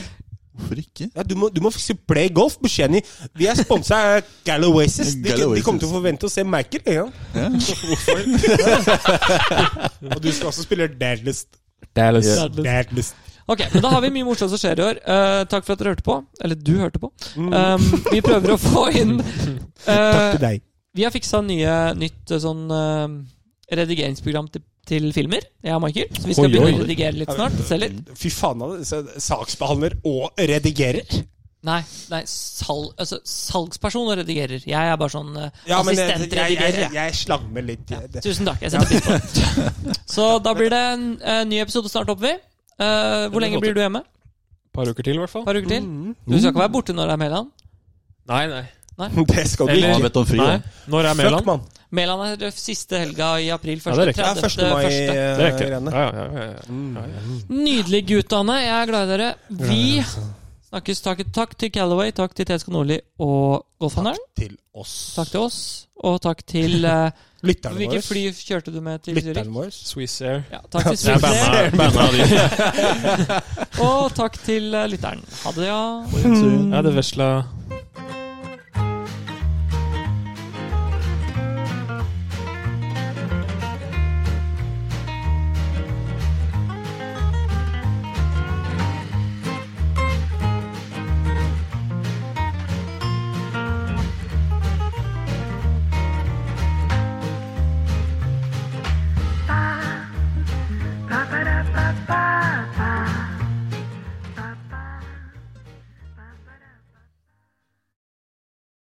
[SPEAKER 2] Hvorfor ikke?
[SPEAKER 4] Ja, du, må, du må fikse Play Golf. Beskjeden i Vi er sponsa av Gallowaces. De, de kommer til å forvente å se Michael. Ja. Og du skal også spille Dadlist.
[SPEAKER 3] Dallas.
[SPEAKER 2] Ja.
[SPEAKER 4] Dadlist.
[SPEAKER 1] Ok, men da har vi mye morsomt som skjer i år. Eh, takk for at dere hørte på. Eller du hørte på. Um, vi prøver å få inn eh,
[SPEAKER 4] Mm. Til deg.
[SPEAKER 1] Vi har fiksa nye, nytt eh, sånn eh, redigeringsprogram til, til filmer, jeg og Michael. Så vi skal
[SPEAKER 3] Oi,
[SPEAKER 1] begynne
[SPEAKER 3] oi.
[SPEAKER 1] å redigere litt snart. Se litt.
[SPEAKER 4] Fy faen, han er s- saksbehandler og redigerer.
[SPEAKER 1] Nei, nei sal, altså, salgsperson og redigerer. Jeg er bare sånn uh,
[SPEAKER 4] Ja, men eh, jeg, jeg,
[SPEAKER 1] assistentredigerer.
[SPEAKER 4] jeg, jeg slammer litt. Jeg, det.
[SPEAKER 1] Tusen takk. Jeg setter pris på det. Så da blir det en eh, ny episode snart oppe, vi. Eh, hvor
[SPEAKER 3] Det
[SPEAKER 1] lenge
[SPEAKER 3] går
[SPEAKER 1] blir du hjemme?
[SPEAKER 3] par uker til, i hvert
[SPEAKER 1] Et
[SPEAKER 3] fall.
[SPEAKER 1] par uker til?
[SPEAKER 4] Mm.
[SPEAKER 1] Du skal ikke være borte når det er Mæland?
[SPEAKER 3] Nei, nei.
[SPEAKER 4] Det skal du
[SPEAKER 3] Eller-
[SPEAKER 2] Han
[SPEAKER 4] ikke.
[SPEAKER 2] har bedt om fri,
[SPEAKER 3] nei.
[SPEAKER 2] da.
[SPEAKER 3] Når er
[SPEAKER 4] Fuck,
[SPEAKER 3] Mæland?
[SPEAKER 4] mann.
[SPEAKER 1] Mæland er det siste helga i april.
[SPEAKER 3] Ja, det er
[SPEAKER 1] Første, 30,
[SPEAKER 3] riktig.
[SPEAKER 4] Det er 1. mai.
[SPEAKER 1] første.
[SPEAKER 4] eh,
[SPEAKER 3] Det er riktig.
[SPEAKER 4] greiene.
[SPEAKER 3] Ja, ja, ja, ja.
[SPEAKER 1] Nydelig, guttene. Jeg er glad i dere. Vi snakkes. Takk, takk til Callaway, takk til TSK Nordli og Golfhandelen.
[SPEAKER 4] Til oss.
[SPEAKER 1] Takk til oss, og takk til eh,
[SPEAKER 4] Lytterne
[SPEAKER 1] Hvilke fly
[SPEAKER 4] våre. kjørte
[SPEAKER 1] kjørte du med til Zürich?
[SPEAKER 4] Lytterne våre.
[SPEAKER 3] Swiss Air.
[SPEAKER 1] Ja, takk til
[SPEAKER 3] Jeg
[SPEAKER 1] Swift,
[SPEAKER 3] banna, banna de.
[SPEAKER 1] og takk til eh, lytteren. Ha det, ja.
[SPEAKER 3] Mm. Ja, det vesla